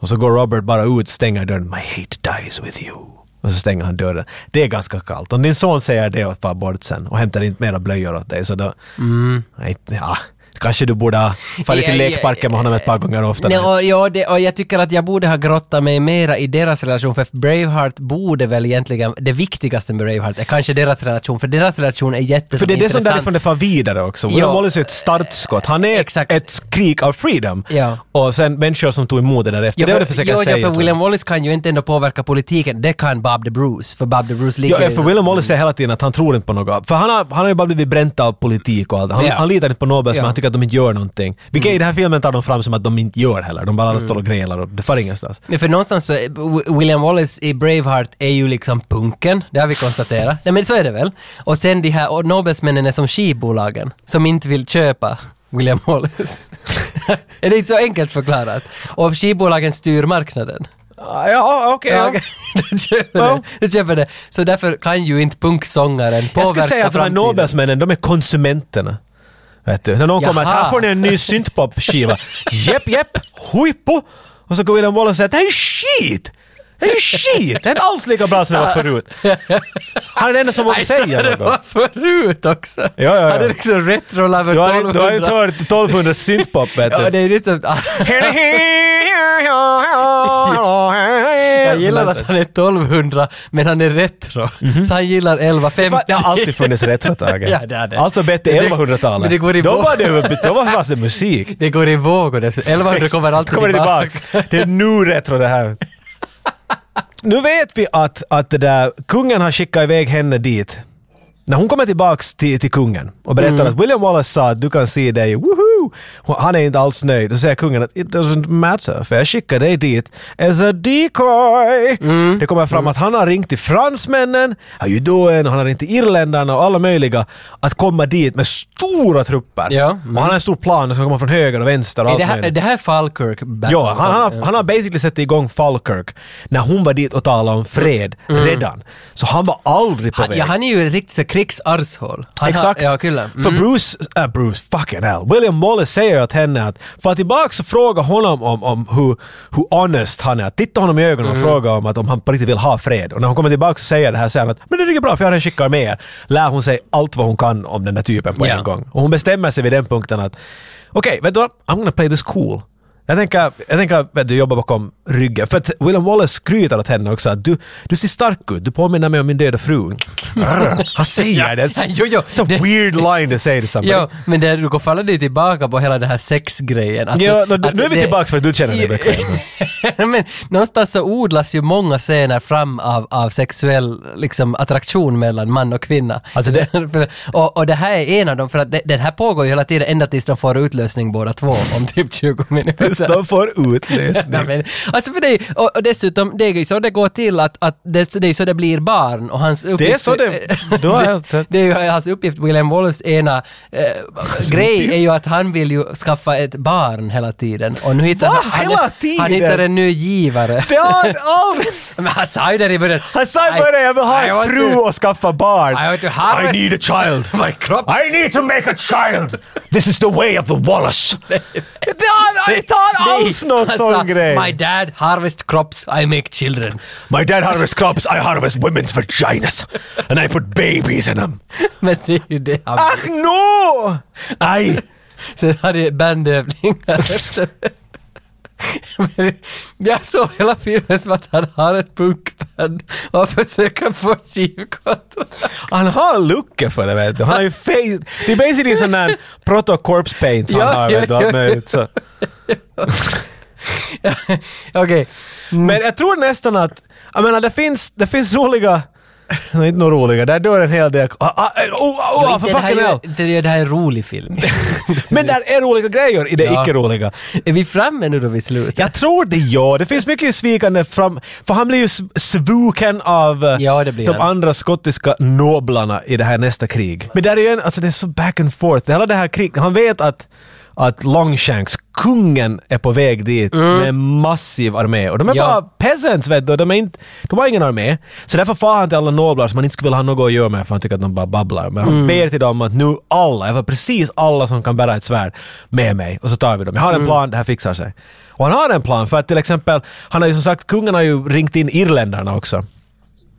Speaker 2: Och så går Robert bara ut, stänger dörren. My hate dies with you. Och så stänger han dörren. Det är ganska kallt. Om din son säger det och far bort sen och hämtar inte mera blöjor åt dig så då... Nej, ja. Kanske du borde ha farit
Speaker 1: Mm. Ja,
Speaker 2: till
Speaker 1: ja,
Speaker 2: lekparken med honom ett par gånger oftare.
Speaker 1: Nej, och, ja, det, och jag tycker att jag borde ha grottat mig mera i deras relation, för Braveheart borde väl egentligen, det viktigaste med Braveheart är kanske deras relation, för deras relation är jätteintressant.
Speaker 2: För det är det som därifrån det far vidare också. William
Speaker 1: Ja.
Speaker 2: Wallace är ett startskott. Han är
Speaker 1: Exakt.
Speaker 2: ett skrik av freedom.
Speaker 1: Ja.
Speaker 2: Och sen människor som tog emot det därefter.
Speaker 1: Ja,
Speaker 2: det var
Speaker 1: för,
Speaker 2: det jag försöker
Speaker 1: ja,
Speaker 2: säga.
Speaker 1: ja,
Speaker 2: tror
Speaker 1: för
Speaker 2: jag.
Speaker 1: William Wallace kan ju inte ändå påverka politiken. Det kan Bob the Bruce, för Bob the Bruce ligger
Speaker 2: Ja,
Speaker 1: ju- Mm.
Speaker 2: för William Wallace säger hela tiden att han tror inte på något. För han har, han har ju bara blivit bränt av politik och allt. Han,
Speaker 1: Ja.
Speaker 2: han litar inte på Nobels,
Speaker 1: Ja. Mm.
Speaker 2: men han tycker att de inte gör någonting. Vilket i den här filmen tar de fram som att de inte gör heller. De bara alla står och grälar och det far ingenstans.
Speaker 1: Men för någonstans så, är- W- William Wallace i Braveheart är ju liksom punken, det har vi konstaterat. Nej men så är det väl. Och sen de här, och Nobelsmännen är som skivbolagen, som inte vill köpa William Wallace. [LAUGHS] är det inte så enkelt förklarat? Och skivbolagen styr marknaden.
Speaker 2: Ja, okej.
Speaker 1: Ah, Ja,
Speaker 2: ja.
Speaker 1: okej. [LAUGHS] De köper,
Speaker 2: Ja.
Speaker 1: det. De köper det. Så därför kan ju inte punksångaren påverka
Speaker 2: Jag skulle säga att de här
Speaker 1: framtiden.
Speaker 2: Nobelsmännen, de är konsumenterna. Vet du, när någon kommer att
Speaker 1: Jaha.
Speaker 2: här får ni en ny syntpop-skiva. Jepp, jepp, huippo! Och så går William Wallace och säger att det här är skit! Det här är skit! Det är inte alls lika bra som det var förut. Han är den enda som
Speaker 1: [LAUGHS]
Speaker 2: vågar
Speaker 1: Nej, så
Speaker 2: säga
Speaker 1: det
Speaker 2: något.
Speaker 1: var förut också!
Speaker 2: ja, ja.
Speaker 1: Hade liksom retro över
Speaker 2: Du har, du har inte
Speaker 1: 1200.
Speaker 2: hört 1200 syntpop, vet
Speaker 1: Ja,
Speaker 2: du.
Speaker 1: det är liksom... [LAUGHS] Jag gillar att han är 1200, men han är retro. Så han gillar 1150.
Speaker 2: Mhm. Det har alltid funnits retrotagen.
Speaker 1: Ja, det har det.
Speaker 2: Alltså bättre
Speaker 1: Men det- men
Speaker 2: 1100-talet.
Speaker 1: det går i
Speaker 2: Då
Speaker 1: våg.
Speaker 2: var det, då var det fast musik.
Speaker 1: Det går i vågor.
Speaker 2: [LAUGHS]
Speaker 1: det- 1100 kommer alltid
Speaker 2: Kommer det
Speaker 1: tillbaka.
Speaker 2: tillbaks. Det är nu retro det här. Nu vet vi att, att det där, kungen har skickat iväg henne dit. När hon kommer tillbaks till, till kungen och berättar
Speaker 1: Mm.
Speaker 2: att William Wallace sa att du kan se dig, woohoo! Och Han är inte alls nöjd. Då säger kungen att it doesn't matter för jag skickar dig dit as a decoy.
Speaker 1: Mm.
Speaker 2: Det kommer fram att han har ringt till fransmännen, har ju då en, han har ringt till irländarna och alla möjliga att komma dit med stora trupper.
Speaker 1: Ja, mm.
Speaker 2: Och han har en stor plan, de ska komma från höger och vänster och
Speaker 1: Är
Speaker 2: allt
Speaker 1: det här, är
Speaker 2: möjligt.
Speaker 1: det här alltså? Falkirk Battle?
Speaker 2: Ja, han, han, har- han har basically satt igång Falkirk när hon var dit och talade om fred redan. Så han var aldrig på
Speaker 1: Mm. Han,
Speaker 2: väg.
Speaker 1: ja, han är ju riktigt så krigsarshål. Han
Speaker 2: Exakt.
Speaker 1: Har, ja, kul. Mm.
Speaker 2: För Bruce, äh, Bruce, fucking hell. William Wallace säger ju åt henne att fara tillbaka och fråga honom om, om hur, hur honest han är. Titta honom i ögonen och
Speaker 1: Mm.
Speaker 2: fråga om, att, om han på riktigt vill ha fred. Och när hon kommer tillbaka och säger det här säger han att men det ligger bra för jag har en skickare med er. Lär hon sig allt vad hon kan om den där typen på
Speaker 1: Ja.
Speaker 2: en gång. Och hon bestämmer sig vid den punkten att okej, vet du vad? I'm gonna play this cool. Jag tänker, jag tänker vet du, jobba bakom ryggen. För att William Wallace skryter åt henne också att du, du ser stark ut, du påminner mig om min döda fru.
Speaker 1: [LAUGHS]
Speaker 2: Arr, Han säger det.
Speaker 1: Jo, jo.
Speaker 2: It's a weird line to say to somebody. [LAUGHS]
Speaker 1: Ja, men det, du går faller ju tillbaka på hela den här sexgrejen. Alltså,
Speaker 2: ja, nu,
Speaker 1: att
Speaker 2: nu är vi
Speaker 1: det-
Speaker 2: tillbaka för att du känner dig bekväm.
Speaker 1: [LAUGHS] men någonstans så odlas ju många scener fram av, av sexuell liksom, attraktion mellan man och kvinna.
Speaker 2: Alltså det-
Speaker 1: [LAUGHS] och, och det här är en av dem, för att det, den här pågår ju hela tiden ända tills de får utlösning båda två om typ 20
Speaker 2: [LAUGHS] Tills
Speaker 1: minuter.
Speaker 2: de får utlösning.
Speaker 1: Nej, men, alltså för det, och, och dessutom, det är ju så det går till att, att det, det är så det blir barn och hans uppgift...
Speaker 2: Det är så det... er Du har helt rätt.
Speaker 1: Det är ju hans uppgift, William Wallace ena eh, grej är ju att han vill ju skaffa ett barn hela tiden. Och nu hittar
Speaker 2: Va?
Speaker 1: han,
Speaker 2: Hela
Speaker 1: han,
Speaker 2: tiden?
Speaker 1: han hittar en ny givare.
Speaker 2: Det er har han aldrig...
Speaker 1: [LAUGHS] Men han sa ju där i början...
Speaker 2: Han sa i början jag vill ha
Speaker 1: I
Speaker 2: en
Speaker 1: want
Speaker 2: fru
Speaker 1: to-
Speaker 2: och skaffa barn.
Speaker 1: I want to harvest-
Speaker 2: I need a child.
Speaker 1: [LAUGHS] My crop.
Speaker 2: I need to make a child! This is the way of the Wallace! Det er- har han inte
Speaker 1: Nej,
Speaker 2: alls någon
Speaker 1: han
Speaker 2: sån
Speaker 1: sa,
Speaker 2: grej!
Speaker 1: My dad harvest crops, I make children. [LAUGHS]
Speaker 2: My dad harvests crops, I harvest women's vaginas. And I put babies in them.
Speaker 1: Men det är ju det han...
Speaker 2: Ach no! I...
Speaker 1: Sen hade jag bandövningar [LAUGHS] Men Jag såg hela filmen som att han har ett punkband och försöker få skivkontrakt.
Speaker 2: Han har lucka för det vet du. Han har ju face... Det är basically sån där proto-corpse paint han
Speaker 1: Ja,
Speaker 2: har vet du.
Speaker 1: ja,
Speaker 2: allt
Speaker 1: ja.
Speaker 2: möjligt, så.
Speaker 1: Okej.
Speaker 2: Men jag tror nästan att, jag menar det finns, det finns roliga, [LAUGHS] nej inte några roliga, där dör en hel del, ah, ah, eh, oh, oh, oh,
Speaker 1: Men
Speaker 2: för
Speaker 1: det, här
Speaker 2: fucking
Speaker 1: är,
Speaker 2: hell.
Speaker 1: ju- det, är- det här är en rolig film.
Speaker 2: Men där är roliga grejer i det
Speaker 1: Ja.
Speaker 2: icke-roliga.
Speaker 1: är vi framme nu då vid slutet?
Speaker 2: Jag tror det ja, det finns mycket svikande fram, för han blir ju s- svuken av eh,
Speaker 1: Ja, det blir
Speaker 2: de
Speaker 1: han.
Speaker 2: andra skottiska noblarna i det här nästa krig. Men där är ju en, alltså det är så back and forth, hela det här kriget, han vet att att Longshanks, kungen, är på väg dit med en massiv armé. Och de är
Speaker 1: Ja.
Speaker 2: bara peasants vet du, de, är inte, de har ingen armé. Så därför far han till alla noblar som han inte skulle vilja ha något att göra med för han tycker att de bara babblar. Men han ber till dem att nu alla, jag var precis alla som kan bära ett svärd med mig och så tar vi dem. Jag har en plan, det här fixar sig. Och han har en plan för att till exempel, han har ju som sagt, kungen har ju ringt in irländarna också.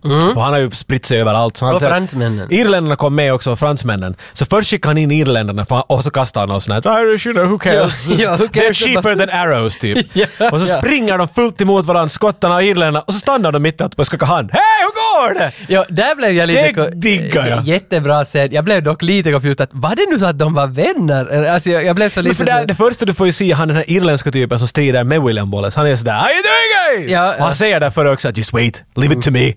Speaker 2: För han har ju spritt sig överallt. Så han
Speaker 1: Mm. Och
Speaker 2: säger-
Speaker 1: fransmännen.
Speaker 2: Irländarna kom med också, fransmännen. Så först skickade han in irländarna för han, och så kastade han oss sån här Irish, you know, who
Speaker 1: [LAUGHS]
Speaker 2: cares?
Speaker 1: Ja, ja, who
Speaker 2: They're
Speaker 1: cares
Speaker 2: cheaper than arrows typ.
Speaker 1: [LAUGHS] Ja,
Speaker 2: och så
Speaker 1: ja.
Speaker 2: springer de fullt emot varandra, skottarna och irländarna, och så stannar de mitt uppe och skakar hand. Hej, hur går det?
Speaker 1: Ja, där blev jag lite...
Speaker 2: Det diggar jag.
Speaker 1: Jättebra scen. Jag blev dock lite confused att var det nu så att de var vänner? Eller, Alltså jag, jag blev så
Speaker 2: Men
Speaker 1: lite...
Speaker 2: för det,
Speaker 1: så-
Speaker 2: det första du får ju se han den här irländska typen som strider med William Wallace. Han är sådär “How you doing guys?”
Speaker 1: Ja, Mm.
Speaker 2: Och han
Speaker 1: ja.
Speaker 2: säger därför också att “Just wait, leave it to me”.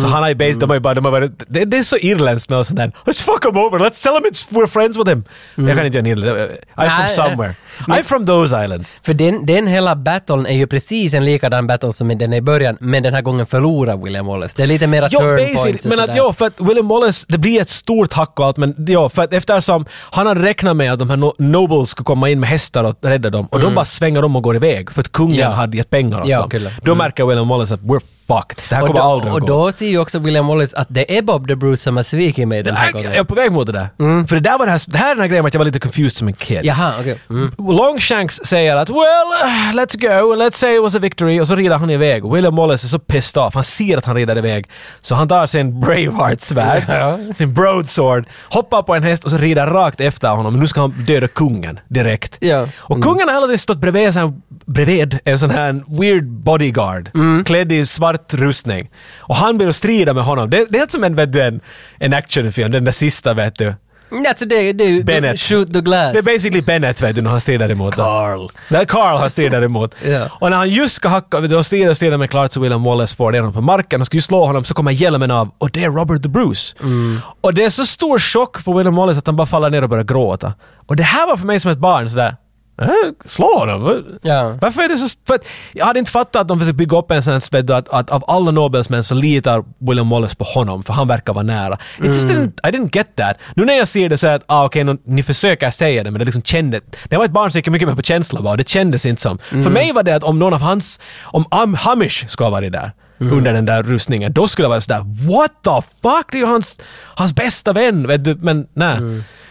Speaker 2: Så han har ju base, de har ju bara, de har varit, det, det är så irländskt nu och sådär “Let's fuck him over, let's tell him it's, we're friends with him”. Jag kan inte göra en irländsk.
Speaker 1: Nej,
Speaker 2: I'm from
Speaker 1: Mm. nej.
Speaker 2: somewhere.
Speaker 1: Men-
Speaker 2: I'm from those islands.
Speaker 1: För den, den hela battlen är ju precis en likadan battle som den är i början, men den här gången förlorar William Wallace. Det är lite mera
Speaker 2: Jo,
Speaker 1: turn points
Speaker 2: basic,
Speaker 1: och
Speaker 2: men
Speaker 1: sådär.
Speaker 2: att, ja, för att William Wallace, det blir ett stort hack och allt, men ja, för att eftersom han hade räknat med att de här no- nobles skulle komma in med hästar och rädda dem, och de bara svänger om och går iväg, för att kungen
Speaker 1: Mm. Ja.
Speaker 2: hade gett pengar åt
Speaker 1: Ja,
Speaker 2: dem.
Speaker 1: kul.
Speaker 2: Då märker William Wallace att we're fucked. Det här
Speaker 1: och
Speaker 2: kommer
Speaker 1: då,
Speaker 2: aldrig att
Speaker 1: och
Speaker 2: gå.
Speaker 1: då ser ju också William Wallace att det är Bob the Bruce som har svikit mig den här
Speaker 2: Jag,
Speaker 1: gången.
Speaker 2: jag är på väg mot det där. För det där var det här, det här är den här grejen med att jag var lite confused som en kid.
Speaker 1: Jaha, okej. Mm.
Speaker 2: Longshanks säger att “Well, uh, let's go, let's say it was a victory” och så rider han iväg. William Wallace är så pissed off, han ser att han rider iväg. Så han tar sin Braveheart-svärd, sin broadsword, hoppar på en häst och så rider rakt efter honom. Men nu ska han döda kungen direkt.
Speaker 1: Ja. Mm.
Speaker 2: Och kungen har hela tiden stått bredvid en sån, här, bredvid en sån här weird bodyguard,
Speaker 1: Mm.
Speaker 2: klädd i svart rustning. Och han blir att strida med honom. Det, det är helt som en, vet du, en, en actionfilm, den där sista vet du.
Speaker 1: Mm, Alltså det, det är ju
Speaker 2: Bennett.
Speaker 1: shoot the glass.
Speaker 2: Det är basically Bennett vet du, när han strider emot dem.
Speaker 1: Carl.
Speaker 2: Det är Carl han strider emot.
Speaker 1: Ja.
Speaker 2: Och när han just ska hacka, vet du, de strider och strider med klart så William Wallace får ner honom på marken och ska ju slå honom så kommer hjälmen av och det är Robert the Bruce.
Speaker 1: Mm.
Speaker 2: Och det är så stor chock för William Wallace att han bara faller ner och börjar gråta. Och det här var för mig som ett barn sådär "Äh, Slå honom?
Speaker 1: Ja.
Speaker 2: Varför är det så... För att jag hade inte fattat att de försöker bygga upp en sån här svedd att, att av alla Nobelsmän så litar William Wallace på honom för han verkar vara nära. It just
Speaker 1: Mm.
Speaker 2: didn't, I didn't get that. Nu när jag ser det så är att ah, okej, nå- ni försöker säga det men det liksom kändes... När jag var ett barn så gick jag mycket mer på känsla bara, det kändes inte som.
Speaker 1: Mm.
Speaker 2: För mig var det att om någon av hans... Om Am Hamish skulle ha varit där
Speaker 1: Mm.
Speaker 2: under den där rustningen, då skulle jag vara sådär “What the fuck?” Det är ju hans, hans bästa vän, vet du, men nej.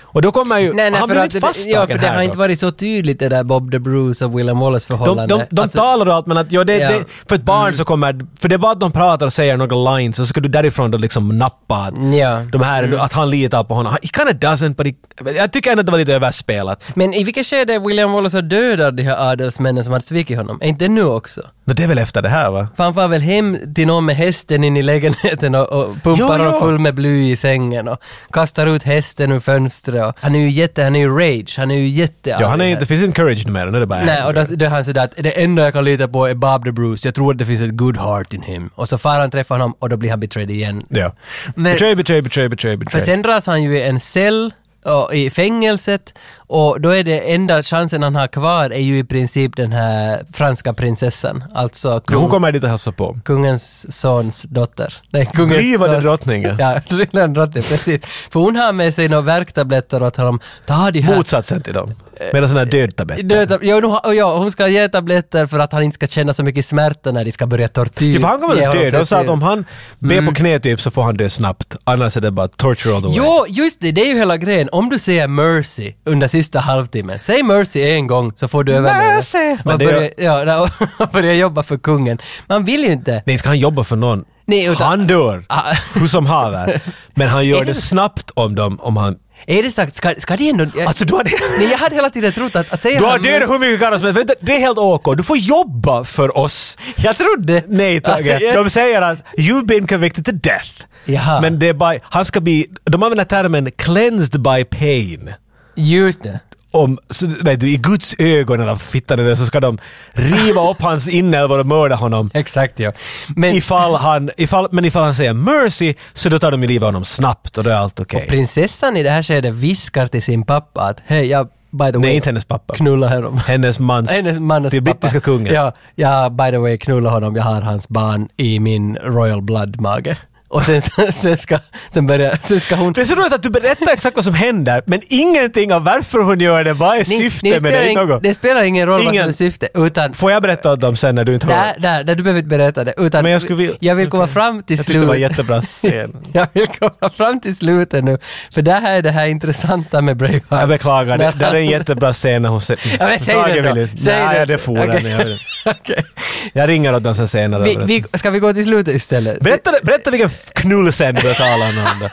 Speaker 2: Och då kommer ju...
Speaker 1: Mm. Nej, nej,
Speaker 2: han
Speaker 1: för
Speaker 2: blir
Speaker 1: att,
Speaker 2: inte fasttagen
Speaker 1: Ja, för det
Speaker 2: här
Speaker 1: har
Speaker 2: då.
Speaker 1: inte varit så tydligt det där Bob the Bruce och William Wallace
Speaker 2: De,
Speaker 1: förhållande.
Speaker 2: de, de
Speaker 1: Alltså,
Speaker 2: talar och allt men att, ja, det,
Speaker 1: Ja. Mm.
Speaker 2: Det, för ett barn så kommer, för det är bara att de pratar och säger några lines och så ska du därifrån då liksom nappa att,
Speaker 1: Ja. Mm.
Speaker 2: de här, att han litar på honom. Han- He kinda doesn't but he, jag tycker ändå att det var lite överspelat.
Speaker 1: Men i vilket skede är William Wallace och dödar de här adelsmännen som hade svikit honom? Är inte det nu också?
Speaker 2: Men det är väl efter det här va?
Speaker 1: För han far väl hem till någon med hästen in i lägenheten och, och
Speaker 2: Jo,
Speaker 1: pumpar
Speaker 2: jo.
Speaker 1: honom full med bly i sängen och kastar ut hästen ur fönstret. Och han är ju jätte, han är ju rage, han är ju jättearg.
Speaker 2: Ja, han är inte, det
Speaker 1: här.
Speaker 2: finns inte courage numera, nu är det bara
Speaker 1: Nej, och då, då är han sådär att det enda jag kan lita på är Bob the Bruce, jag tror att det finns ett good heart in him. Och så far han träffar honom och då blir han betrayed igen.
Speaker 2: Ja.
Speaker 1: Men-
Speaker 2: betray, betray, betray, betray,
Speaker 1: För
Speaker 2: betray.
Speaker 1: sen dras han ju i en cell och, i fängelset och då är det enda chansen han har kvar är ju i princip den här franska prinsessan, alltså
Speaker 2: Men
Speaker 1: kung,
Speaker 2: Hon kommer dit och hälsar på.
Speaker 1: kungens sons dotter. Nej, kungens
Speaker 2: Blivande
Speaker 1: sons-
Speaker 2: drottningen.
Speaker 1: Ja, [LAUGHS] blivande drottningen, precis. För hon har med sig några värktabletter åt honom. Ta de här.
Speaker 2: Motsatsen till dem. Medan sådana här dödtabletter.
Speaker 1: Döda, jo, nu har- ja, hon ska ge tabletter för att han inte ska känna så mycket smärta när de ska börja tortyr.
Speaker 2: Ja, för han kommer
Speaker 1: ge
Speaker 2: att
Speaker 1: honom
Speaker 2: dö. De sa att
Speaker 1: tortyr.
Speaker 2: om han ber på knä typ så får han dö snabbt. Annars är det bara torture all the way.
Speaker 1: Mm. Jo, just det, det är ju hela grejen. Om du säger mercy under sista halvtimmen, säg mercy en gång så får du överleva.
Speaker 2: Mercy!
Speaker 1: Och
Speaker 2: Men det
Speaker 1: börja, ja, [LAUGHS] och börja jobba för kungen. Man vill ju inte.
Speaker 2: Nej, ska han jobba för någon?
Speaker 1: Nej, utan-
Speaker 2: Han dör,
Speaker 1: [LAUGHS] Ah.
Speaker 2: hur som haver. Men
Speaker 1: [LAUGHS]
Speaker 2: han
Speaker 1: Är
Speaker 2: gör
Speaker 1: det-
Speaker 2: det snabbt om dem, om han...
Speaker 1: Är det sagt, ska, ska det ändå... Jag,
Speaker 2: Alltså du har det...
Speaker 1: Eh, nej, jag hade hela tiden trott att... att säger
Speaker 2: Du har
Speaker 1: han
Speaker 2: dödat hur mycket karlar som helst. Vänta, Det är helt OK. Du får jobba för oss.
Speaker 1: Jag trodde...
Speaker 2: Nej Tage.
Speaker 1: Alltså, jag-
Speaker 2: De säger att you've been convicted to death.
Speaker 1: Jaha.
Speaker 2: Men det är bara... Han ska bli... De använder termen cleansed by pain.
Speaker 1: Just det.
Speaker 2: om, så, vet du, i Guds ögon eller fittan eller så ska de riva upp hans inälvor och mörda honom.
Speaker 1: Exakt ja. Men
Speaker 2: Ifall han, ifall, men ifall han säger mercy så då tar de ju livet av honom snabbt och då är allt okej.
Speaker 1: prinsessan i det här skedet viskar till sin pappa att hej, jag by the
Speaker 2: Nej,
Speaker 1: way
Speaker 2: inte hennes pappa.
Speaker 1: knullar honom.
Speaker 2: Hennes mans,
Speaker 1: Hennes man och
Speaker 2: till
Speaker 1: pappa.
Speaker 2: brittiska kungen.
Speaker 1: Ja, ja, by the way, knulla honom, jag har hans barn i min Royal Blood-mage. Och sen, sen, ska, sen, börjar, sen ska hon...
Speaker 2: Det är så roligt att du berättar exakt vad som händer, men ingenting av varför hon gör det. Vad är
Speaker 1: Ni-
Speaker 2: syftet
Speaker 1: ni
Speaker 2: med
Speaker 1: spelar
Speaker 2: det?
Speaker 1: ing-
Speaker 2: Något.
Speaker 1: det spelar ingen roll vad som är
Speaker 2: Ingen-
Speaker 1: syftet, utan...
Speaker 2: Får jag berätta åt dem sen när du inte
Speaker 1: Där,
Speaker 2: har...
Speaker 1: där, där, du behöver inte berätta det. Utan
Speaker 2: Men jag skulle vilja-
Speaker 1: jag vill komma
Speaker 2: okej.
Speaker 1: fram till
Speaker 2: Jag tyckte
Speaker 1: slut.
Speaker 2: det var en jättebra scen.
Speaker 1: [LAUGHS] jag vill komma fram till slutet nu. För det här är det här intressanta med Braveheart.
Speaker 2: Jag beklagar, det, det är en
Speaker 1: Nej.
Speaker 2: jättebra scen när hon säger...
Speaker 1: Ja, men säg
Speaker 2: Tage
Speaker 1: det då.
Speaker 2: vill inte.
Speaker 1: Säg
Speaker 2: Nej,
Speaker 1: det.
Speaker 2: det får den.
Speaker 1: Okej.
Speaker 2: Jag, vill inte.
Speaker 1: [LAUGHS] Okej.
Speaker 2: jag ringer åt dem sen senare.
Speaker 1: Vi, vi, ska vi gå till slutet istället?
Speaker 2: Berätta, berätta vilken f- knullscen du börjar tala om. Amanda.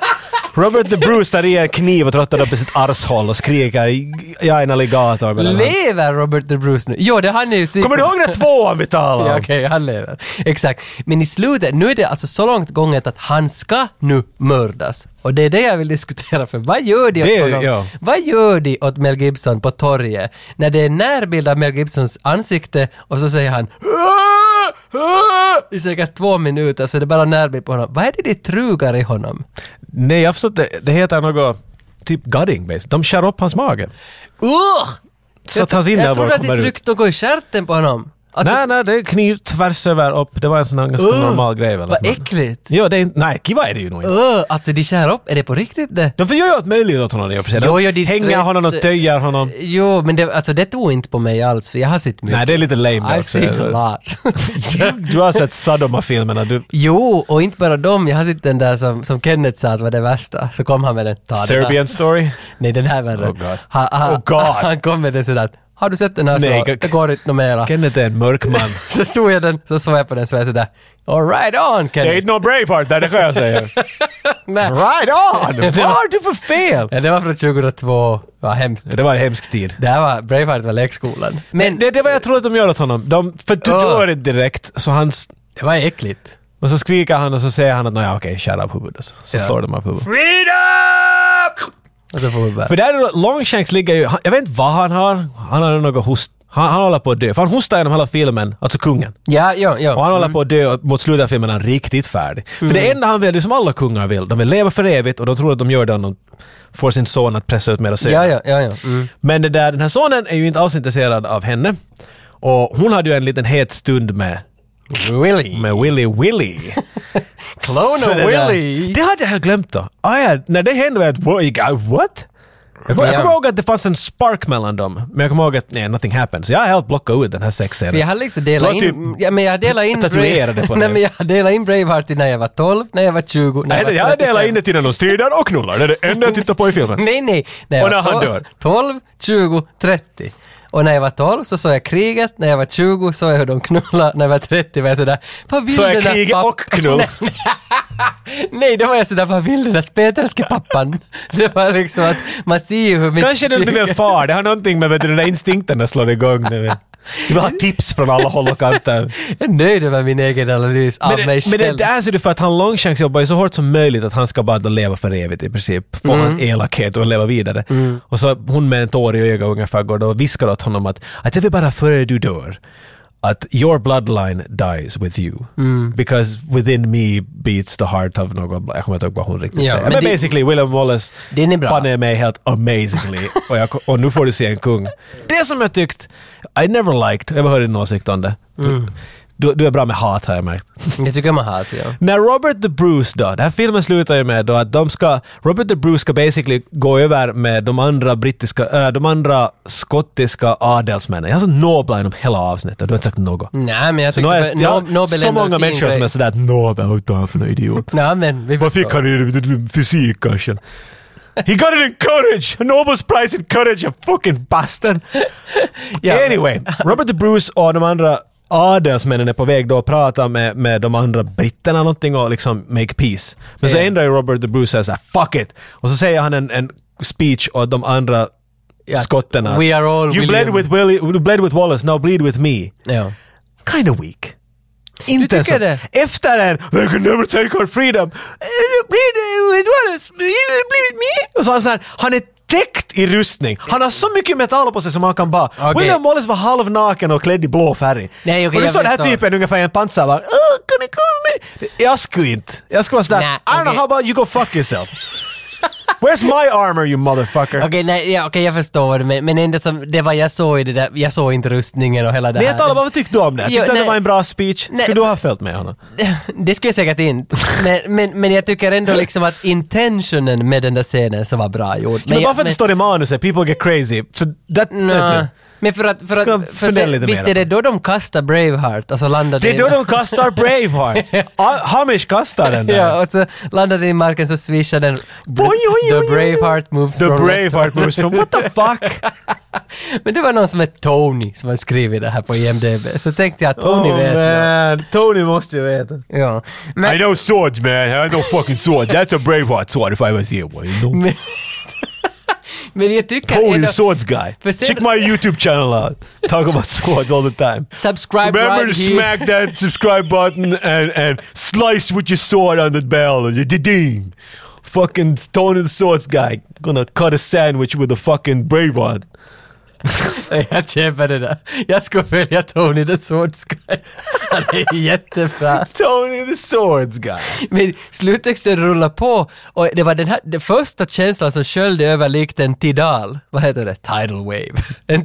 Speaker 2: Robert the Bruce tar i en kniv och trottar upp i sitt arshåll och skriker “Jag är en alligator”. mellan dem.
Speaker 1: Lever Robert de Bruce nu? Jo, det han är ju... sin-
Speaker 2: Kommer du ihåg den tvåan vi talade om?
Speaker 1: Ja, Okej, han lever. Exakt. Men i slutet, nu är det alltså så långt gånget att han ska nu mördas. Och det är det jag vill diskutera, för vad gör de åt
Speaker 2: Det är-
Speaker 1: honom?
Speaker 2: ja.
Speaker 1: Vad gör de åt Mel Gibson på torget? När det är närbild av Mel Gibsons ansikte och så säger han "Aah! Aah!" i säkert två minuter, så det är bara närbild på honom. Vad är det de trugar i honom?
Speaker 2: Nej, jag förstår inte. Det heter något... Typ gutting based. De skär upp hans mage.
Speaker 1: Ugh!
Speaker 2: Så
Speaker 1: Jag
Speaker 2: att hans
Speaker 1: tro- Jag
Speaker 2: inälvor
Speaker 1: trodde att de
Speaker 2: kommer ut.
Speaker 1: tryckte något i stjärten på honom. Att-
Speaker 2: Nej, nej, det är kniv tvärs över upp. Det var en sån här ganska
Speaker 1: Ugh,
Speaker 2: normal grej väl? att
Speaker 1: Vad
Speaker 2: man-
Speaker 1: äckligt!
Speaker 2: Jo, det är inte... Nej, kiva är det ju nog inte.
Speaker 1: Öh, alltså de skär upp, är det på riktigt det?
Speaker 2: De gör ju allt möjligt åt honom i och för sig. De
Speaker 1: Jo, jo, det är Eh,
Speaker 2: hänger
Speaker 1: stretch-
Speaker 2: honom och töjer honom.
Speaker 1: Jo, men det, alltså, det tog inte på mig alls, för jag har sett mycket.
Speaker 2: Nej, det är lite lame det
Speaker 1: I've
Speaker 2: också.
Speaker 1: seen a lot.
Speaker 2: [LAUGHS] Du har sett Sadoma-filmerna. Du...
Speaker 1: jo, och inte bara dem. Jag har sett den där som, som Kenneth sa att var det värsta. Så kom han med den. Ta den här.
Speaker 2: Serbian story?
Speaker 1: Nej, den här värre.
Speaker 2: Oh God.
Speaker 1: han, han,
Speaker 2: Oh God.
Speaker 1: han kom med den sådär att, har du sett den här
Speaker 2: Nej,
Speaker 1: så,
Speaker 2: g-
Speaker 1: det går inte något mera.
Speaker 2: Kenneth är en mörk man.
Speaker 1: så tog jag den, så såg jag på den så var jag sådär, all right on
Speaker 2: Det
Speaker 1: Kenneth.
Speaker 2: är inte någon Braveheart där, det kan jag säga.
Speaker 1: Nej.
Speaker 2: Right [LAUGHS] on! Vad har du för fel?
Speaker 1: Ja, det var från 2002, vad hemskt.
Speaker 2: Det var en hemsk tid.
Speaker 1: Det här var, Braveheart var lekskolan. Men
Speaker 2: Det,
Speaker 1: det,
Speaker 2: det var jag tror att de gör åt honom. De förtör det direkt, så han... s-
Speaker 1: var äckligt.
Speaker 2: Och så skriker han och så säger han att nåja okej, skär av huvudet. Så, så slår de av huvudet.
Speaker 1: Och så får vi bara...
Speaker 2: För där är det- Longshanks ligger ju... han- Jag vet inte vad han har. Han har något host... Han, han håller på att dö. För han hostar genom hela filmen, alltså kungen.
Speaker 1: Ja, ja, ja.
Speaker 2: Och han håller på att dö och mot slutet av filmen är han riktigt färdig. För det enda han vill, det är som alla kungar vill, de vill leva för evigt och de tror att de gör det om de får sin son att pressa ut mer och
Speaker 1: Ja, ja, ja, ja. Mm.
Speaker 2: Men det där, den här sonen är ju inte alls intresserad av henne. Och hon hade ju en liten het stund med,
Speaker 1: Really?
Speaker 2: med Willy Willy.
Speaker 1: Clone
Speaker 2: Så
Speaker 1: of
Speaker 2: det där-
Speaker 1: Willy.
Speaker 2: Det hade jag glömt då. Ah, ja, när det hände var jag att, "Whoa, you got what? Jag kommer, jag
Speaker 1: Ja.
Speaker 2: kommer ihåg att det fanns en spark mellan dem, men jag kommer ihåg att nej, nothing happened. Så jag har helt blockat ut den här sexscenen.
Speaker 1: För jag har liksom delat
Speaker 2: Det var
Speaker 1: in... Ja, men jag delade in...
Speaker 2: typ tatuerade
Speaker 1: [LAUGHS]
Speaker 2: på
Speaker 1: Nej,
Speaker 2: det.
Speaker 1: men jag delade in Braveheart när jag var 12, när jag var 20, när
Speaker 2: Nej,
Speaker 1: jag,
Speaker 2: det-
Speaker 1: var
Speaker 2: jag
Speaker 1: 35.
Speaker 2: delar in det till när de strider och knullar. Det är det enda jag tittar på i filmen.
Speaker 1: Nej, nej. jag
Speaker 2: Och när
Speaker 1: var
Speaker 2: han
Speaker 1: tol-
Speaker 2: dör.
Speaker 1: 12, 20, 30. Och när jag var 12 så såg jag kriget, när jag var 20 såg jag hur de knullade, när jag var 30 var jag sådär, vad vill
Speaker 2: Så
Speaker 1: den
Speaker 2: är
Speaker 1: där
Speaker 2: krig
Speaker 1: papp-
Speaker 2: och knull.
Speaker 1: Nej, då var jag sådär, vad vill den där spetälske pappan? [LAUGHS] det var liksom att man ser ju hur mitt
Speaker 2: Kanske det
Speaker 1: psyke-
Speaker 2: blir en far. Det har någonting med vet du, den där instinkten att slå igång. Du vet. Du vill ha tips från alla håll och kanter.
Speaker 1: Jag [LAUGHS] är nöjd över min egen analys av
Speaker 2: Men
Speaker 1: mig
Speaker 2: det, men
Speaker 1: själv.
Speaker 2: det där ser du för att han Longchanks jobbar ju så hårt som möjligt att han ska bara då leva för evigt i princip. Få
Speaker 1: Mm.
Speaker 2: hans elakhet och leva vidare. Och så hon med en tår i ögat ungefär går då och viskar åt honom att, att jag vill bara före du dör att your bloodline dies with you.
Speaker 1: Mm.
Speaker 2: Because within me beats the heart of någon, jag kommer inte ihåg vad hon riktigt
Speaker 1: Ja,
Speaker 2: säger. Men,
Speaker 1: men det-
Speaker 2: basically William Wallace
Speaker 1: Den är bra.
Speaker 2: banne mig helt
Speaker 1: [LAUGHS]
Speaker 2: amazingly och, jag, och nu får du se en kung. Det som jag tyckt, I never liked, jag behöver din åsikt om det.
Speaker 1: Mm.
Speaker 2: Du, du är bra med hat har jag märkt.
Speaker 1: Jag tycker man har det, ja.
Speaker 2: När Robert the Bruce då, den här filmen slutar ju med då att de ska, Robert the Bruce ska basically gå över med de andra brittiska, äh, de andra skottiska adelsmännen. Jag har sagt nobla genom hela avsnittet, du har inte sagt något.
Speaker 1: Nej, men jag
Speaker 2: Så nu
Speaker 1: tycker
Speaker 2: har
Speaker 1: no,
Speaker 2: jag, jag
Speaker 1: no,
Speaker 2: har
Speaker 1: Mm. Nobel
Speaker 2: så
Speaker 1: ändå en
Speaker 2: många
Speaker 1: fin
Speaker 2: människor
Speaker 1: grej.
Speaker 2: som är sådär att Nobel, vad är han för en idiot?
Speaker 1: Nej, men vi
Speaker 2: Vad fick
Speaker 1: förstår.
Speaker 2: han i fysik kanske? He got it in courage! A Nobel's prize in courage, you fucking bastard!
Speaker 1: [LAUGHS] Ja, men-
Speaker 2: anyway, Robert the Bruce och de andra adelsmännen är på väg då att prata med, med de andra britterna någonting och liksom make peace. Men så
Speaker 1: Ja.
Speaker 2: ändrar ju Robert the Bruce och säger såhär “fuck it” och så säger han en, en speech åt de andra
Speaker 1: Ja,
Speaker 2: skotten att
Speaker 1: we are all
Speaker 2: You bled
Speaker 1: William."
Speaker 2: with, Willy, you bled with Wallace, now bleed with me.
Speaker 1: Ja.
Speaker 2: Kind of weak. Inte
Speaker 1: tycker
Speaker 2: så.
Speaker 1: det?
Speaker 2: Efter en “They can never eh, take our freedom”. Eh, Bleed with Wallace, bleed with me. Och så han såhär, han är täckt i rustning. Han har så mycket metall på sig som han kan bara.
Speaker 1: Okej.
Speaker 2: William Wallace var halvnaken och klädd i blå färg.
Speaker 1: Nej, okej,
Speaker 2: och nu
Speaker 1: jag
Speaker 2: står den här
Speaker 1: förstår.
Speaker 2: typen ungefär i en pansarvagn. Åh, kan ni komma med? Jag skulle inte. Jag skulle vara sådär,
Speaker 1: Nej,
Speaker 2: I don't know,
Speaker 1: okej.
Speaker 2: how about you go fuck yourself?
Speaker 1: [LAUGHS]
Speaker 2: Where's my armor you motherfucker?
Speaker 1: Okej, nej, ja, okej, jag förstår vad du menar. Men ändå som, det var jag såg i det där, jag såg inte rustningen och hela det
Speaker 2: Nej,
Speaker 1: här.
Speaker 2: jag talar bara, vad tyckte du om det?
Speaker 1: Jo,
Speaker 2: Tyckte att det
Speaker 1: nej.
Speaker 2: var en bra speech? Skulle
Speaker 1: Nej.
Speaker 2: du ha följt med honom?
Speaker 1: Det skulle jag säkert inte. Men, men, men jag tycker
Speaker 2: [LAUGHS]
Speaker 1: ändå liksom att intentionen med den där scenen så var bra gjord.
Speaker 2: Men,
Speaker 1: jag-
Speaker 2: varför det står i manuset, people get crazy. Så that, vet
Speaker 1: Nå,
Speaker 2: du.
Speaker 1: men för att... För
Speaker 2: Ska
Speaker 1: att för
Speaker 2: fundera
Speaker 1: sen,
Speaker 2: lite
Speaker 1: visst
Speaker 2: mer
Speaker 1: är det då
Speaker 2: på
Speaker 1: de kastar Braveheart och så landar
Speaker 2: Det är då
Speaker 1: i-
Speaker 2: de kastar Braveheart. Ah, Hamish kastar den där.
Speaker 1: [LAUGHS] Ja, och så landar den i marken så swishar den...
Speaker 2: Boing, oj, oj,
Speaker 1: The
Speaker 2: oj, oj.
Speaker 1: Braveheart moves
Speaker 2: The
Speaker 1: from left
Speaker 2: Braveheart moves from
Speaker 1: [LAUGHS]
Speaker 2: what the fuck?
Speaker 1: Men det var någon som hette Tony som hade skrivit det här på IMDB. Så tänkte jag att Tony
Speaker 2: oh,
Speaker 1: vet nog.
Speaker 2: man. Tony måste ju veta.
Speaker 1: Ja. Men,
Speaker 2: I know swords man, I know fucking sword. That's a Braveheart sword if I was here. Well,
Speaker 1: [LAUGHS]
Speaker 2: you know.
Speaker 1: men, men jag tycker
Speaker 2: Tony
Speaker 1: ändå...
Speaker 2: the swords guy.
Speaker 1: För sen-
Speaker 2: Check my YouTube channel out. Talk about [LAUGHS] swords all the time.
Speaker 1: Subscribe
Speaker 2: Remember
Speaker 1: right
Speaker 2: to
Speaker 1: here.
Speaker 2: smack [LAUGHS] that subscribe button and, and slice with your sword on the bell and you ding. Fucking Tony the Swords guy gonna cut a sandwich with a fucking Braveheart.
Speaker 1: [LAUGHS] Jag köper det där. Jag ska följa Tony the Sword Sky. [LAUGHS] Han är jättebra.
Speaker 2: Tony the Swords guy.
Speaker 1: Men sluttexten rullar på och det var den här, den första känslan som sköljde över likt en tidal. Vad heter det? Tidal wave. [LAUGHS] En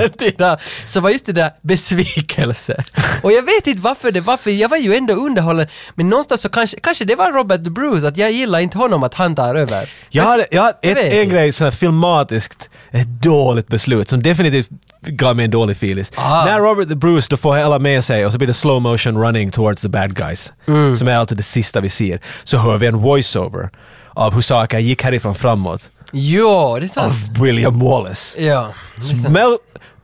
Speaker 1: [LAUGHS] en tidal. Så var just det där besvikelse. Och jag vet inte varför det var, för jag var ju ändå underhållen. Men någonstans så kanske, kanske det var Robert De Bruce, att jag gillar inte honom att han tar över.
Speaker 2: [LAUGHS] Jag hade, jag hade
Speaker 1: Jag
Speaker 2: ett,
Speaker 1: vet
Speaker 2: en
Speaker 1: inte.
Speaker 2: grej, sån här filmatiskt, ett dåligt beslut som definitivt gav mig en dålig feeling.
Speaker 1: Ah.
Speaker 2: När Robert the Bruce, då får alla med sig och så blir det slow motion running towards the bad guys.
Speaker 1: Mm.
Speaker 2: Som är alltid det sista vi ser. Så hör vi en voiceover av hur saker gick härifrån framåt.
Speaker 1: Jo, det är sant.
Speaker 2: Av William Wallace.
Speaker 1: Ja. det är sant.
Speaker 2: Mel,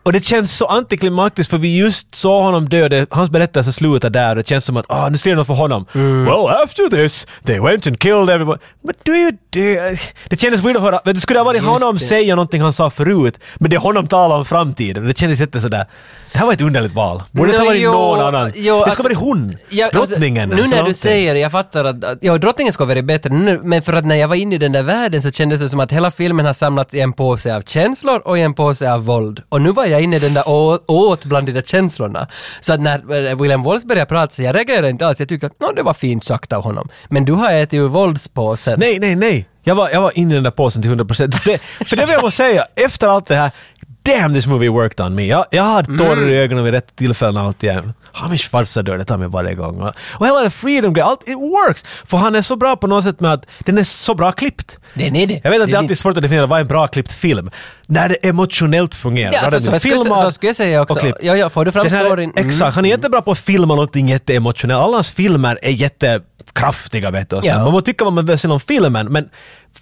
Speaker 2: och det känns så antiklimaktiskt för vi just såg honom dö. Det, hans berättelse slutar där. Det känns som att ah, nu ser de för honom.
Speaker 1: Mm.
Speaker 2: Well, after this, they went and killed everyone. Men du är ju död. Det kändes weird att höra. Men det skulle ha varit
Speaker 1: Just
Speaker 2: honom
Speaker 1: det.
Speaker 2: säga någonting han sa förut, men det är honom tala om framtiden. Det kändes jätte sådär. Det här var ett underligt val. Borde det
Speaker 1: Nå,
Speaker 2: ha varit
Speaker 1: jo,
Speaker 2: någon annan?
Speaker 1: jo,
Speaker 2: det
Speaker 1: alltså-
Speaker 2: ska ha varit hon.
Speaker 1: Ja, alltså,
Speaker 2: drottningen.
Speaker 1: nu
Speaker 2: eller
Speaker 1: när du
Speaker 2: någonting.
Speaker 1: säger det, jag fattar att, att ja, drottningen ska vara bättre nu, men för att när jag var inne i den där världen så kändes det som att hela filmen har samlats i en påse av känslor och i en påse av våld. Och nu var jag inne i den där å- åt bland de där känslorna. Så att när eh, William Wallace började prata så jag reagerade inte alls, jag tyckte att "Nå, det var fint sagt av honom. Men du har ätit ur våldspåsen.
Speaker 2: Nej, nej, nej. Jag var, jag var inne i den där påsen till 100 procent. För det vill jag bara säga, efter allt det här, damn this movie worked on me. Jag, jag
Speaker 1: Mm.
Speaker 2: hade tårar i ögonen vid rätt tillfällen allt igen. Hamish farsa dör, det tar mig varje gång. Och, och hela den freedom-grejen, allt, it works! För han är så bra på något sätt med att den är så bra klippt.
Speaker 1: Den är det.
Speaker 2: Jag vet att det
Speaker 1: Den
Speaker 2: är
Speaker 1: är-
Speaker 2: alltid svårt att definiera vad en bra klippt film. När det emotionellt fungerar.
Speaker 1: Ja, alltså,
Speaker 2: Vad
Speaker 1: så-
Speaker 2: är det?
Speaker 1: så skulle-
Speaker 2: Filmad
Speaker 1: så skulle jag säga också.
Speaker 2: och klippt.
Speaker 1: Ja, ja, får du fram
Speaker 2: Den här-
Speaker 1: storyn. Mm.
Speaker 2: Exakt, han är jättebra på att filma någonting jätteemotionellt. Alla hans filmer är jättekraftiga vet du. och sådär.
Speaker 1: Ja.
Speaker 2: Man må tycka vad man vill om filmen, men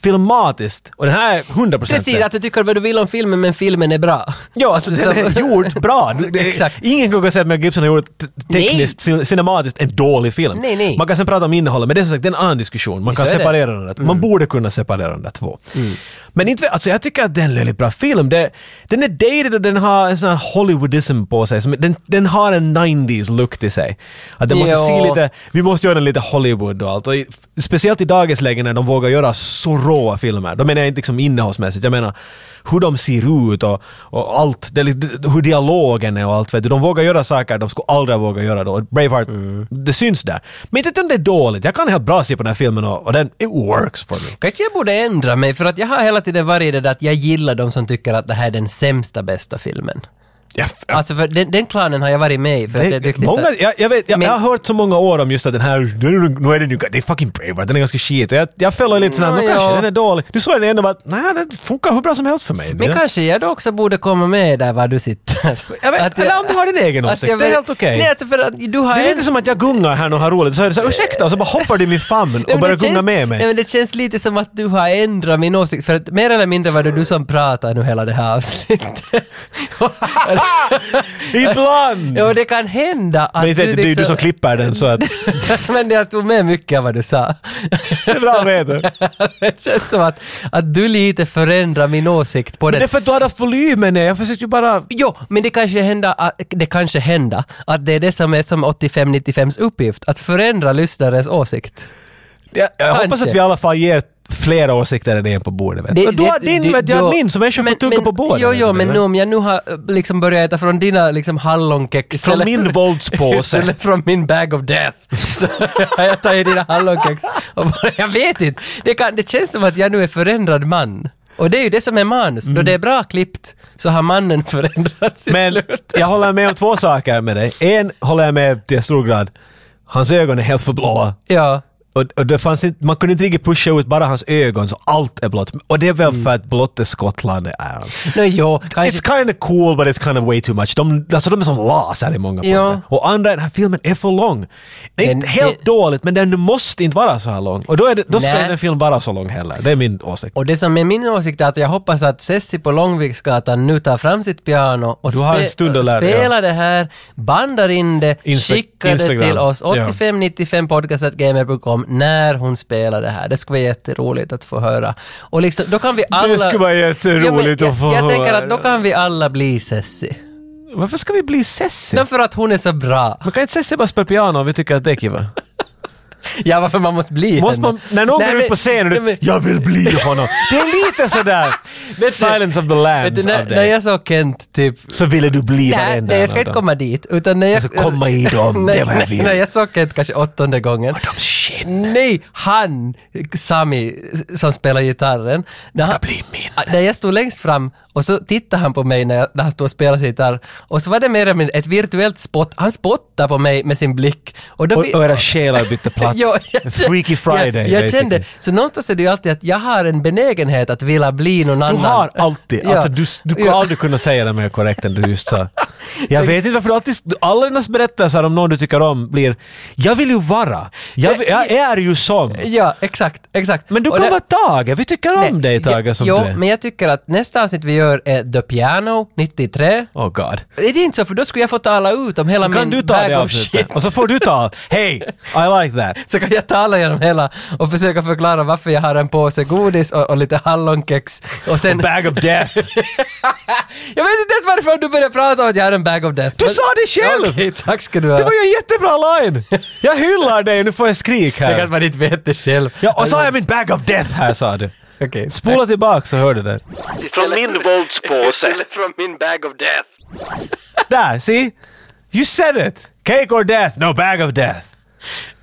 Speaker 2: filmatiskt, och den här är 100%
Speaker 1: Precis,
Speaker 2: det.
Speaker 1: att du tycker vad du vill om filmen, men filmen är bra.
Speaker 2: Ja,
Speaker 1: Alltså,
Speaker 2: alltså, den
Speaker 1: så- Alltså,
Speaker 2: är
Speaker 1: [LAUGHS]
Speaker 2: gjord bra. Det- det-
Speaker 1: Exakt.
Speaker 2: Ingen kan säga att Mel Gibson har gjort te- tekniskt, cin- cinematiskt en dålig film.
Speaker 1: Nej, nej.
Speaker 2: Man kan sen prata om innehållet, men det är som sagt det är en annan diskussion. Man
Speaker 1: Så
Speaker 2: kan
Speaker 1: är det. Mm.
Speaker 2: separera de där. Man borde kunna separera de där två. Men inte, alltså jag tycker att det är en väldigt bra film. Det, den är dated och den har en sån här Hollywoodism på sig. Som, den, den har en 90s look till sig. Att den måste
Speaker 1: Jo.
Speaker 2: se lite, vi måste göra den lite Hollywood och allt. Och i, speciellt i dagens läge när de vågar göra så råa filmer. Då menar jag inte liksom innehållsmässigt, jag menar hur de ser ut och, och allt. Det, är lite- hur dialogen är och allt. Vet du. De vågar göra saker de skulle aldrig våga göra då. Och Braveheart, det syns där. Men inte om det är dåligt. Jag kan helt bra se på den här filmen och, och den, it works for me.
Speaker 1: Kanske jag borde ändra mig, för att jag har hela tiden varit i det där att jag gillar de som tycker att det här är den sämsta bästa filmen.
Speaker 2: Jag,
Speaker 1: Alltså, för den, den klanen har jag varit med i, för att jag
Speaker 2: det,
Speaker 1: tyckte inte
Speaker 2: många,
Speaker 1: att-
Speaker 2: jag, jag, vet, jag,
Speaker 1: Men-
Speaker 2: jag har hört så många år om just att den här, nu är den ju, det är fucking Braveheart, den är ganska shit. Och jag, jag följer lite sådär,
Speaker 1: Nå,
Speaker 2: no, kanske
Speaker 1: ja.
Speaker 2: den är dålig. Du såg den ändå och bara, nej den funkar hur bra som helst för mig.
Speaker 1: Men
Speaker 2: Ja.
Speaker 1: kanske jag då också borde komma med där var du sitter.
Speaker 2: Jag vet,
Speaker 1: Att
Speaker 2: eller om du har din egen
Speaker 1: att
Speaker 2: åsikt,
Speaker 1: jag
Speaker 2: det är
Speaker 1: vet-
Speaker 2: helt okej.
Speaker 1: Nej, alltså för att du har
Speaker 2: Det är lite
Speaker 1: en-
Speaker 2: som att jag gungar här och har roligt, så är det såhär ursäkta och så bara hoppar du i min famn
Speaker 1: Nej,
Speaker 2: och
Speaker 1: men
Speaker 2: börjar
Speaker 1: det
Speaker 2: gunga
Speaker 1: känns-
Speaker 2: med
Speaker 1: Nej,
Speaker 2: mig.
Speaker 1: men det känns lite som att du har ändrat min åsikt, för att mer eller mindre var det du som pratade nu hela det här avsnittet. [LAUGHS]
Speaker 2: Ibland!
Speaker 1: ja, och det kan hända att
Speaker 2: Mm.
Speaker 1: liksom-
Speaker 2: Men inte vet, det är ju du som klipper den så att
Speaker 1: [LAUGHS] men jag tog med mycket av vad du
Speaker 2: [LAUGHS]
Speaker 1: sa.
Speaker 2: det är bra
Speaker 1: [LAUGHS]
Speaker 2: att veta.
Speaker 1: det känns som att, att du lite förändrar min åsikt på
Speaker 2: Men
Speaker 1: den.
Speaker 2: det är för att du hade haft volymen ner, jag försökte ju bara...
Speaker 1: Jo, men det kanske händer att, det kanske händer att det är det som är som 85-95s uppgift, att förändra lyssnarens åsikt.
Speaker 2: Jag, jag hoppas
Speaker 1: Kanske.
Speaker 2: att vi i alla fall ger flera åsikter än en på bordet. Vet.
Speaker 1: Det-
Speaker 2: du. och du
Speaker 1: det-
Speaker 2: har din,
Speaker 1: det-
Speaker 2: vet, jag har
Speaker 1: då-
Speaker 2: min, så människor får
Speaker 1: men-
Speaker 2: tugga
Speaker 1: men-
Speaker 2: på båda.
Speaker 1: Jo, jo,
Speaker 2: vet du,
Speaker 1: men
Speaker 2: vet.
Speaker 1: nu om jag nu har eh, liksom börjat äta från dina liksom hallonkex.
Speaker 2: Från min
Speaker 1: [LAUGHS]
Speaker 2: våldspåse.
Speaker 1: Eller från min bag of death. Så har jag tagit dina hallonkex. Och bara, jag vet inte. Det, kan, det känns som att jag nu är förändrad man. Och det är ju det som är manus. Då det är bra klippt så har mannen förändrats i
Speaker 2: Men
Speaker 1: slutet.
Speaker 2: jag håller med om två saker med dig. En håller jag med till stor grad. Hans ögon är helt för blåa.
Speaker 1: Ja.
Speaker 2: Och, och det fanns inte, man kunde inte riktigt pusha ut bara hans ögon, så allt är blått. Och det är väl
Speaker 1: Mm.
Speaker 2: för att blått är Skottland. det Är.
Speaker 1: No, jo, kanske.
Speaker 2: It's kind of cool but it's kind of way too much. De, alltså, de är som laser i många
Speaker 1: Ja.
Speaker 2: former. Och andra, den här filmen är för lång. Det är
Speaker 1: Den-
Speaker 2: inte helt
Speaker 1: det-
Speaker 2: dåligt men den måste inte vara så här lång. Och då, är det, då ska
Speaker 1: Nej.
Speaker 2: inte en film vara så lång heller. Det är min åsikt.
Speaker 1: Och det som är min åsikt är att jag hoppas att Sessi på Långviksgatan nu tar fram sitt piano och
Speaker 2: Du har en stund att lära dig, ja.
Speaker 1: spelar det här, bandar in det,
Speaker 2: Insta-
Speaker 1: skickar det
Speaker 2: Instagram.
Speaker 1: till oss,
Speaker 2: Ja.
Speaker 1: 8595 podcastgamer.com när hon spelar det här. Det skulle vara jätteroligt att få höra. Och liksom, då kan vi alla...
Speaker 2: skulle vara jätteroligt
Speaker 1: Ja, men
Speaker 2: att få
Speaker 1: jag, Jag tänker att då
Speaker 2: höra.
Speaker 1: kan vi alla bli Sessi.
Speaker 2: Varför ska vi bli sessi?
Speaker 1: Därför att hon är så bra.
Speaker 2: Man kan inte säga bara spela piano om vi tycker att det är kiva.
Speaker 1: Ja, varför man måste bli
Speaker 2: Måste man, när någon går ut på scenen och du,
Speaker 1: och
Speaker 2: jag vill bli honom. Det är
Speaker 1: [LAUGHS]
Speaker 2: lite sådär Silence of the Lambs av
Speaker 1: När, när
Speaker 2: dig.
Speaker 1: jag såg Kent typ
Speaker 2: Så ville du
Speaker 1: Nej,
Speaker 2: bli varenda
Speaker 1: nej, jag ska
Speaker 2: en av
Speaker 1: inte
Speaker 2: dem.
Speaker 1: komma dit. Utan när jag,
Speaker 2: Jag ska
Speaker 1: [LAUGHS]
Speaker 2: komma i dem, det är vad jag vill.
Speaker 1: När jag såg Kent kanske åttonde gången.
Speaker 2: Shit,
Speaker 1: Nej, han, Sami, som spelar gitarren. När
Speaker 2: ska
Speaker 1: han-
Speaker 2: bli min.
Speaker 1: Ah, När jag stod längst fram och så tittade han på mig när, jag, när han stod och spelade gitarr. Och så var det mer eller mindre ett virtuellt spott. Han spottade på mig med sin blick. Och, då
Speaker 2: Och
Speaker 1: vi-
Speaker 2: era själar bytte plats.
Speaker 1: [LAUGHS] Ja,
Speaker 2: Freaky Friday
Speaker 1: Jag, jag
Speaker 2: basically.
Speaker 1: kände, så någonstans är det ju alltid att jag har en benägenhet att vilja bli någon
Speaker 2: Du
Speaker 1: annan.
Speaker 2: har alltid,
Speaker 1: Ja.
Speaker 2: alltså du, du kommer
Speaker 1: Ja.
Speaker 2: aldrig kunna säga det mer korrekt än du just sa. Jag vet inte varför du alltid, alla dina berättelser om någon du tycker om blir, jag vill ju vara, jag, vill, jag är ju som.
Speaker 1: Ja, exakt, exakt.
Speaker 2: Men du
Speaker 1: Och
Speaker 2: kan
Speaker 1: det-
Speaker 2: vara Tage, vi tycker om
Speaker 1: Nej,
Speaker 2: dig Tage
Speaker 1: ja,
Speaker 2: som
Speaker 1: jo,
Speaker 2: du är.
Speaker 1: men jag tycker att nästa avsnitt vi gör är The Piano 93.
Speaker 2: Oh god.
Speaker 1: Är det inte så? För då skulle jag få tala ut om hela
Speaker 2: Kan
Speaker 1: min
Speaker 2: du ta
Speaker 1: bag
Speaker 2: det
Speaker 1: of shit.
Speaker 2: avsnittet? Och så får du ta, hey, I like that.
Speaker 1: [LAUGHS] Så kan jag tala genom hela och försöka förklara varför jag har en påse godis och, och lite hallonkex. Och sen...
Speaker 2: Bag of death.
Speaker 1: [LAUGHS] jag vet inte ens varför du började prata om att jag har en bag of death.
Speaker 2: Du
Speaker 1: Men-
Speaker 2: sa det själv!
Speaker 1: Okej, tack ska du ha.
Speaker 2: Det var ju en jättebra line! Jag hyllar dig, nu får jag skrik
Speaker 1: Tänk att
Speaker 2: här.
Speaker 1: man inte vet det själv.
Speaker 2: Ja, och så har jag min bag of death här sa du.
Speaker 1: Okej.
Speaker 2: Spola tillbaka så hör du det.
Speaker 1: Från min våldspåse. Från min bag of death.
Speaker 2: Där, see? You said it! Cake or death? No, bag of death.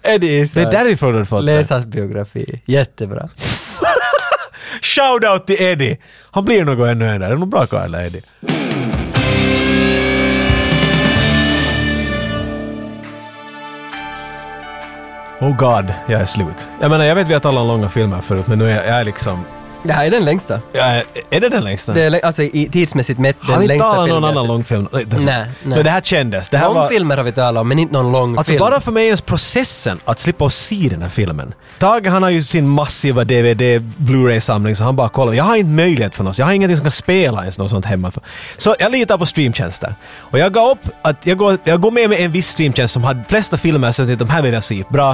Speaker 1: Eddie
Speaker 2: Det är
Speaker 1: Isak.
Speaker 2: därifrån du har fått
Speaker 1: Läs
Speaker 2: det.
Speaker 1: hans biografi. Jättebra.
Speaker 2: Shoutout till Eddie! Han blir nog ännu en där. Det är nog bra karl där, Eddie. Oh god, jag är slut. Jag menar, jag vet vi har talat om långa filmer förut, men nu är jag, jag är liksom...
Speaker 1: Det här är den längsta.
Speaker 2: Jag är, är det den längsta?
Speaker 1: Det är, lä- alltså i, tidsmässigt mätt
Speaker 2: har
Speaker 1: den
Speaker 2: vi
Speaker 1: längsta
Speaker 2: talat om
Speaker 1: filmen
Speaker 2: någon
Speaker 1: jag
Speaker 2: annan
Speaker 1: sett.
Speaker 2: långfilm? Nej, det är så-
Speaker 1: Nej, nej.
Speaker 2: Men det här kändes. Det här var...
Speaker 1: Långfilmer har vi talat om, men inte någon lång
Speaker 2: Alltså
Speaker 1: film.
Speaker 2: bara för mig ens processen att slippa att se den här filmen. Tage han har ju sin massiva DVD Blu-ray-samling så han bara kollar. Jag har inte möjlighet för något. Jag har ingenting som kan spela ens något sånt hemma. för. Så jag litar på streamtjänster. Och jag gav upp att jag går, jag går med mig en viss streamtjänst som hade flesta filmer så att de här vill jag se. Bra.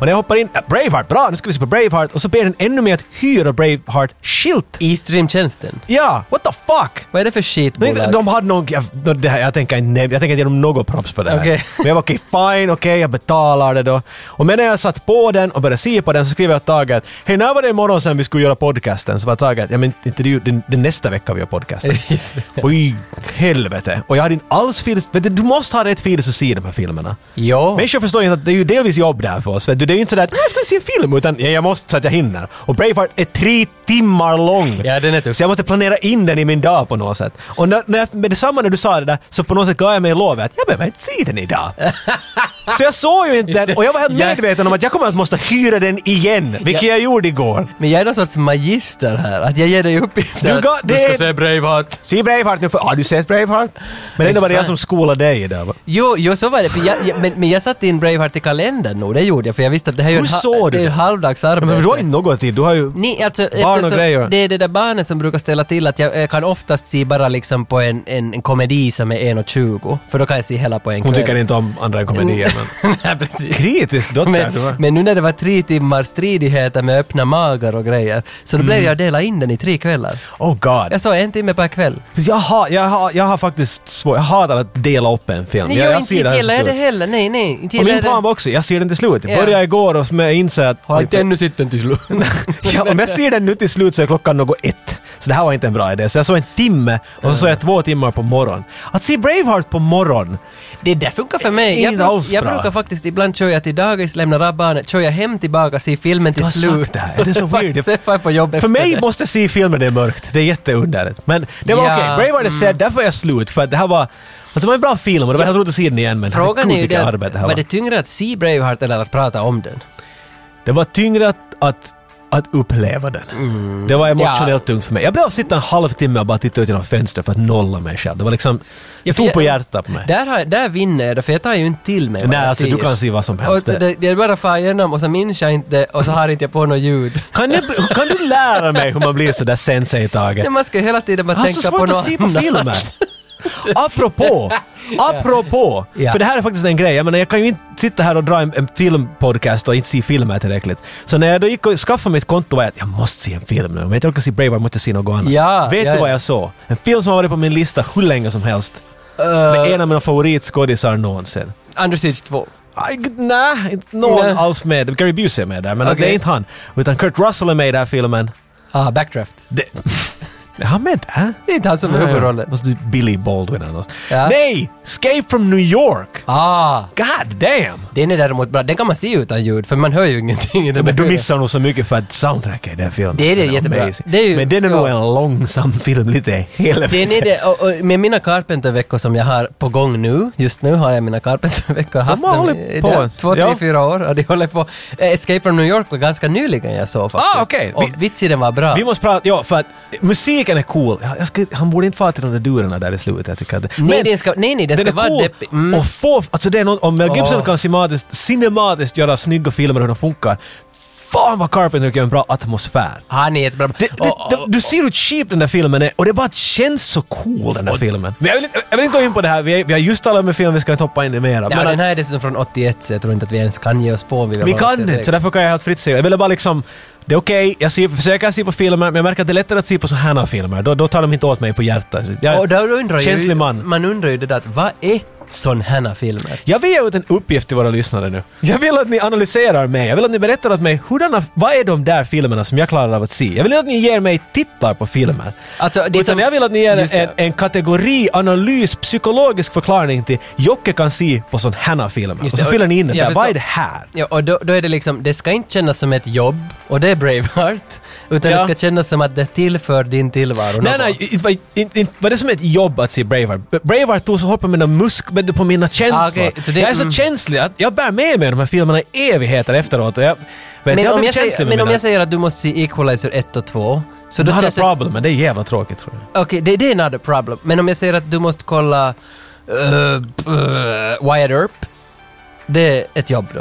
Speaker 2: Och när jag hoppar in, äh, Braveheart, bra nu ska vi se på Braveheart. Och så ber den ännu mer att hyra Braveheart-skilt.
Speaker 1: I streamtjänsten.
Speaker 2: Ja, what the fuck?
Speaker 1: Vad är det för
Speaker 2: Nej,
Speaker 1: skitbolag?
Speaker 2: de- de hade någon... Jag, no, det här, jag tänker inte nämna- jag tänker inte ge dem något props för det här.
Speaker 1: Okej.
Speaker 2: Men jag var okej, fine, okej, jag betalar det då. Och medan jag satt på den och började se på den så skrev jag taget att hej, när var det imorgon sen vi skulle göra podcasten? Så var taget att ja men inte det, är ju- det, det är nästa vecka vi gör podcasten.
Speaker 1: [LAUGHS] Just det.
Speaker 2: Oj, helvete. Och jag hade inte alls feels... Vet du, du måste ha rätt feels att se de här filmerna.
Speaker 1: Jo.
Speaker 2: Människor förstår ju inte att det är ju delvis jobb där för oss. Vet du, det är ju inte sådär att jag ska se en film utan ja, jag måste så att jag hinner. Och Braveheart är tre timmar lång.
Speaker 1: Ja, den är tuff.
Speaker 2: Så jag måste planera in den i min dag på något sätt. Och när, när, jag- med detsamma när du sa det där så på något sätt gav jag mig lovet att jag behöver inte se den idag. så jag såg ju inte den och jag var helt
Speaker 1: [LAUGHS] Ja.
Speaker 2: medveten om att jag kommer att måste hyra den igen, vilket jag gjorde igår.
Speaker 1: Men jag är någon sorts magister här, att jag ger dig uppgifter.
Speaker 2: Du ga-
Speaker 1: att
Speaker 2: det
Speaker 1: du ska
Speaker 2: är-
Speaker 1: se Braveheart.
Speaker 2: Se Braveheart nu för... Har du sett Braveheart? Men ändå var det jag som skolade dig idag. va?
Speaker 1: Jo, jo, så var det. För jag, jag, men, men jag satte in Braveheart i kalendern nog, det gjorde jag, för jag visste att det här är ju
Speaker 2: Hur
Speaker 1: en, ha-
Speaker 2: såg du
Speaker 1: det är ju
Speaker 2: det?
Speaker 1: en halvdags arbete.
Speaker 2: Men du har ju inte något tid, du har ju...
Speaker 1: Ni, alltså,
Speaker 2: Barn och och grejer.
Speaker 1: det är det där barnet som brukar ställa till att jag, jag kan oftast se bara liksom på en, en, en komedi som är 1.20, för då kan jag se hela på en
Speaker 2: Hon
Speaker 1: kväll.
Speaker 2: tycker inte om andra komedier, men...
Speaker 1: [LAUGHS] Nej, precis.
Speaker 2: Kritisk dotter du
Speaker 1: Men,
Speaker 2: är.
Speaker 1: men nu när det var tre timmar stridigheter med öppna magar och grejer, så
Speaker 2: Mm.
Speaker 1: då blev jag dela in den i tre kvällar.
Speaker 2: Oh god.
Speaker 1: Jag sa en timme per kväll.
Speaker 2: Fast Jag har, jag, har, jag har faktiskt svårt, jag hatar att dela upp en film.
Speaker 1: Nej,
Speaker 2: jag,
Speaker 1: jag,
Speaker 2: jag
Speaker 1: inte, inte
Speaker 2: här
Speaker 1: gillar
Speaker 2: till
Speaker 1: jag det
Speaker 2: slut.
Speaker 1: heller. Nej, nej. Inte
Speaker 2: Och
Speaker 1: gillar
Speaker 2: min
Speaker 1: jag det.
Speaker 2: plan var också, jag ser den till slut. Jag
Speaker 1: Ja.
Speaker 2: började igår och som jag inser att...
Speaker 1: Har
Speaker 2: oj,
Speaker 1: inte ännu sett den till [LAUGHS] slut.
Speaker 2: ja, om jag ser den nu till slut så är klockan något ett. Så det här var inte en bra idé. Så jag såg en timme
Speaker 1: Mm.
Speaker 2: och så såg jag två timmar på morgonen. Att se Braveheart på morgonen!
Speaker 1: Det där funkar för mig. Jag,
Speaker 2: Inte alls
Speaker 1: bruk, jag
Speaker 2: bra.
Speaker 1: brukar faktiskt, ibland kör jag till dagis, lämnar av barnet, kör jag hem tillbaka, ser filmen till
Speaker 2: Du har
Speaker 1: slut.
Speaker 2: sagt det här. Det är
Speaker 1: [LAUGHS]
Speaker 2: så
Speaker 1: Och sen
Speaker 2: weird.
Speaker 1: träffar jag på jobbet
Speaker 2: För
Speaker 1: efter
Speaker 2: mig
Speaker 1: det.
Speaker 2: måste jag se filmer det är mörkt. Det är jätteunderligt. Men det var
Speaker 1: Ja, Mm.
Speaker 2: okej. Braveheart är sedd, därför är jag slut. För att det här var... Alltså det var en bra film och det var helt roligt att se den igen men
Speaker 1: Frågan är ju
Speaker 2: herregud, vilket
Speaker 1: det,
Speaker 2: arbete det här
Speaker 1: var det tyngre att se Braveheart eller att prata om den?
Speaker 2: Det var tyngre att, att, att uppleva den.
Speaker 1: Mm.
Speaker 2: Det var emotionellt tungt för mig. Jag blev sitta en halvtimme och bara titta ut genom fönstret för att nolla mig själv. Det var liksom...
Speaker 1: Ja,
Speaker 2: Jag
Speaker 1: för
Speaker 2: tog
Speaker 1: jag-
Speaker 2: på hjärtat på mig.
Speaker 1: Där, har, där vinner jag, för jag tar ju inte till mig vad
Speaker 2: Nej,
Speaker 1: jag
Speaker 2: alltså
Speaker 1: ser.
Speaker 2: du kan se vad som
Speaker 1: och
Speaker 2: helst.
Speaker 1: det, det är bara far igenom och så minns jag inte och så har inte jag på något ljud.
Speaker 2: Kan, du, kan du lära mig hur man blir sådär sensei Tage?
Speaker 1: Nej, Man ska ju hela tiden bara
Speaker 2: Jag har Alltså, så
Speaker 1: tänka på
Speaker 2: svårt
Speaker 1: något
Speaker 2: att se på
Speaker 1: annat. [LAUGHS]
Speaker 2: filmer. [LAUGHS] Apropå! Apropå!
Speaker 1: Ja.
Speaker 2: För det här är faktiskt en grej. Jag, menar, jag kan ju inte sitta här och dra en, en filmpodcast och inte se filmer tillräckligt. Så när jag då gick och skaffade mitt konto var jag att jag måste se en film nu. Om jag inte orkar se Braveheart måste jag se något annat.
Speaker 1: Ja,
Speaker 2: Vet
Speaker 1: ja,
Speaker 2: du vad
Speaker 1: ja.
Speaker 2: jag såg? En film som har varit på min lista hur länge som helst.
Speaker 1: Eh.
Speaker 2: Med en av mina favoritskådisar någonsin.
Speaker 1: Under Siege 2.
Speaker 2: Aj, g- Nej, inte någon
Speaker 1: Nej.
Speaker 2: alls med. Gary Busey är med där, men
Speaker 1: Okej.
Speaker 2: det är inte han. Utan Kurt Russell är med i den här filmen.
Speaker 1: Ah, Backdraft.
Speaker 2: Det, [LAUGHS] är han med där?
Speaker 1: Det är inte han som
Speaker 2: Ah,
Speaker 1: är huvudrollen.
Speaker 2: Måste du Billy Baldwin annars.
Speaker 1: Ja.
Speaker 2: Nej! Escape from New York!
Speaker 1: Ah,
Speaker 2: God damn!
Speaker 1: den är däremot bra. Den kan man se utan ljud, för man hör ju ingenting i den
Speaker 2: Men
Speaker 1: där
Speaker 2: du missar nog så mycket för att soundtracket i den filmen.
Speaker 1: Det är det,
Speaker 2: Den
Speaker 1: jättebra.
Speaker 2: amazing.
Speaker 1: Det är ju-
Speaker 2: Men den är
Speaker 1: ja.
Speaker 2: nog en långsam film lite helvete.
Speaker 1: Den är det, och, och med mina Carpenter-veckor som jag har på gång nu, just nu har jag mina Carpenter-veckor haft
Speaker 2: har
Speaker 1: dem
Speaker 2: hållit
Speaker 1: i-
Speaker 2: på.
Speaker 1: där, två, tre,
Speaker 2: Ja.
Speaker 1: fyra år och de håller på. Eh, Escape from New York var ganska nyligen jag såg faktiskt.
Speaker 2: Ah, okej. Vi-
Speaker 1: Och vitsi den var bra.
Speaker 2: Vi måste prata, ja för att musiken är cool. Jag, jag ska, han borde inte fara till de där durerna där i slutet. Jag tycker att,
Speaker 1: nej, den ska, nej, nej, den ska
Speaker 2: är
Speaker 1: vara
Speaker 2: cool.
Speaker 1: deppig. Mm.
Speaker 2: Och få, alltså det är något, om Mel Gibson
Speaker 1: Ja.
Speaker 2: kan cinematiskt, cinematiskt göra snygga filmer hur de funkar. Fan vad Carpenter gör en bra atmosfär.
Speaker 1: Han Ah, är jättebra.
Speaker 2: Det, det,
Speaker 1: Och- och-
Speaker 2: det, du ser hur cheap den där filmen är och det bara känns så cool den där filmen. Men jag vill, inte, jag vill inte gå in på det här, vi, är, vi har just talat om en film, vi ska inte hoppa in i mera.
Speaker 1: Ja,
Speaker 2: men
Speaker 1: den här är dessutom från 81 så jag tror inte att vi ens kan ge oss på. Vi, vill
Speaker 2: vi
Speaker 1: ha
Speaker 2: kan
Speaker 1: oss
Speaker 2: inte,
Speaker 1: direkt.
Speaker 2: så därför kan jag helt fritt säga. Jag ville bara liksom, det är okej, jag ser, försöker se på filmer, men jag märker att det är lättare att se på sådana här filmer. Då, då tar de inte åt mig på hjärtat. Jag,
Speaker 1: Och då undrar
Speaker 2: känslig
Speaker 1: ju,
Speaker 2: man.
Speaker 1: man undrar ju det där att vad är sån här filmer?
Speaker 2: Jag vill ge ut en uppgift till våra lyssnare nu. Jag vill att ni analyserar mig. Jag vill att ni berättar åt mig, hurdana, vad är de där filmerna som jag klarar av att se? Jag vill inte att ni ger mig titlar på filmer.
Speaker 1: Alltså, det är
Speaker 2: Utan
Speaker 1: som-
Speaker 2: jag vill att ni ger
Speaker 1: Just det.
Speaker 2: en, en kategori, analys, psykologisk förklaring till Jocke kan se på sån här filmer.
Speaker 1: Just
Speaker 2: Och
Speaker 1: det,
Speaker 2: så
Speaker 1: och-
Speaker 2: fyller ni in det
Speaker 1: jag
Speaker 2: där. Vad
Speaker 1: förstår.
Speaker 2: är det här?
Speaker 1: Ja, och då, då är det liksom, det ska inte kännas som ett jobb, och det är Braveheart, utan
Speaker 2: Ja.
Speaker 1: det ska kännas som att det tillför din tillvaro
Speaker 2: Nej,
Speaker 1: något.
Speaker 2: nej, inte var, inte, inte, var det som ett jobb att se Braveheart? B- Braveheart tog så hårt på mina muskler, på mina känslor.
Speaker 1: Ah, okej, så det-
Speaker 2: jag är så
Speaker 1: mm.
Speaker 2: känslig att jag bär med mig de här filmerna i evigheter efteråt. Och jag, vet,
Speaker 1: Men,
Speaker 2: jag
Speaker 1: om
Speaker 2: blir
Speaker 1: jag,
Speaker 2: känslig
Speaker 1: säger,
Speaker 2: med
Speaker 1: men om
Speaker 2: mina-
Speaker 1: jag säger att du måste se Equalizer 1 och 2, så då
Speaker 2: Not a
Speaker 1: känns det...
Speaker 2: problem, men det är jävla tråkigt tror jag.
Speaker 1: Okej, det, det är not a problem. Men om jag säger att du måste kolla uh, uh, Wyatt Earp, det är ett jobb då.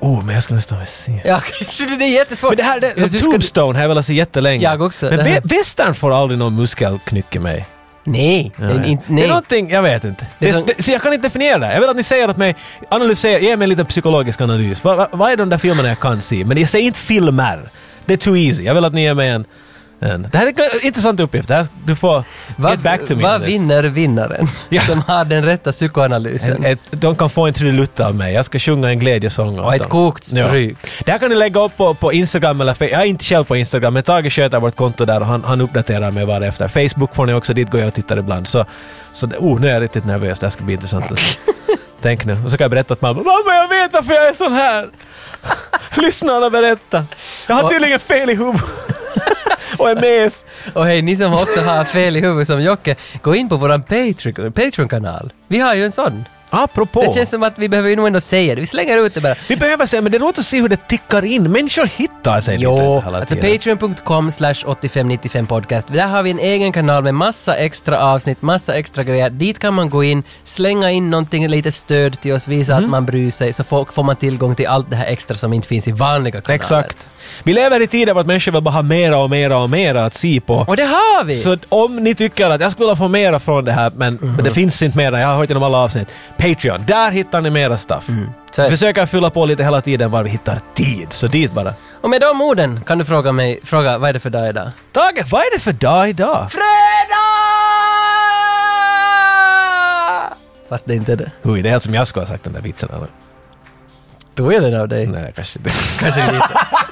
Speaker 2: Oh, men jag skulle nästan vilja se.
Speaker 1: Ja, okej, [LAUGHS] så det, det är jättesvårt.
Speaker 2: Men det här, det,
Speaker 1: Du
Speaker 2: som
Speaker 1: ska-
Speaker 2: Tombstone har jag velat se jättelänge.
Speaker 1: Jag också,
Speaker 2: Men
Speaker 1: det här-
Speaker 2: vä- västern får aldrig någon muskelknyck i mig.
Speaker 1: Nej, det är inte-
Speaker 2: Det är
Speaker 1: nej.
Speaker 2: någonting, jag vet inte.
Speaker 1: Det
Speaker 2: Det
Speaker 1: är som-
Speaker 2: det, så jag kan inte definiera det. Jag vill att ni säger åt mig, analysera, ge mig en liten psykologisk analys. Vad vad- vad är de där filmerna jag kan se? Men jag säger inte filmer. Det är too easy. Jag vill att ni ger mig en... en. Det här är en intressant uppgift. Det här, du får
Speaker 1: Vad-
Speaker 2: get back to me
Speaker 1: Vad
Speaker 2: on this.
Speaker 1: vinner vinnaren?
Speaker 2: Ja.
Speaker 1: Som har den rätta psykoanalysen.
Speaker 2: Ett, ett, de kan få en trudelutt av mig. Jag ska sjunga en glädjesång åt
Speaker 1: och ett
Speaker 2: dem.
Speaker 1: kokt stryk.
Speaker 2: Det här kan ni lägga upp på, på Instagram eller Facebook. Jag är inte själv på Instagram, men Tage sköter vårt konto där och han, han uppdaterar mig varefter. Facebook får ni också, dit går jag och tittar ibland. Så, så det, oh, nu är jag riktigt nervös. Det här ska bli intressant.
Speaker 1: [LAUGHS]
Speaker 2: att se. Tänk nu. Och så kan jag berätta att mamma “Mamma, jag vet varför jag är sån här!” [LAUGHS] Lyssna och berätta. Jag har
Speaker 1: Och-
Speaker 2: tydligen fel i huvudet. [LAUGHS] och är mes.
Speaker 1: Och hej, ni som också har fel i huvudet som Jocke, gå in på våran Patreon- Patreon-kanal. Vi har ju en sån.
Speaker 2: Apropå.
Speaker 1: Det känns som att vi behöver ju nog ändå säga det. Vi slänger ut det bara.
Speaker 2: Vi behöver se, men det är roligt att se hur det tickar in. Människor hittar sig
Speaker 1: Jo,
Speaker 2: lite hela
Speaker 1: alltså
Speaker 2: tiden.
Speaker 1: patreon.com slash 8595 podcast. Där har vi en egen kanal med massa extra avsnitt, massa extra grejer. Dit kan man gå in, slänga in någonting, lite stöd till oss, visa
Speaker 2: Mhm.
Speaker 1: att man bryr sig, så får, får man tillgång till allt det här extra som inte finns i vanliga kanaler.
Speaker 2: Exakt. Vi lever i tider vart människor vill bara ha mera och mera och mera att se på.
Speaker 1: Och det har vi!
Speaker 2: Så att om ni tycker att jag skulle vilja få mera från det här, men, men det finns inte mera, jag har hört genom alla avsnitt. Patreon, där hittar ni mera stuff.
Speaker 1: Så-
Speaker 2: Vi försöker fylla på lite hela tiden var vi hittar tid, så dit bara.
Speaker 1: Och med de orden kan du fråga mig, fråga vad är det för dag idag?
Speaker 2: Tage, vad är det för dag idag?
Speaker 1: Fredag! Fast det är inte det.
Speaker 2: Oj, det är helt som jag skulle ha sagt den där vitsen. Eller?
Speaker 1: Tog jag den av dig?
Speaker 2: Nej, kanske inte.
Speaker 1: Kanske lite.